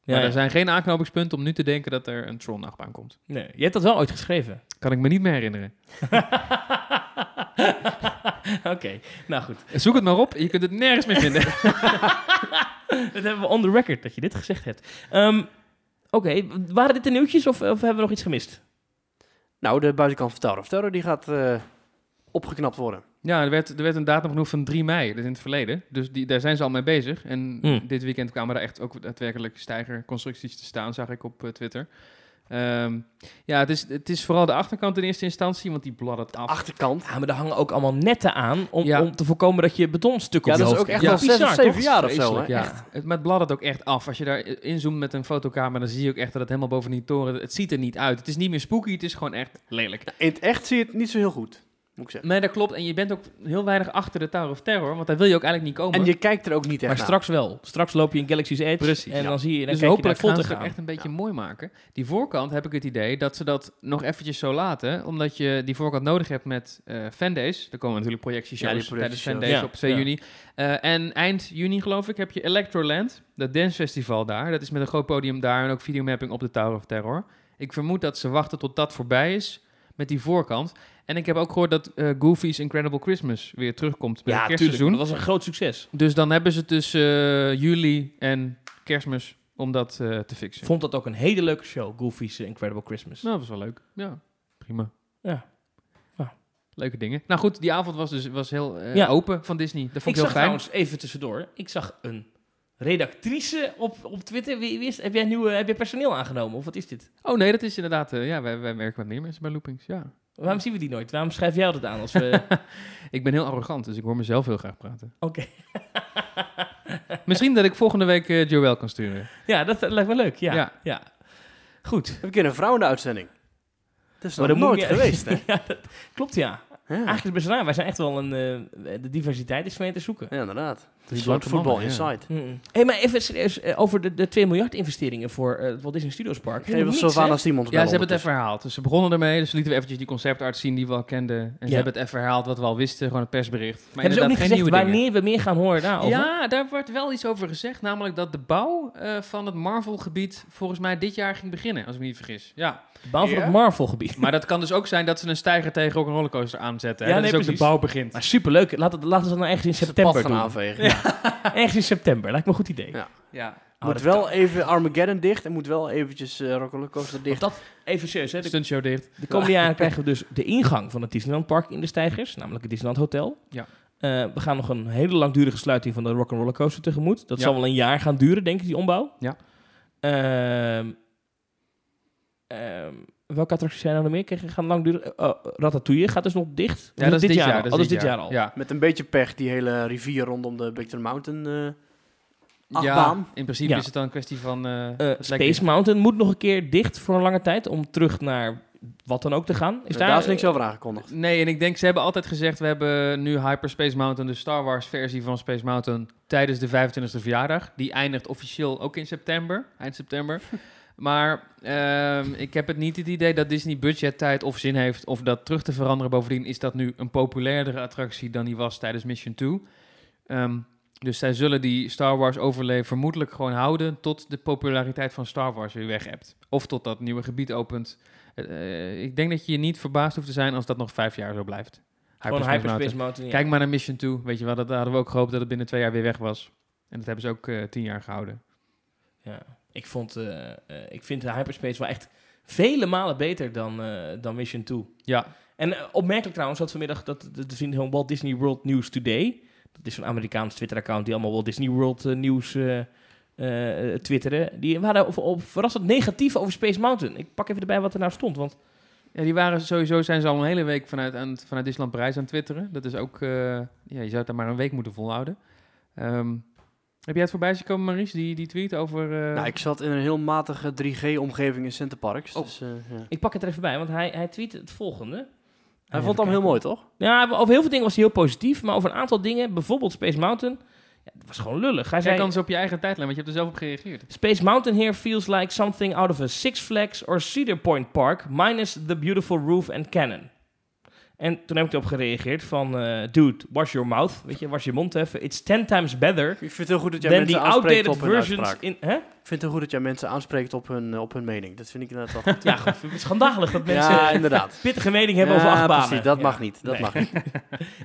Speaker 1: Ja,
Speaker 3: maar
Speaker 1: ja.
Speaker 3: er zijn geen aanknopingspunten om nu te denken dat er een Tron-achtbaan komt.
Speaker 1: Nee, je hebt dat wel ooit geschreven.
Speaker 3: Kan ik me niet meer herinneren.
Speaker 1: Oké, nou goed.
Speaker 3: Zoek het maar op, je kunt het nergens meer vinden.
Speaker 1: Dat hebben we on the record dat je dit gezegd hebt. Ehm, Oké, waren dit de nieuwtjes of, of hebben we nog iets gemist?
Speaker 2: Nou, de buitenkant van Tower of Terror die gaat eh, opgeknapt worden.
Speaker 3: Ja, er werd, er werd een datum genoemd van 3 mei, dat is in het verleden. Dus die, daar zijn ze al mee bezig. En
Speaker 1: Hmm.
Speaker 3: dit weekend kwamen er echt ook daadwerkelijk stijgerconstructies te staan, zag ik op eh, Twitter. Ehm, ja, het is, het is vooral de achterkant in eerste instantie, want die bladdert af.
Speaker 2: Achterkant.
Speaker 1: Ja, maar daar hangen ook allemaal netten aan om,
Speaker 3: Ja.
Speaker 1: om te voorkomen dat je betonstukken
Speaker 2: Ja,
Speaker 1: op je
Speaker 2: dat is
Speaker 1: hoofd
Speaker 2: ook echt
Speaker 1: krijgt.
Speaker 2: al zes
Speaker 1: bizar,
Speaker 2: of zeven
Speaker 1: toch?
Speaker 2: jaar of zo.
Speaker 3: Vreselijk,
Speaker 2: Hè?
Speaker 3: ja.
Speaker 2: Echt.
Speaker 3: Het, maar het bladdert ook echt af. Als je daar eh, inzoomt met een fotocamera, dan zie je ook echt dat het helemaal boven die toren... Het ziet er niet uit. Het is niet meer spooky, het is gewoon echt lelijk.
Speaker 2: In het echt zie je het niet zo heel goed, moet ik zeggen.
Speaker 3: Nee, dat klopt. En je bent ook heel weinig achter de Tower of Terror, want daar wil je ook eigenlijk niet komen.
Speaker 2: En je kijkt er ook niet echt
Speaker 1: Maar
Speaker 2: naar.
Speaker 1: straks wel. Straks loop je in Galaxy's Edge
Speaker 3: Precies,
Speaker 1: en
Speaker 2: ja.
Speaker 1: dan zie je... Dan
Speaker 3: Dus
Speaker 1: kijk
Speaker 3: hopelijk
Speaker 1: je naar
Speaker 3: gaan
Speaker 1: Volta
Speaker 3: ze het
Speaker 1: gaan.
Speaker 3: echt een beetje mooi maken. Die voorkant heb ik het idee dat ze dat nog eventjes zo laten. Omdat je die voorkant nodig hebt met eh fandays. Er komen natuurlijk
Speaker 2: Ja,
Speaker 3: projectieshows
Speaker 2: die
Speaker 3: tijdens
Speaker 2: projectieshows.
Speaker 3: fandays
Speaker 1: Ja,
Speaker 3: op 2
Speaker 1: ja.
Speaker 3: juni. Eh, en eind juni geloof ik heb je Electroland. Dat dancefestival daar. Dat is met een groot podium daar. En ook videomapping op de Tower of Terror. Ik vermoed dat ze wachten tot dat voorbij is. Met die voorkant. En ik heb ook gehoord dat eh, Goofy's Incredible Christmas weer terugkomt bij
Speaker 1: Ja,
Speaker 3: het
Speaker 1: tuurlijk.
Speaker 3: kerstseizoen.
Speaker 1: Dat was een groot succes.
Speaker 3: Dus dan hebben ze tussen eh, juli en kerstmis om dat eh, te fixen.
Speaker 1: Vond dat ook een hele leuke show, Goofy's eh, Incredible Christmas.
Speaker 3: Nou, dat was wel leuk. Ja, prima. Ah.
Speaker 1: Ja. Ja.
Speaker 3: Leuke dingen. Nou goed, die avond was dus was heel eh,
Speaker 1: Ja.
Speaker 3: open van Disney. Dat
Speaker 1: ik
Speaker 3: vond ik,
Speaker 1: zag
Speaker 3: heel fijn.
Speaker 1: trouwens, even tussendoor, ik zag een redactrice op, op Twitter. Wie, wie is, heb jij nu heb je personeel aangenomen of wat is dit?
Speaker 3: Oh nee, dat is inderdaad... eh, ja, wij, wij werken met meer mensen bij Loopings, ja.
Speaker 1: Waarom zien we die nooit? Waarom schrijf jij dat aan als we...
Speaker 3: Ik ben heel arrogant, dus ik hoor mezelf heel graag praten.
Speaker 1: Oké.
Speaker 3: Misschien dat ik volgende week eh, Joël kan sturen.
Speaker 1: ja, dat, eh, lijkt me leuk. Ja. ja.
Speaker 3: Ja.
Speaker 1: Goed.
Speaker 2: Heb ik een vrouw in de uitzending? Dat is
Speaker 1: Maar
Speaker 2: nog
Speaker 1: dan moet
Speaker 2: nooit
Speaker 1: je-
Speaker 2: geweest, hè?
Speaker 1: ja, dat klopt, ja.
Speaker 2: Ja.
Speaker 1: Eigenlijk is het best raar. Wij zijn echt wel een... eh, de diversiteit is mee te zoeken.
Speaker 2: Ja, inderdaad. Een
Speaker 3: blanke
Speaker 2: soort voetbal
Speaker 3: mannen, ja.
Speaker 2: inside.
Speaker 1: Mm. Hey, maar even serieus, eh, over de, de 2 miljard investeringen voor eh, het Walt Disney Studios Park.
Speaker 2: Geef
Speaker 1: Helemaal
Speaker 2: ons
Speaker 1: niks, hè?
Speaker 2: Sylvana Simons
Speaker 3: Ja,
Speaker 2: bellen
Speaker 3: ze hebben het
Speaker 2: ondertussen.
Speaker 3: even herhaald. Dus ze begonnen ermee, dus lieten we eventjes die conceptarts zien die we al kenden. En
Speaker 1: Ja.
Speaker 3: ze hebben het even herhaald wat we al wisten, gewoon een persbericht. Maar
Speaker 1: Hebben ze ook
Speaker 3: inderdaad
Speaker 1: niet
Speaker 3: geen
Speaker 1: gezegd
Speaker 3: nieuwe dingen.
Speaker 1: wanneer we meer gaan horen daarover?
Speaker 3: Ja, daar werd wel iets over gezegd. Namelijk dat de bouw eh, van het Marvel-gebied volgens mij dit jaar ging beginnen, als ik me niet vergis. Ja,
Speaker 1: De bouw van
Speaker 2: Ja.
Speaker 1: het Marvel-gebied.
Speaker 3: maar dat kan dus ook zijn dat ze een stijger tegen ook een rollercoaster aanzetten.
Speaker 1: Ja,
Speaker 3: Ja, dat
Speaker 1: nee,
Speaker 3: is ook
Speaker 1: precies.
Speaker 3: de bouw begint.
Speaker 1: Maar superleuk. Laten we laten we dat nou ergens in
Speaker 2: Ze het pad
Speaker 1: september
Speaker 2: gaan
Speaker 1: doen.
Speaker 2: aanvegen.
Speaker 1: Ergens in september. Lijkt me een goed idee.
Speaker 2: Ja.
Speaker 3: Ja.
Speaker 1: Oh,
Speaker 2: moet
Speaker 1: dat
Speaker 2: wel
Speaker 1: kan.
Speaker 2: even Armageddon dicht en moet wel eventjes eh Rock Coaster
Speaker 1: Want
Speaker 2: dicht.
Speaker 1: dat, even serieus, hè. De,
Speaker 3: Stuntshow dicht.
Speaker 1: de komende jaren krijgen we dus de ingang van het Disneyland Park in de Stijgers. Namelijk het Disneyland Hotel.
Speaker 3: Ja.
Speaker 1: Eh, Eh, we gaan nog een hele langdurige sluiting van de Rock'n'Roller Coaster tegemoet. Dat
Speaker 3: Ja.
Speaker 1: zal wel een jaar gaan duren, denk ik, die ombouw.
Speaker 3: Ja.
Speaker 1: Ehm, ehm, welke attracties zijn er nog meer? Krijgen- Gaan langdurig... eh, oh, Ratatouille gaat dus nog dicht. Of al? Oh,
Speaker 3: dat is
Speaker 1: dat is dit jaar al.
Speaker 3: Ja.
Speaker 2: Met een beetje pech die hele rivier rondom de Big Thunder Mountain. eh,
Speaker 3: ja,
Speaker 2: Achtbaan.
Speaker 3: in principe
Speaker 1: Ja.
Speaker 3: is het dan een kwestie van... eh,
Speaker 1: Eh,
Speaker 3: het
Speaker 1: Space
Speaker 3: lijkt-
Speaker 1: Mountain moet nog een keer dicht voor een lange tijd om terug naar wat dan ook te gaan. Is
Speaker 2: daar, is niks
Speaker 1: eh,
Speaker 2: over aangekondigd.
Speaker 3: Nee, en ik denk, ze hebben altijd gezegd, we hebben nu Hyperspace Mountain, de Star Wars versie van Space Mountain, tijdens de 25e verjaardag. Die eindigt officieel ook in september, eind september. maar ehm, ik heb het niet het idee dat Disney budget, tijd of zin heeft of dat terug te veranderen. Bovendien is dat nu een populairdere attractie dan die was tijdens Mission 2. Ehm, dus zij zullen die Star Wars overleven vermoedelijk gewoon houden tot de populariteit van Star Wars weer weg hebt. Of tot dat nieuwe gebied opent. Eh, eh, ik denk dat je je niet verbaasd hoeft te zijn als dat nog vijf jaar zo blijft.
Speaker 1: Gewoon Hyperspace,
Speaker 3: Mountain.
Speaker 1: Mountain. ja.
Speaker 3: Kijk maar naar Mission 2. Weet je wel, dat daar hadden we ook gehoopt dat het binnen twee jaar weer weg was. En dat hebben ze ook eh, tien jaar gehouden.
Speaker 1: Ja, ik, vond, eh, eh, ik vind de Hyperspace wel echt vele malen beter dan, eh, dan Mission 2.
Speaker 3: Ja,
Speaker 1: En eh, opmerkelijk trouwens, dat vanmiddag dat dat- te zien van Walt Disney World News Today. Dat is zo'n Amerikaans Twitter-account die allemaal Walt Disney World eh, nieuws eh eh, twitteren. Die waren op, op verrassend negatief over Space Mountain. Ik pak even erbij wat er nou stond, want
Speaker 3: Ja, die waren sowieso zijn ze al een hele week vanuit, aan, het- vanuit Disneyland Parijs aan het twitteren. Dat is ook, eh, ja, je zou het daar maar een week moeten volhouden. Ehm, heb jij het voorbij zien komen, Maries, die, die tweet over... eh,
Speaker 2: nou, ik zat in een heel matige 3G-omgeving in Center Parks.
Speaker 1: Oh.
Speaker 2: Dus, eh, ja.
Speaker 1: ik pak het er even bij, want hij, hij tweet het volgende.
Speaker 2: Hij vond het allemaal heel mooi, toch?
Speaker 1: Ja, over heel veel dingen was hij heel positief, maar over een aantal dingen, bijvoorbeeld Space Mountain, ja, dat was gewoon lullig. Hij
Speaker 3: jij
Speaker 1: zei,
Speaker 3: kan ze op je eigen tijdlijn, want je hebt er zelf op gereageerd.
Speaker 1: Space Mountain here feels like something out of a Six Flags or Cedar Point park, minus the beautiful roof and cannon. En toen heb ik erop gereageerd van, eh, dude, wash your mouth, weet je, wash je mond even. It's ten times better
Speaker 2: Ik vind het heel goed dat jij
Speaker 1: than the
Speaker 2: mensen aanspreekt
Speaker 1: outdated
Speaker 2: op hun
Speaker 1: versions
Speaker 2: uitspraak.
Speaker 1: in... Hè?
Speaker 2: Ik vind het heel goed dat jij mensen aanspreekt op hun, eh, op hun mening. Dat vind ik inderdaad wel goed.
Speaker 1: Ja, goed, het is schandalig dat mensen
Speaker 2: ja, inderdaad.
Speaker 1: pittige mening hebben over
Speaker 2: Ja,
Speaker 1: achtbanen.
Speaker 2: precies, dat
Speaker 1: Ja.
Speaker 2: mag niet. Dat
Speaker 1: Nee.
Speaker 2: mag niet.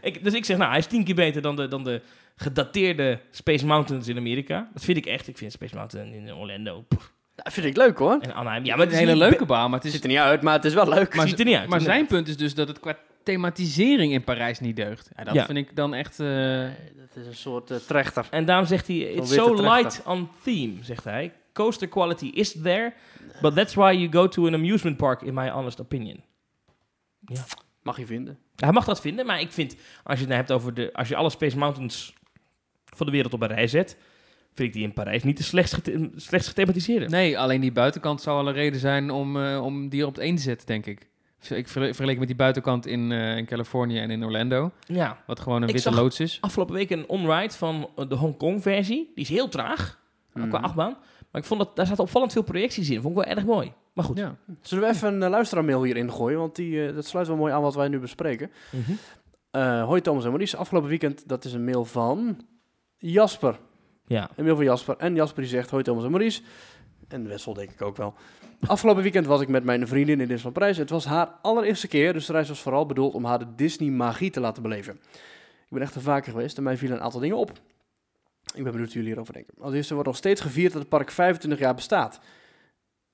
Speaker 1: Ik, dus ik zeg, nou, hij is tien keer beter dan de, dan de gedateerde Space Mountains in Amerika. Dat vind ik echt. Ik vind Space Mountain in Orlando pff,
Speaker 2: Dat vind ik leuk hoor.
Speaker 1: en Anaheim. Ja, maar het
Speaker 3: een
Speaker 1: is
Speaker 3: hele
Speaker 1: niet
Speaker 3: leuke baan, maar het
Speaker 2: Het
Speaker 3: is...
Speaker 2: ziet er niet uit, maar het is wel leuk.
Speaker 1: be- ziet er niet uit.
Speaker 3: Maar zijn punt is dus dat het qua thematisering in Parijs niet deugt. Ja, dat
Speaker 1: Ja.
Speaker 3: vind ik dan echt... eh,
Speaker 2: Het is een soort eh, trechter.
Speaker 1: En daarom zegt hij, it's
Speaker 2: witte
Speaker 1: so
Speaker 2: trechter.
Speaker 1: light on theme, zegt hij. Coaster quality is there, but that's why you go to an amusement park, in my honest opinion.
Speaker 2: Mag je vinden.
Speaker 1: Hij mag dat vinden, maar ik vind, als je het nou hebt over de, als je alle Space Mountains van de wereld op een rij zet, vind ik die in Parijs niet de slechtst, gethe- slechtst gethematiseerde.
Speaker 3: Nee, alleen die buitenkant zou al een reden zijn om, eh, om die op het één te zetten, denk ik. Ik verle- vergeleek met die buitenkant in, eh, in Californië en in Orlando,
Speaker 1: Ja.
Speaker 3: wat gewoon een
Speaker 1: Ik
Speaker 3: witte
Speaker 1: zag-
Speaker 3: loods is.
Speaker 1: afgelopen week een onride van eh, de Hongkong-versie. Die is heel traag, ook qua
Speaker 2: Mhm.
Speaker 1: achtbaan. Maar ik vond dat daar zaten opvallend veel projecties in. Vond ik wel erg mooi. Maar goed.
Speaker 3: Ja.
Speaker 2: Zullen we even een eh, luisteraarmail hierin gooien? Want die, eh, dat sluit wel mooi aan wat wij nu bespreken.
Speaker 1: Mhm.
Speaker 2: Eh, hoi Thomas en Maurice. Afgelopen weekend, dat is een mail van Jasper.
Speaker 1: Ja.
Speaker 2: Een mail van Jasper. En Jasper die zegt, hoi Thomas en Maurice. En Wessel denk ik ook wel. Afgelopen weekend was ik met mijn vriendin in Disneyland Parijs. Het was haar allereerste keer, dus de reis was vooral bedoeld om haar de Disney-magie te laten beleven. Ik ben echt er vaker geweest en mij vielen een aantal dingen op. Ik ben benieuwd hoe jullie hierover denken. Als eerste wordt nog steeds gevierd dat het park 25 jaar bestaat.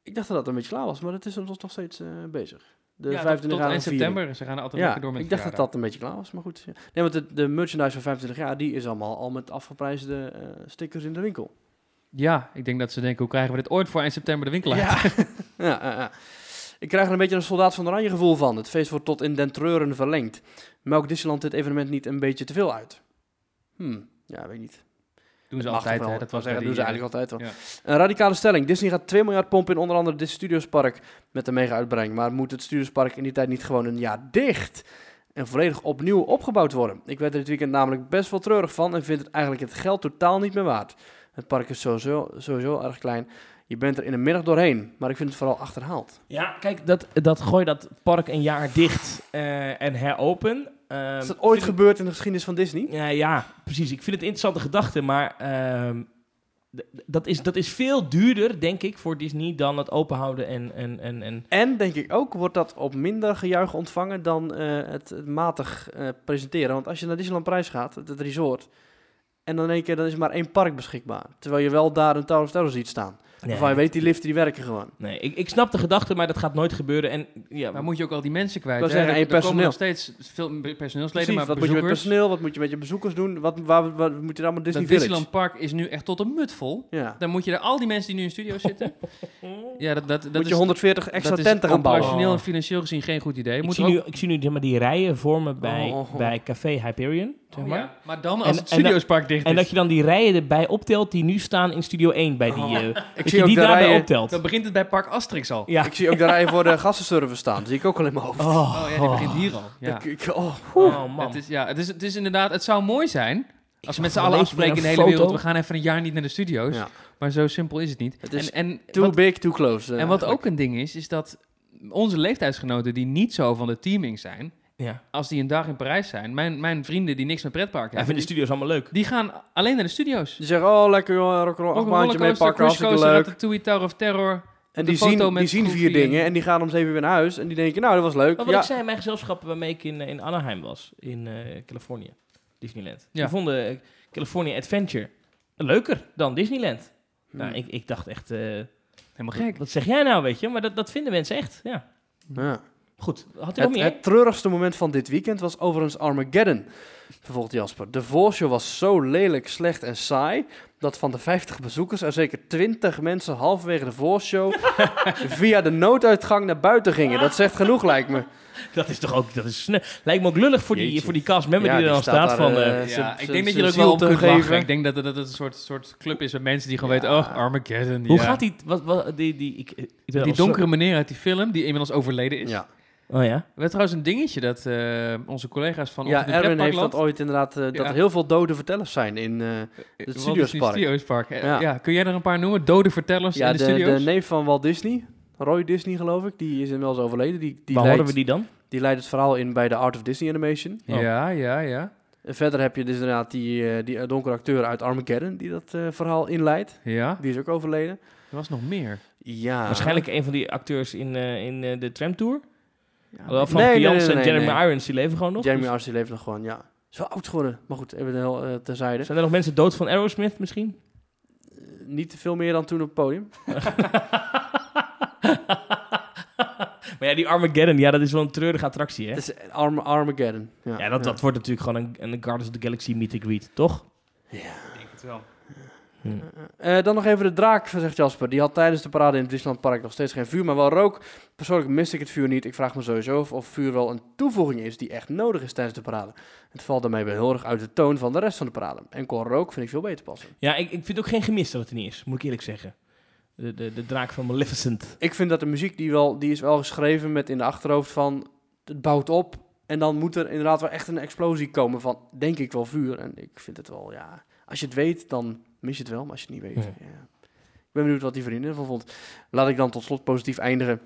Speaker 2: Ik dacht dat dat een beetje klaar was, maar het is nog nog steeds eh, bezig. De
Speaker 3: Ja, tot-
Speaker 2: 25
Speaker 3: tot
Speaker 2: jaar
Speaker 3: eind
Speaker 2: viering.
Speaker 3: september. Ze gaan er altijd
Speaker 2: Ja,
Speaker 3: lekker door met
Speaker 2: ik dacht dat
Speaker 3: verjaardag.
Speaker 2: dat een beetje klaar was, maar goed. Ja. Nee, want de, de merchandise van 25 jaar, die is allemaal al met afgeprijsde eh, stickers in de winkel.
Speaker 3: Ja, ik denk dat ze denken, hoe krijgen we dit ooit voor eind september de winkel uit?
Speaker 2: Ja, ja, ja. Ik krijg er een beetje een soldaat van oranje gevoel van. Het feest wordt tot in den treuren verlengd. Melk Disneyland dit evenement niet een beetje te veel uit? Hmm, ja, weet ik niet.
Speaker 3: Doen ze
Speaker 2: Mag toch
Speaker 3: altijd,
Speaker 2: wel.
Speaker 3: hè?
Speaker 2: Ik
Speaker 3: Dat
Speaker 2: wou
Speaker 3: was bij
Speaker 2: zeggen,
Speaker 3: die,
Speaker 2: doen ze
Speaker 3: eh,
Speaker 2: eigenlijk altijd wel.
Speaker 3: ja.
Speaker 2: Een radicale stelling. Disney gaat 2 miljard pompen in onder andere dit Studiospark met de mega-uitbreiding. Maar moet het Studiospark in die tijd niet gewoon een jaar dicht en volledig opnieuw opgebouwd worden? Ik werd er dit weekend namelijk best wel treurig van en vind het eigenlijk het geld totaal niet meer waard. Het park is sowieso, sowieso erg klein. Je bent er in de middag doorheen, maar ik vind het vooral achterhaald.
Speaker 1: ja, kijk, dat, dat gooi dat park een jaar dicht eh, en heropen. Ehm,
Speaker 2: Is dat ooit
Speaker 1: vind ik-
Speaker 2: gebeurd in de geschiedenis van Disney?
Speaker 1: Ja, ja, precies. Ik vind het een interessante gedachte, maar ehm, d- d- dat, is, dat is veel duurder, denk ik, voor Disney dan het openhouden en... en, en, en
Speaker 2: En denk ik ook wordt dat op minder gejuich ontvangen dan eh, het, het matig eh, presenteren. Want als je naar Disneyland Parijs gaat, het, het resort, en dan in één keer dan is er maar één park beschikbaar. Terwijl je wel daar een Tower of Terror ziet staan.
Speaker 1: Nee,
Speaker 2: Waarvan je weet, die liften die werken gewoon.
Speaker 1: nee ik, ik snap de gedachte, maar dat gaat nooit gebeuren. En ja,
Speaker 3: Maar moet je ook al die mensen kwijt?
Speaker 2: Dat
Speaker 3: hè?
Speaker 2: zeggen, en je
Speaker 3: Er komen nog
Speaker 2: personeel.
Speaker 3: steeds veel personeelsleden,
Speaker 2: Precies,
Speaker 3: maar
Speaker 2: wat moet je met
Speaker 3: bezoekers.
Speaker 2: personeel, wat moet je met je bezoekers doen, wat, waar, waar moet je dan allemaal Disney
Speaker 3: dat
Speaker 2: Village?
Speaker 3: Disneyland Park is nu echt tot een mut vol.
Speaker 2: Ja.
Speaker 3: Dan moet je er al die mensen die nu in studio zitten. ja, dat, dat, dat
Speaker 2: moet
Speaker 3: is,
Speaker 2: je 140 extra
Speaker 3: dat is
Speaker 2: tenten gaan bouwen.
Speaker 3: operationeel en financieel gezien geen goed idee.
Speaker 1: ik,
Speaker 3: Moet
Speaker 1: zie
Speaker 3: er ook-
Speaker 1: nu, ik zie nu zeg maar, die rijen vormen bij,
Speaker 2: Oh.
Speaker 1: bij Café Hyperion. Zeg
Speaker 3: Oh,
Speaker 1: maar.
Speaker 3: ja. Maar dan
Speaker 1: En-
Speaker 3: als het
Speaker 1: en dat-
Speaker 3: Studiospark dicht is.
Speaker 1: En dat je dan die rijen erbij optelt die nu staan in Studio 1 bij die...
Speaker 2: Oh.
Speaker 1: eh,
Speaker 2: Ik
Speaker 1: dat
Speaker 2: zie
Speaker 1: je
Speaker 2: ook
Speaker 1: die
Speaker 2: de
Speaker 1: daarbij
Speaker 2: rijen-
Speaker 1: optelt. Oh.
Speaker 3: Dan begint het bij Park Asterix al.
Speaker 1: Ja.
Speaker 2: Ik zie ook de rijen voor de gassenservice staan. Dat zie ik ook al in mijn hoofd.
Speaker 1: Oh,
Speaker 3: Oh ja, die begint hier al. Ja.
Speaker 2: Ik- ik- oh.
Speaker 1: Oh, man.
Speaker 3: Het is, ja, het is, het is inderdaad, het zou mooi zijn als we met z'n
Speaker 1: zag
Speaker 3: allen
Speaker 1: ineens weer
Speaker 3: afspreken in de
Speaker 1: een
Speaker 3: hele wereld.
Speaker 1: foto.
Speaker 3: We gaan even een jaar niet naar de studio's.
Speaker 2: Ja.
Speaker 3: Maar zo simpel is het niet.
Speaker 2: Het is
Speaker 3: en, en,
Speaker 2: Too
Speaker 3: wat,
Speaker 2: big, too close. eh,
Speaker 3: en wat
Speaker 2: eigenlijk.
Speaker 3: ook een ding is, is dat onze leeftijdsgenoten die niet zo van de teaming zijn,
Speaker 1: ja.
Speaker 3: als die een dag in Parijs zijn, mijn, mijn vrienden die niks met pretparken
Speaker 1: Hij
Speaker 3: hebben,
Speaker 1: vindt de
Speaker 3: die,
Speaker 1: studio's allemaal leuk.
Speaker 3: die gaan alleen naar de studio's.
Speaker 2: Die zeggen, oh lekker jongen, rock'n'roll, acht maandje mee
Speaker 3: Rollercoaster,
Speaker 2: pakken, hartstikke
Speaker 3: cruisecoaster,
Speaker 2: leuk.
Speaker 3: Ratatouille, Tower of Terror.
Speaker 2: En
Speaker 3: de
Speaker 2: die
Speaker 3: foto
Speaker 2: zien,
Speaker 3: met
Speaker 2: die zien vier
Speaker 3: Goofy en-
Speaker 2: dingen en die gaan om zeven uur weer naar huis. En die denken, nou dat was leuk.
Speaker 1: Maar wat
Speaker 2: ja,
Speaker 1: ik zei in mijn gezelschap waarmee ik in, eh, in Anaheim was, in eh, Californië, Disneyland.
Speaker 3: Ja.
Speaker 1: Die vonden eh, California Adventure leuker dan Disneyland. Nou,
Speaker 2: Hmm.
Speaker 1: ik, ik dacht echt, eh,
Speaker 3: Helemaal gek.
Speaker 1: wat zeg jij nou, weet je? Maar dat, dat vinden mensen echt, ja.
Speaker 2: ja.
Speaker 1: Goed, had ik ook
Speaker 2: Het,
Speaker 1: niet,
Speaker 2: het treurigste moment van dit weekend was overigens Armageddon, vervolgt Jasper. De voorshow was zo lelijk, slecht en saai, dat van de 50 bezoekers er zeker 20 mensen halverwege de voorshow via de nooduitgang naar buiten gingen. Dat zegt genoeg, lijkt me.
Speaker 1: hè? Dat is toch ook, dat is sneu. Lijkt me ook lullig voor die,
Speaker 2: Jeetje.
Speaker 1: voor die castmember die er dan staat,
Speaker 2: daar,
Speaker 1: van...
Speaker 2: eh,
Speaker 1: eh,
Speaker 2: zijn-
Speaker 3: Ja, ik
Speaker 2: zijn-
Speaker 3: denk dat je
Speaker 2: zijn
Speaker 3: er ook wel
Speaker 2: ziel
Speaker 3: op
Speaker 2: te
Speaker 3: kunt
Speaker 2: geven.
Speaker 3: lachen. Ik denk dat dat dat het een soort, soort club is met mensen die gewoon
Speaker 2: Ja.
Speaker 3: weten, oh, Armageddon.
Speaker 1: hoe
Speaker 3: ja.
Speaker 1: gaat die, wat, wat, die, die, ik, eh, ik ben al
Speaker 3: Die
Speaker 1: zo-
Speaker 3: donkere meneer uit die film, die inmiddels overleden is.
Speaker 2: Ja,
Speaker 1: Oh ja?
Speaker 3: We hebben trouwens een dingetje dat eh, onze collega's van
Speaker 2: ja
Speaker 3: ons in
Speaker 2: Erwin heeft dat
Speaker 3: pretparkland-
Speaker 2: ooit inderdaad, eh, dat
Speaker 3: Ja.
Speaker 2: er heel veel dode vertellers zijn in... eh,
Speaker 3: Eh,
Speaker 2: het
Speaker 3: Walt
Speaker 2: Studios
Speaker 3: Disney
Speaker 2: Park.
Speaker 3: Studios Park. Eh,
Speaker 2: Ja.
Speaker 3: Ja. kun jij er een paar noemen? Dode vertellers
Speaker 2: ja,
Speaker 3: in de,
Speaker 2: de, de
Speaker 3: studios?
Speaker 2: neef van Walt Disney, Roy Disney geloof ik, die is inmiddels overleden. Die, die,
Speaker 1: Waar
Speaker 2: leidt,
Speaker 1: horen we die dan?
Speaker 2: die leidt het verhaal in bij de Art of Disney Animation.
Speaker 1: Oh.
Speaker 3: Ja, ja, ja.
Speaker 2: En verder heb je dus inderdaad die, eh, die eh, donkere acteur uit Armageddon die dat eh, verhaal inleidt.
Speaker 3: Ja,
Speaker 2: Die is ook overleden.
Speaker 3: er was nog meer.
Speaker 2: Ja.
Speaker 1: Waarschijnlijk een van die acteurs in, eh, in eh, de tramtour.
Speaker 3: Ja,
Speaker 1: Alhoewel Van
Speaker 2: Nee, nee,
Speaker 1: Jansen
Speaker 2: nee, nee,
Speaker 1: en Jeremy
Speaker 2: nee.
Speaker 1: Irons, die leven gewoon nog. dus-
Speaker 2: Jeremy Arce die leeft nog gewoon, ja. Is wel oud geworden. Maar goed, even heel eh, terzijde.
Speaker 1: Zijn er nog mensen dood van Aerosmith misschien?
Speaker 2: Eh, niet te veel meer dan toen op het podium.
Speaker 1: Maar ja, die Armageddon, ja, dat is wel een treurige attractie, hè?
Speaker 2: Het is Arm Armageddon. Ja,
Speaker 1: Ja, dat, dat wordt natuurlijk gewoon een, een Guardians of the Galaxy meet and greet, toch?
Speaker 3: ik denk het wel.
Speaker 2: Eh, dan nog even de draak, zegt Jasper. Die had tijdens de parade in het Disneylandpark nog steeds geen vuur, maar wel rook. Persoonlijk miste ik het vuur niet. Ik vraag me sowieso af of vuur wel een toevoeging is die echt nodig is tijdens de parade. Het valt daarmee wel heel erg uit de toon van de rest van de parade. Enkel rook vind ik veel beter passen.
Speaker 1: Ja, ik, ik vind ook geen gemis dat het er niet is, moet ik eerlijk zeggen. De, de, de draak van Maleficent.
Speaker 2: Ik vind dat de muziek die, wel, die is wel geschreven met in de achterhoofd van het bouwt op. En dan moet er inderdaad wel echt een explosie komen van denk ik wel vuur. En ik vind het wel, ja. Als je het weet, dan mis je het wel. Maar als je het niet weet.
Speaker 1: Ja.
Speaker 2: ja. Ik ben benieuwd wat die vriendin ervan vond. Laat ik dan tot slot positief eindigen.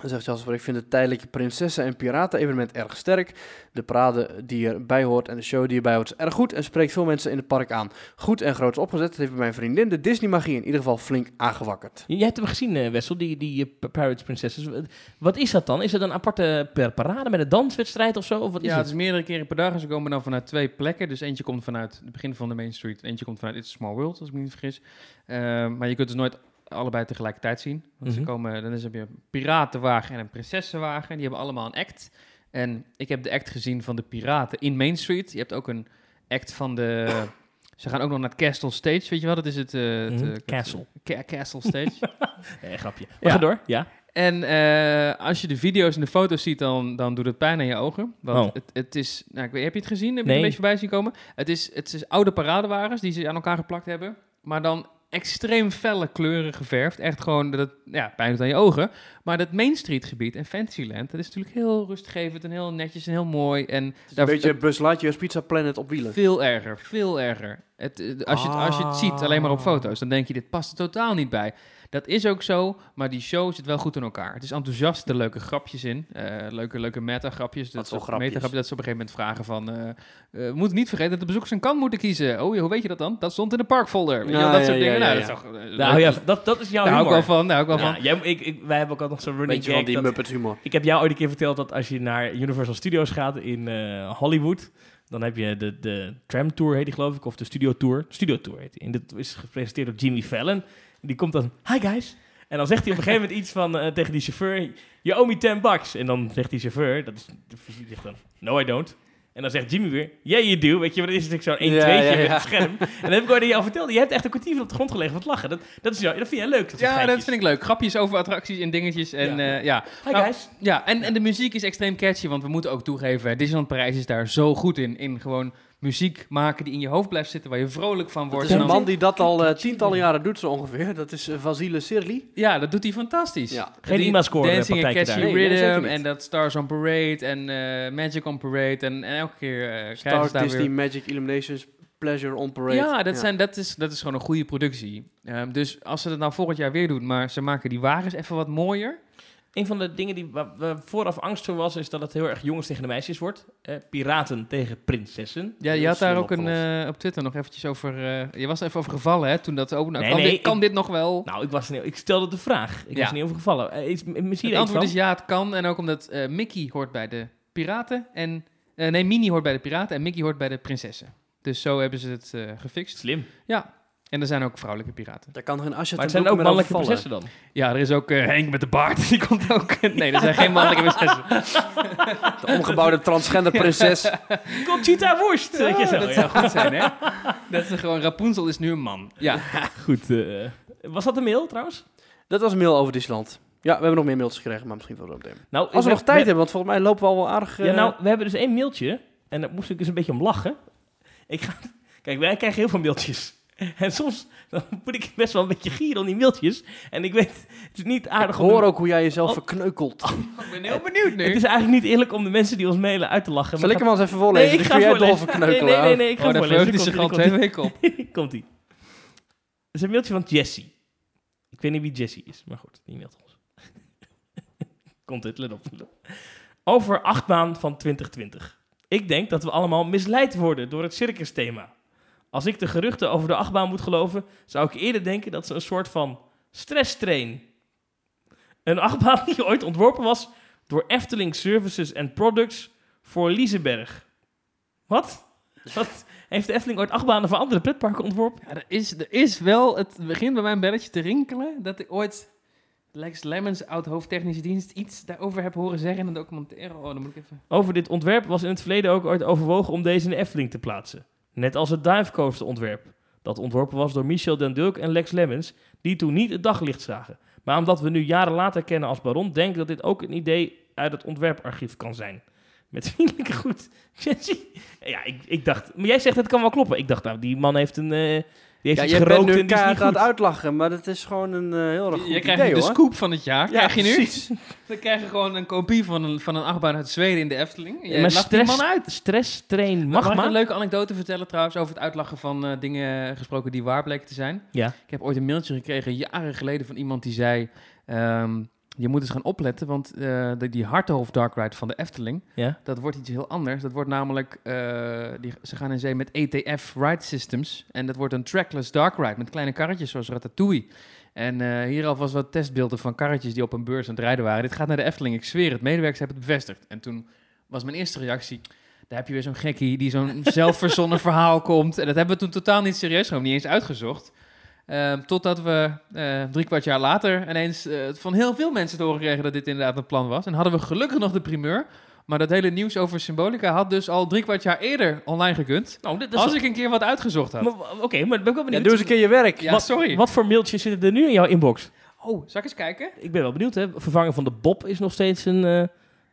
Speaker 2: Dan zegt Jasper, ik vind het tijdelijke prinsessen- en piraten-evenement erg sterk. De parade die erbij hoort en de show die erbij hoort is erg goed en spreekt veel mensen in het park aan. Goed en groots opgezet, het heeft bij mijn vriendin de Disney-magie in ieder geval flink aangewakkerd.
Speaker 1: J- Jij hebt hem gezien, eh, Wessel, die, die eh, P- Pirates Princesses. Wat- Wat is dat dan? Is dat een aparte per parade met een danswedstrijd of zo? Of wat is
Speaker 3: Ja, het
Speaker 1: het?
Speaker 3: is meerdere keren per dag en ze komen dan vanuit twee plekken. Dus eentje komt vanuit het begin van de Main Street en eentje komt vanuit It's a Small World, als ik me niet vergis. Eh, maar je kunt dus nooit allebei tegelijkertijd zien. Want ze
Speaker 1: Mhm.
Speaker 3: komen, dan is, heb je een piratenwagen en een prinsessenwagen. Die hebben allemaal een act. En ik heb de act gezien van de piraten in Main Street. Je hebt ook een act van de... Ze gaan ook nog naar het Castle Stage, weet je wel? Dat is het... eh, het,
Speaker 1: Mhm,
Speaker 3: eh,
Speaker 1: castle.
Speaker 3: Ca- Castle Stage.
Speaker 1: Eh, grapje. Maar
Speaker 3: Ja.
Speaker 1: ga door, ja.
Speaker 3: En eh, als je de video's en de foto's ziet, dan, dan doet het pijn aan je ogen. Want
Speaker 1: Oh.
Speaker 3: het, het is, nou, ik weet, heb je het gezien? Heb je het
Speaker 1: Nee.
Speaker 3: een beetje voorbij zien komen? Het is, het is oude paradewagens die ze aan elkaar geplakt hebben. Maar dan extreem felle kleuren geverfd. Echt gewoon, dat, het- ja, pijn doet aan je ogen. Maar dat Main Street gebied en Fantasyland, dat is natuurlijk heel rustgevend en heel netjes en heel mooi. En
Speaker 2: Het is een beetje Bus Lightyear's Pizza Planet op wielen.
Speaker 3: veel erger, veel erger. Het, eh, als, je, het- als je het ziet alleen maar op
Speaker 1: Ah.
Speaker 3: foto's, dan denk je, dit past er totaal niet bij. Dat is ook zo, maar die show zit wel goed in elkaar. Het is enthousiast, er leuke grapjes in. eh, leuke leuke meta-grapjes.
Speaker 2: Wat
Speaker 3: Dat,
Speaker 2: voor
Speaker 3: soort
Speaker 2: grapjes?
Speaker 3: metagrapjes, dat ze op een gegeven moment vragen van... eh, eh, we moeten niet vergeten dat de bezoekers een kant moeten kiezen. Oh, ja, hoe weet je dat dan? Dat stond in de parkfolder. Weet je wel,
Speaker 2: Ja,
Speaker 3: dat soort
Speaker 2: Ah, ja, ja,
Speaker 3: dingen.
Speaker 2: ja,
Speaker 3: nou,
Speaker 2: ja.
Speaker 3: dat is toch, eh,
Speaker 1: Nou
Speaker 3: leuk.
Speaker 1: ja, dat, dat is jouw
Speaker 3: Daar hou ik
Speaker 1: humor.
Speaker 3: wel van, daar hou ik wel
Speaker 1: Ja,
Speaker 3: van.
Speaker 1: jij, ik, ik, wij hebben ook altijd nog zo'n running
Speaker 2: Beetje van
Speaker 1: gag
Speaker 2: die
Speaker 1: dat-
Speaker 2: Muppet humor.
Speaker 1: Ik heb jou ooit een keer verteld dat als je naar Universal Studios gaat in eh, Hollywood, dan heb je de, de tram tour heet die geloof ik, of de studio tour. Studio tour heet die. En dat is gepresenteerd door Jimmy Fallon. Die komt dan, hi guys. En dan zegt hij op een gegeven moment iets van, eh, tegen die chauffeur, you owe me 10 bucks. En dan zegt die chauffeur, dat is, die zegt dan, no I don't. En dan zegt Jimmy weer, yeah you do. Weet je, maar dan is het zo'n 1
Speaker 2: Ja,
Speaker 1: 2
Speaker 2: ja,
Speaker 1: met
Speaker 2: ja.
Speaker 1: het scherm. En dan heb ik ooit aan jou verteld, je hebt echt een kwartier van op de grond gelegen van het lachen. Dat, dat, is, jou- dat vind jij leuk. Dat soort
Speaker 3: Ja, dat
Speaker 1: geintjes.
Speaker 3: vind ik leuk. Grapjes over attracties en dingetjes. En,
Speaker 1: Ja.
Speaker 3: ja. ja.
Speaker 1: Hi
Speaker 3: Nou,
Speaker 1: guys.
Speaker 3: Ja, en, en de muziek is extreem catchy, want we moeten ook toegeven, Disneyland Parijs is daar zo goed in. In gewoon muziek maken die in je hoofd blijft zitten, waar je vrolijk van
Speaker 2: Het
Speaker 3: wordt.
Speaker 2: is
Speaker 3: En
Speaker 2: een
Speaker 3: dan-
Speaker 2: man die dat al eh, tientallen jaren doet, zo ongeveer. Dat is eh, Vasile Sirli.
Speaker 3: Ja, dat doet hij fantastisch.
Speaker 2: Ja.
Speaker 1: Geen
Speaker 3: Die
Speaker 1: IMA-score
Speaker 3: Dancing and
Speaker 1: partijtje
Speaker 3: Catchy
Speaker 2: daar. Nee, nee, zeker
Speaker 3: Rhythm
Speaker 2: niet.
Speaker 3: en dat Stars on Parade en eh, Magic on Parade en, en elke keer eh, krijgen
Speaker 2: Star
Speaker 3: ze daar
Speaker 2: Disney
Speaker 3: weer...
Speaker 2: Magic Illuminations Pleasure on Parade.
Speaker 3: Ja, dat, Zijn, dat, is, dat is gewoon een goede productie. Ehm, dus als ze dat nou volgend jaar weer doen, maar ze maken die wagens even wat mooier.
Speaker 1: Een van de dingen die waar, waar vooraf angst voor was, is dat het heel erg jongens tegen de meisjes wordt. Eh, piraten tegen prinsessen.
Speaker 3: Ja,
Speaker 2: Dat
Speaker 3: je
Speaker 2: is
Speaker 3: had daar
Speaker 2: slim
Speaker 3: ook een,
Speaker 2: opgelost.
Speaker 3: eh, op Twitter nog eventjes over... eh, je was er even over gevallen, hè, toen dat... Oh, nou,
Speaker 1: Nee,
Speaker 3: kan,
Speaker 1: nee,
Speaker 3: dit, kan
Speaker 1: ik-
Speaker 3: dit nog wel?
Speaker 1: Nou, ik, was, niet- ik stelde de vraag. Ik
Speaker 3: Ja.
Speaker 1: was er niet over gevallen. Eh, is, m- misschien
Speaker 3: Het
Speaker 1: iets van.
Speaker 3: antwoord is ja, het kan. En ook omdat eh, Mickey hoort bij de piraten. En, eh, nee, Minnie hoort bij de piraten en Mickey hoort bij de prinsessen. Dus zo hebben ze het eh, gefixt.
Speaker 1: Slim.
Speaker 3: Ja, en er zijn ook vrouwelijke piraten.
Speaker 2: Daar kan geen asje
Speaker 1: Maar het
Speaker 2: ten
Speaker 1: zijn ook
Speaker 2: broeke meer
Speaker 1: mannelijke
Speaker 2: over vallen.
Speaker 1: prinsessen dan.
Speaker 3: Ja, er is ook eh, Henk met de baard. Die komt ook. Nee, er zijn geen mannelijke prinsessen.
Speaker 2: De omgebouwde transgender prinses.
Speaker 1: Conchita worst! weet je zo, ja.
Speaker 3: dat zou goed zijn, hè? Dat is gewoon, Rapunzel is nu een man. Ja,
Speaker 1: Goed. eh, was dat een mail trouwens?
Speaker 2: Dat was een mail over Disneyland. Ja, we hebben nog meer mails gekregen, maar misschien wel zo meteen.
Speaker 1: Nou, ik
Speaker 2: Als we
Speaker 1: heb-
Speaker 2: nog tijd hebben, want volgens mij lopen we al wel aardig... eh,
Speaker 1: Ja, nou, we hebben dus één mailtje. En daar moest ik dus een beetje om lachen. Ik ga, kijk, wij krijgen heel veel mailtjes. En soms dan moet ik best wel een beetje gieren om die mailtjes. En ik weet, het is niet
Speaker 2: ik
Speaker 1: aardig om...
Speaker 2: hoor ook hoe jij jezelf
Speaker 1: Oh.
Speaker 2: verkneukelt.
Speaker 3: ik ben heel benieuwd
Speaker 1: Het
Speaker 3: nu.
Speaker 1: is eigenlijk niet eerlijk om de mensen die ons mailen uit te lachen.
Speaker 2: Zal ik
Speaker 1: maar
Speaker 2: hem al eens even voorlezen?
Speaker 1: Nee, ik
Speaker 2: Dan
Speaker 1: ga
Speaker 2: kun jij dol
Speaker 1: voorlezen.
Speaker 2: verkneukelen.
Speaker 1: Nee, nee, nee, nee, ik ga
Speaker 3: Oh, daar
Speaker 1: voorlezen.
Speaker 3: verheugt hij zich al
Speaker 1: Komt-ie,
Speaker 3: twee weken op.
Speaker 1: Komt ie. Het is een mailtje van Jesse. Ik weet niet wie Jesse is, maar goed, die mailt ons. Komt dit, let op. Over achtbaan van 2020. Ik denk dat we allemaal misleid worden door het circus thema. Als ik de geruchten over de achtbaan moet geloven, zou ik eerder denken dat ze een soort van stresstrain. Een achtbaan die ooit ontworpen was door Efteling Services and Products voor Liesenberg. Wat? Wat? Heeft de Efteling ooit achtbanen voor andere pretparken ontworpen?
Speaker 3: Ja, er, is, er is wel, het begint bij mijn belletje te rinkelen, dat ik ooit Lex Lemmens, oud hoofdtechnische dienst, iets daarover heb horen zeggen in een documentaire. Oh, dan moet ik even...
Speaker 1: Over dit ontwerp was in het verleden ook ooit overwogen om deze in de Efteling te plaatsen. Net als het Dive Coaster ontwerp. Dat ontworpen was door Michel Den Dulk en Lex Lemmens, die toen niet het daglicht zagen. Maar omdat we nu jaren later kennen als Baron, denk ik dat dit ook een idee uit het ontwerparchief kan zijn. Met vriendelijke groet, Jesse. Ja, ik, ik dacht... Maar jij zegt het kan wel kloppen. Ik dacht, nou, die man heeft een... eh, die heeft
Speaker 2: Ja,
Speaker 1: iets
Speaker 2: jij bent
Speaker 1: gerookt
Speaker 2: nu
Speaker 1: en die is niet
Speaker 2: elkaar aan
Speaker 1: goed.
Speaker 2: het uitlachen, maar dat is gewoon een eh, heel erg goed
Speaker 3: Je
Speaker 2: idee,
Speaker 3: krijgt nu de
Speaker 2: hoor.
Speaker 3: scoop van het jaar, krijg je nu.
Speaker 2: precies.
Speaker 3: Dan krijg je gewoon een kopie van een, van een achtbaan uit Zweden in de Efteling. En jij
Speaker 1: maar
Speaker 3: lacht die
Speaker 1: stress,
Speaker 3: man uit.
Speaker 1: stress train
Speaker 3: Mag,
Speaker 1: mag
Speaker 3: ik een
Speaker 1: maar.
Speaker 3: leuke anekdote vertellen trouwens over het uitlachen van eh, dingen gesproken die waar bleken te zijn?
Speaker 1: Ja.
Speaker 3: Ik heb ooit een mailtje gekregen, jaren geleden, van iemand die zei... ehm, je moet eens gaan opletten, want eh, de, die Hartenhof Dark Ride van de Efteling...
Speaker 1: Ja.
Speaker 3: dat wordt iets heel anders. Dat wordt namelijk... eh, die, ze gaan in zee met ETF Ride Systems. En dat wordt een trackless dark ride met kleine karretjes zoals Ratatouille. En eh, hier alvast wat testbeelden van karretjes die op een beurs aan het rijden waren. Dit gaat naar de Efteling, ik zweer het. Medewerkers hebben het bevestigd. En toen was mijn eerste reactie... Daar heb je weer zo'n gekkie die zo'n zelfverzonnen verhaal komt. En dat hebben we toen totaal niet serieus genomen, niet eens uitgezocht. Ehm, totdat we eh, drie kwart jaar later ineens eh, van heel veel mensen te horen kregen dat dit inderdaad een plan was. En hadden we gelukkig nog de primeur. Maar dat hele nieuws over Symbolica had dus al drie kwart jaar eerder online gekund.
Speaker 1: Nou, dit
Speaker 3: Als
Speaker 1: is
Speaker 3: ik een keer wat uitgezocht had.
Speaker 1: Maar w- Oké, maar ben ik wel
Speaker 2: Ja,
Speaker 1: benieuwd.
Speaker 2: doe eens een keer je werk.
Speaker 3: Ja,
Speaker 1: wat-
Speaker 3: sorry.
Speaker 1: Wat voor mailtjes zitten er nu in jouw inbox?
Speaker 3: Oh, zal ik eens kijken?
Speaker 1: Ik ben wel benieuwd, hè. Vervangen van de Bob is nog steeds een, eh,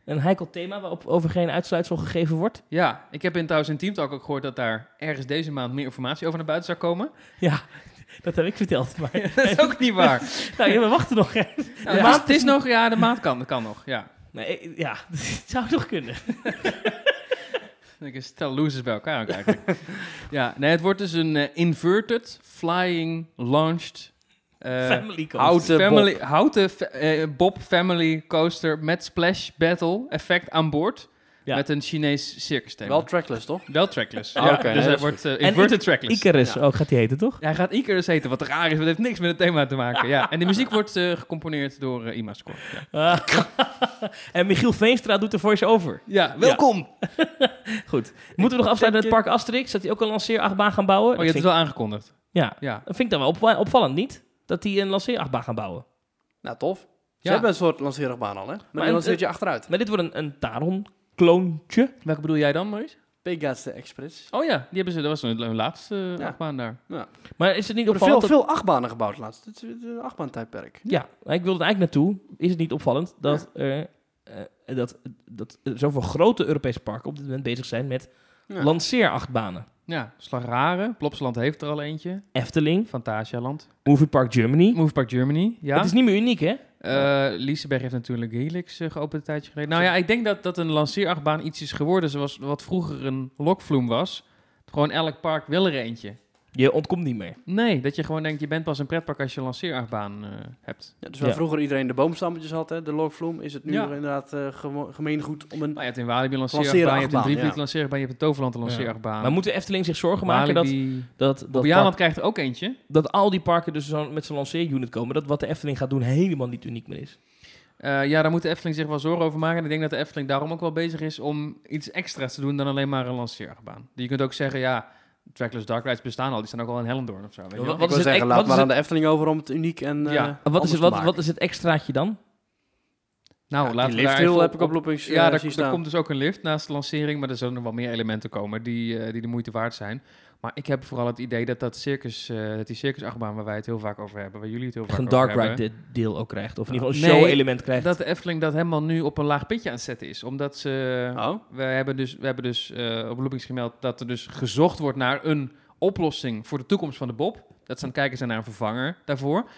Speaker 1: een heikel thema waarop over geen uitsluitsel gegeven wordt.
Speaker 3: Ja, ik heb in trouwens in Teamtalk ook gehoord dat daar ergens deze maand meer informatie over naar buiten zou komen.
Speaker 1: Ja, dat heb ik verteld. Maar
Speaker 3: dat is ook niet waar.
Speaker 1: nou, ja, we wachten nog. hè.
Speaker 3: Nou, het, is, het is nog, ja, de maand kan, kan nog, ja.
Speaker 1: Nee, ik- ja, het zou toch kunnen.
Speaker 3: Ik een stel losers bij elkaar ook eigenlijk. ja, nee, het wordt dus een eh, inverted, flying, launched... eh,
Speaker 1: Family coast.
Speaker 2: hout. Houten
Speaker 3: family, Houten fa- eh, Bob Family Coaster met splash battle effect aan boord.
Speaker 1: Ja.
Speaker 3: Met een Chinees circus thema.
Speaker 2: Wel trackless, toch?
Speaker 3: Wel trackless.
Speaker 2: Ah,
Speaker 3: Ja,
Speaker 2: oké, nee, dat
Speaker 3: dus hij
Speaker 2: is
Speaker 3: wordt eh,
Speaker 1: En
Speaker 3: inverted trackless.
Speaker 1: Icarus,
Speaker 2: Ja.
Speaker 1: ook gaat die heten, toch?
Speaker 3: Hij gaat Icarus heten, wat raar is, want het heeft niks met het thema te maken. Ja. En de muziek wordt eh, gecomponeerd door eh, Ima Score. Ja.
Speaker 1: Ah. en Michiel Veenstra doet de voice-over.
Speaker 3: welkom!
Speaker 1: Goed. Moeten we nog afsluiten met het park Asterix? Dat hij ook een lanceerachtbaan gaan bouwen?
Speaker 3: Oh, je
Speaker 1: dat
Speaker 3: hebt het
Speaker 1: vind
Speaker 3: wel aangekondigd.
Speaker 1: ik- ja,
Speaker 3: Ja.
Speaker 1: dat vind ik dan wel op- opvallend, niet? dat die een lanceerachtbaan gaan bouwen.
Speaker 2: Nou, tof. Ze
Speaker 3: Ja.
Speaker 2: hebben een soort lanceerbaan al, hè? Maar,
Speaker 1: Maar
Speaker 2: die
Speaker 1: een-
Speaker 2: lanceert je achteruit.
Speaker 1: Maar dit wordt een, een Taron-kloontje.
Speaker 3: Welke bedoel jij dan, Maurice?
Speaker 2: Pegasus Express.
Speaker 3: Oh ja, die hebben ze, dat was hun hun laatste eh,
Speaker 2: Ja.
Speaker 3: achtbaan daar.
Speaker 1: Maar is het niet
Speaker 2: Er worden veel,
Speaker 1: opvallend... dat-
Speaker 2: veel achtbanen gebouwd laatst. Het is een achtbaantijdperk.
Speaker 1: Ja, maar ik wilde er eigenlijk naartoe. Is het niet opvallend dat, eh, eh, dat, dat er zoveel grote Europese parken op dit moment bezig zijn met
Speaker 2: Ja.
Speaker 1: lanceerachtbanen?
Speaker 3: Ja, dus Slagraren, Plopsaland heeft er al eentje.
Speaker 1: Efteling,
Speaker 3: Fantasialand.
Speaker 1: Movie Park Germany.
Speaker 3: Move Park Germany, ja.
Speaker 1: Het is niet meer uniek, hè?
Speaker 3: Eh, Lieseberg heeft natuurlijk Helix eh, geopend een tijdje geleden. Nou ja, ik denk dat, dat een lanceerachtbaan iets is geworden zoals wat vroeger een lokvloem was. Gewoon elk park wil er eentje.
Speaker 1: Je ontkomt niet meer.
Speaker 3: Nee, dat je gewoon denkt, je bent pas een pretpark als je een lanceerachtbaan eh, hebt.
Speaker 2: Ja, dus waar
Speaker 1: Ja.
Speaker 2: vroeger iedereen de boomstammetjes had, hè, de lookvloem, is het nu
Speaker 3: Ja.
Speaker 2: inderdaad eh, gemo- gemeengoed om een...
Speaker 3: Nou, je hebt in Walibi een lanceerachtbaan, je hebt in
Speaker 2: Lanceerachtbaan,
Speaker 3: Drievliet
Speaker 2: ja.
Speaker 3: een lanceerachtbaan, je hebt in Toverland een
Speaker 1: Ja.
Speaker 3: lanceerachtbaan.
Speaker 1: Maar moet de Efteling zich zorgen maken dat,
Speaker 3: Walibi-
Speaker 1: dat, dat,
Speaker 3: Bobbejaanland
Speaker 1: park-
Speaker 3: krijgt er ook eentje.
Speaker 1: dat al die parken dus zo met zo'n lanceerunit komen? Dat wat de Efteling gaat doen helemaal niet uniek meer is.
Speaker 3: Eh, ja, daar moet de Efteling zich wel zorgen over maken. En ik denk dat de Efteling daarom ook wel bezig is om iets extra's te doen dan alleen maar een lanceerachtbaan. Je kunt ook zeggen, ja, trackless dark rides bestaan al. Die staan ook al in Hellendoorn of zo. Weet je wel?
Speaker 1: Wat-
Speaker 2: Wat
Speaker 1: is
Speaker 2: ik wil
Speaker 1: het
Speaker 2: zeggen,
Speaker 1: echt-
Speaker 2: laat
Speaker 1: wat is
Speaker 2: maar aan
Speaker 1: het-
Speaker 2: de Efteling over om het uniek en eh
Speaker 3: Ja.
Speaker 1: Wat
Speaker 2: anders
Speaker 1: is, het,
Speaker 2: te
Speaker 1: wat,
Speaker 2: maken.
Speaker 1: wat is het extraatje dan?
Speaker 3: Nou,
Speaker 2: Ja,
Speaker 3: laten
Speaker 2: die
Speaker 3: we daar
Speaker 2: lift heel
Speaker 3: even
Speaker 2: heb ik op loopings eh,
Speaker 3: Ja, daar,
Speaker 2: zien
Speaker 3: daar
Speaker 2: staan.
Speaker 3: komt dus ook een lift naast de lancering. Maar er zullen nog wel meer elementen komen die, eh, die de moeite waard zijn. Maar ik heb vooral het idee dat, dat circus, eh, dat die circusachtbaan waar wij het heel vaak over hebben, waar jullie het heel vaak
Speaker 1: Een
Speaker 3: over
Speaker 1: dark
Speaker 3: hebben...
Speaker 1: ride de- deel ook krijgt. Of in ieder geval een
Speaker 3: Nee,
Speaker 1: show-element krijgt.
Speaker 3: Dat de Efteling dat helemaal nu op een laag pitje aan het zetten is. Omdat ze...
Speaker 1: Ah.
Speaker 2: Oh,
Speaker 3: We hebben dus, we hebben dus eh, op Loopings gemeld dat er dus gezocht wordt naar een oplossing voor de toekomst van de Bob. Dat ze aan het kijken zijn naar een vervanger daarvoor.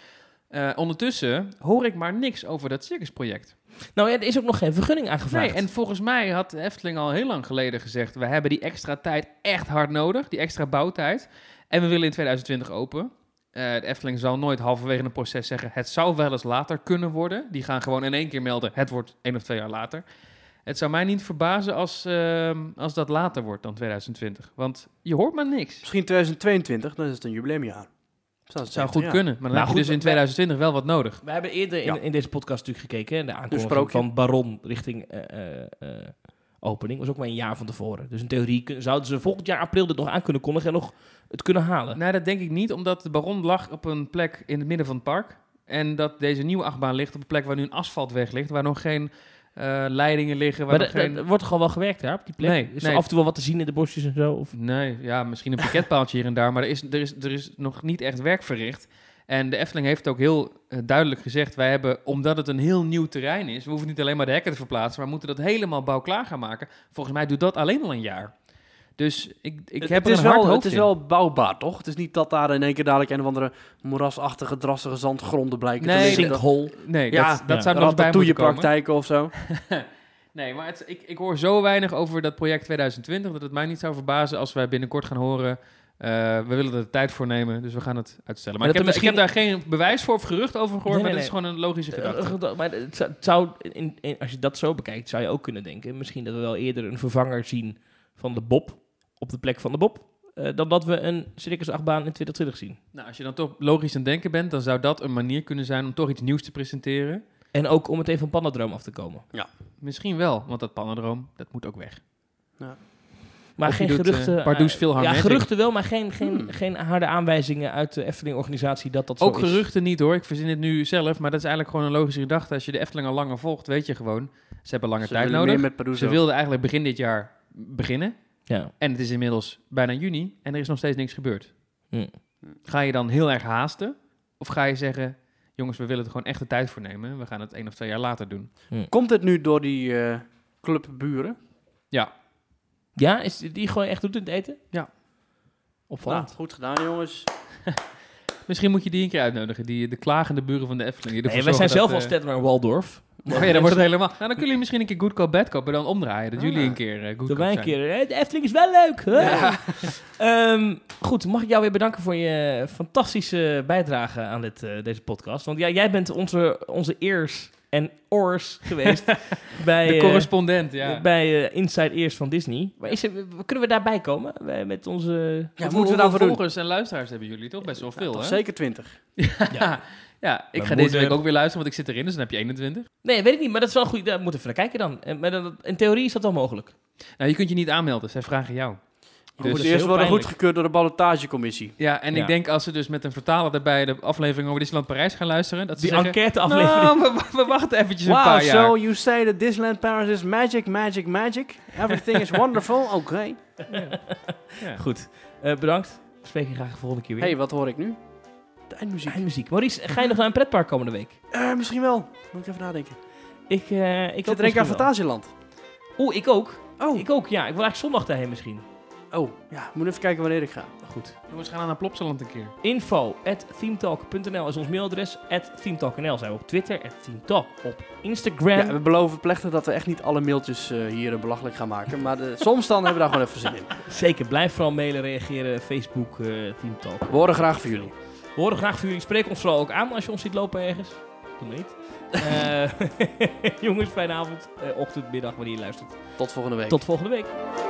Speaker 3: Eh, ondertussen hoor ik maar niks over dat circusproject.
Speaker 1: Nou, ja, er is ook nog geen vergunning aangevraagd.
Speaker 3: Nee, en volgens mij had de Efteling al heel lang geleden gezegd... we hebben die extra tijd echt hard nodig, die extra bouwtijd. En we willen in 2020 open. Eh, de Efteling zal nooit halverwege een proces zeggen... het zou wel eens later kunnen worden. Die gaan gewoon in één keer melden... het wordt één of twee jaar later. Het zou mij niet verbazen als, ehm, als dat later wordt dan 2020. Want je hoort maar niks.
Speaker 2: misschien 2022, dan is het een jubileumjaar. Zou het
Speaker 3: Het zou goed kunnen, maar
Speaker 1: Nou,
Speaker 3: dan heb je
Speaker 1: goed,
Speaker 3: dus in
Speaker 1: we-
Speaker 3: 2020 wel wat nodig.
Speaker 1: We hebben eerder in,
Speaker 2: Ja.
Speaker 1: in deze podcast natuurlijk gekeken. hè, De aankondiging
Speaker 2: sprookje.
Speaker 1: van Baron richting eh, eh, eh, opening was ook maar een jaar van tevoren. Dus in theorie kun- zouden ze volgend jaar april dit nog aan kunnen kondigen en nog het kunnen halen.
Speaker 3: Nou, dat denk ik niet, omdat de Baron lag op een plek in het midden van het park. En dat deze nieuwe achtbaan ligt op een plek waar nu een asfaltweg ligt, waar nog geen eh, leidingen liggen. Waar
Speaker 1: maar
Speaker 3: nog
Speaker 1: er
Speaker 3: geen...
Speaker 1: wordt toch al wel gewerkt daar op die plek?
Speaker 3: Nee,
Speaker 1: is er
Speaker 3: nee.
Speaker 1: af en toe wel wat te zien in de bosjes en zo? Of...
Speaker 3: Nee, ja, misschien een pakketpaaltje hier en daar, maar er is, er, is, er is nog niet echt werk verricht. En de Efteling heeft ook heel eh, duidelijk gezegd, wij hebben, omdat het een heel nieuw terrein is, we hoeven niet alleen maar de hekken te verplaatsen, maar we moeten dat helemaal bouwklaar gaan maken. Volgens mij doet dat alleen al een jaar. Dus ik, ik heb
Speaker 2: het,
Speaker 3: er
Speaker 2: is
Speaker 3: een hard
Speaker 2: wel,
Speaker 3: hoofd
Speaker 2: het is
Speaker 3: in.
Speaker 2: wel bouwbaar, toch? Het is niet dat daar in één keer dadelijk een of andere moerasachtige, drassige zandgronden blijken
Speaker 3: Nee,
Speaker 2: te liggen.
Speaker 1: Sinkhole.
Speaker 3: Nee,
Speaker 2: Ja,
Speaker 3: dat, dat
Speaker 1: ja.
Speaker 3: zou er nog bij
Speaker 2: Ratatouille
Speaker 3: moeten komen.
Speaker 2: praktijken of zo.
Speaker 3: Nee, maar het, ik, ik hoor zo weinig over dat project 2020 dat het mij niet zou verbazen als wij binnenkort gaan horen. eh, we willen er de tijd voor nemen, dus we gaan het uitstellen. Maar ik
Speaker 1: Dat
Speaker 3: heb,
Speaker 1: er
Speaker 3: ik heb daar geen bewijs voor of gerucht over gehoord,
Speaker 1: Nee,
Speaker 3: maar
Speaker 1: nee,
Speaker 3: dat is gewoon een logische gedachte.
Speaker 1: Eh, Maar het zou- het zou, in- in- als je dat zo bekijkt, zou je ook kunnen denken... misschien dat we wel eerder een vervanger zien van de Bob... op de plek van de Bob... eh, dan dat we een circusachtbaan in 2020 zien.
Speaker 3: nou, als je dan toch logisch aan het denken bent, dan zou dat een manier kunnen zijn om toch iets nieuws te presenteren.
Speaker 1: En ook om meteen van Pandadroom af te komen.
Speaker 3: Misschien wel, want dat pannendroom, dat moet ook weg.
Speaker 1: Maar
Speaker 3: Of
Speaker 1: geen
Speaker 3: je doet, eh,
Speaker 1: geruchten.
Speaker 3: Pardoes
Speaker 1: eh,
Speaker 3: veel
Speaker 1: Ja,
Speaker 3: Harmagic.
Speaker 1: geruchten wel, maar geen, geen,
Speaker 2: Hmm.
Speaker 1: geen harde aanwijzingen uit de Efteling-organisatie dat dat zo
Speaker 3: ook
Speaker 1: is.
Speaker 3: geruchten niet hoor, ik verzin het nu zelf, maar dat is eigenlijk gewoon een logische gedachte. Als je de Efteling al langer volgt, weet je gewoon, ze hebben langer
Speaker 2: Ze
Speaker 3: tijd
Speaker 2: willen meer
Speaker 3: nodig.
Speaker 2: met Parouzo.
Speaker 3: Ze wilden eigenlijk begin dit jaar beginnen.
Speaker 1: Ja.
Speaker 3: En het is inmiddels bijna juni en er is nog steeds niks gebeurd.
Speaker 1: Hm.
Speaker 3: Ga je dan heel erg haasten? Of ga je zeggen, jongens, we willen er gewoon echt de tijd voor nemen. We gaan het één of twee jaar later doen.
Speaker 2: Komt dit nu door die eh clubburen?
Speaker 1: ja, is die gewoon echt goed in het eten?
Speaker 3: Ja.
Speaker 1: Opvallend.
Speaker 2: Nou, goed gedaan, jongens.
Speaker 3: Misschien moet je die een keer uitnodigen, die, de klagende buren van de Efteling. Die
Speaker 1: nee,
Speaker 3: ervoor
Speaker 1: wij zijn
Speaker 3: zorgen
Speaker 1: zelf al
Speaker 3: dat, eh,
Speaker 1: Stedman en Waldorf.
Speaker 3: Oh ja, dan wordt het helemaal... Nou, dan kunnen jullie misschien een keer Good Cop, Bad Cop, maar dan omdraaien. Dat
Speaker 2: Ah.
Speaker 3: jullie een keer eh, Good
Speaker 1: Door
Speaker 3: Cop
Speaker 1: mij een
Speaker 3: zijn.
Speaker 1: keer. hè, De Efteling is wel leuk. hè? Ehm, goed, mag ik jou weer bedanken voor je fantastische bijdrage aan dit, eh, deze podcast. Want ja, jij bent onze, onze ears en oors geweest bij...
Speaker 3: De
Speaker 1: eh,
Speaker 3: correspondent, ja.
Speaker 1: bij eh, Inside Ears van Disney. Maar is er, kunnen we daarbij komen? Wij met onze...
Speaker 2: Oh Ja,
Speaker 3: Hoeveel-
Speaker 2: wat moeten we daarvoor
Speaker 3: hoeveel
Speaker 2: doen?
Speaker 3: volgers en luisteraars hebben jullie toch? Best wel veel,
Speaker 2: Toch
Speaker 3: hè?
Speaker 2: zeker 20.
Speaker 3: Ja, ja ik
Speaker 1: Mijn
Speaker 3: ga deze
Speaker 1: moeder-
Speaker 3: week ook weer luisteren, want ik zit erin, dus dan heb je 21.
Speaker 1: Nee, weet ik niet, maar dat is wel een goede... Daar Eh, moeten we even naar kijken dan. En, maar dat- in theorie is dat wel mogelijk.
Speaker 3: Nou, je kunt je niet aanmelden. Zij vragen jou.
Speaker 1: Dus-
Speaker 2: Voor het
Speaker 1: is
Speaker 2: eerst
Speaker 1: heel
Speaker 2: worden
Speaker 1: pijnlijk.
Speaker 2: goedgekeurd door de ballotagecommissie.
Speaker 3: Ja, en
Speaker 1: Ja.
Speaker 3: ik denk als ze dus met een vertaler daarbij de aflevering over Disneyland Parijs gaan luisteren, dat ze
Speaker 1: Die
Speaker 3: zeggen...
Speaker 1: enquêteaflevering.
Speaker 3: "Nou, we, we wachten eventjes een
Speaker 2: Wow,
Speaker 3: paar jaar.
Speaker 2: so you say that Disneyland Paris is magic, magic, magic. Everything is wonderful, oké.
Speaker 1: Goed, Eh, bedankt. We spreken je graag de volgende keer weer.
Speaker 2: hey, wat hoor ik nu? De eindmuziek.
Speaker 1: Eindmuziek. Maurice, ga je nog naar een pretpark komende week?
Speaker 2: Eh, misschien wel. Moet ik even nadenken.
Speaker 1: Ik, eh, ik
Speaker 2: Ik
Speaker 1: ook
Speaker 2: zit denk aan
Speaker 1: misschien wel.
Speaker 2: Fantasieland.
Speaker 1: Oeh, ik ook.
Speaker 2: Oh.
Speaker 1: Ik ook, ja. Ik wil eigenlijk zondag daarheen misschien.
Speaker 2: Oh, ja. Moet even kijken wanneer ik ga.
Speaker 1: Goed.
Speaker 3: Jongens, gaan naar Plopsaland een keer.
Speaker 1: Info at themetalk.nl is ons mailadres. At themetalk.nl zijn we op Twitter. At themetalk op Instagram.
Speaker 2: Ja, we beloven plechtig dat we echt niet alle mailtjes eh, hier eh, belachelijk gaan maken. Maar de- soms dan hebben we daar gewoon even zin in.
Speaker 1: Zeker, blijf vooral mailen, reageren. Facebook, eh themetalk.
Speaker 2: We horen graag van jullie.
Speaker 1: We horen graag van jullie. Spreek ons vooral ook aan als je ons ziet lopen ergens. Doe maar niet. Eh, jongens, fijne avond, eh, ochtend, middag, wanneer je luistert.
Speaker 2: Tot volgende week.
Speaker 1: Tot volgende week.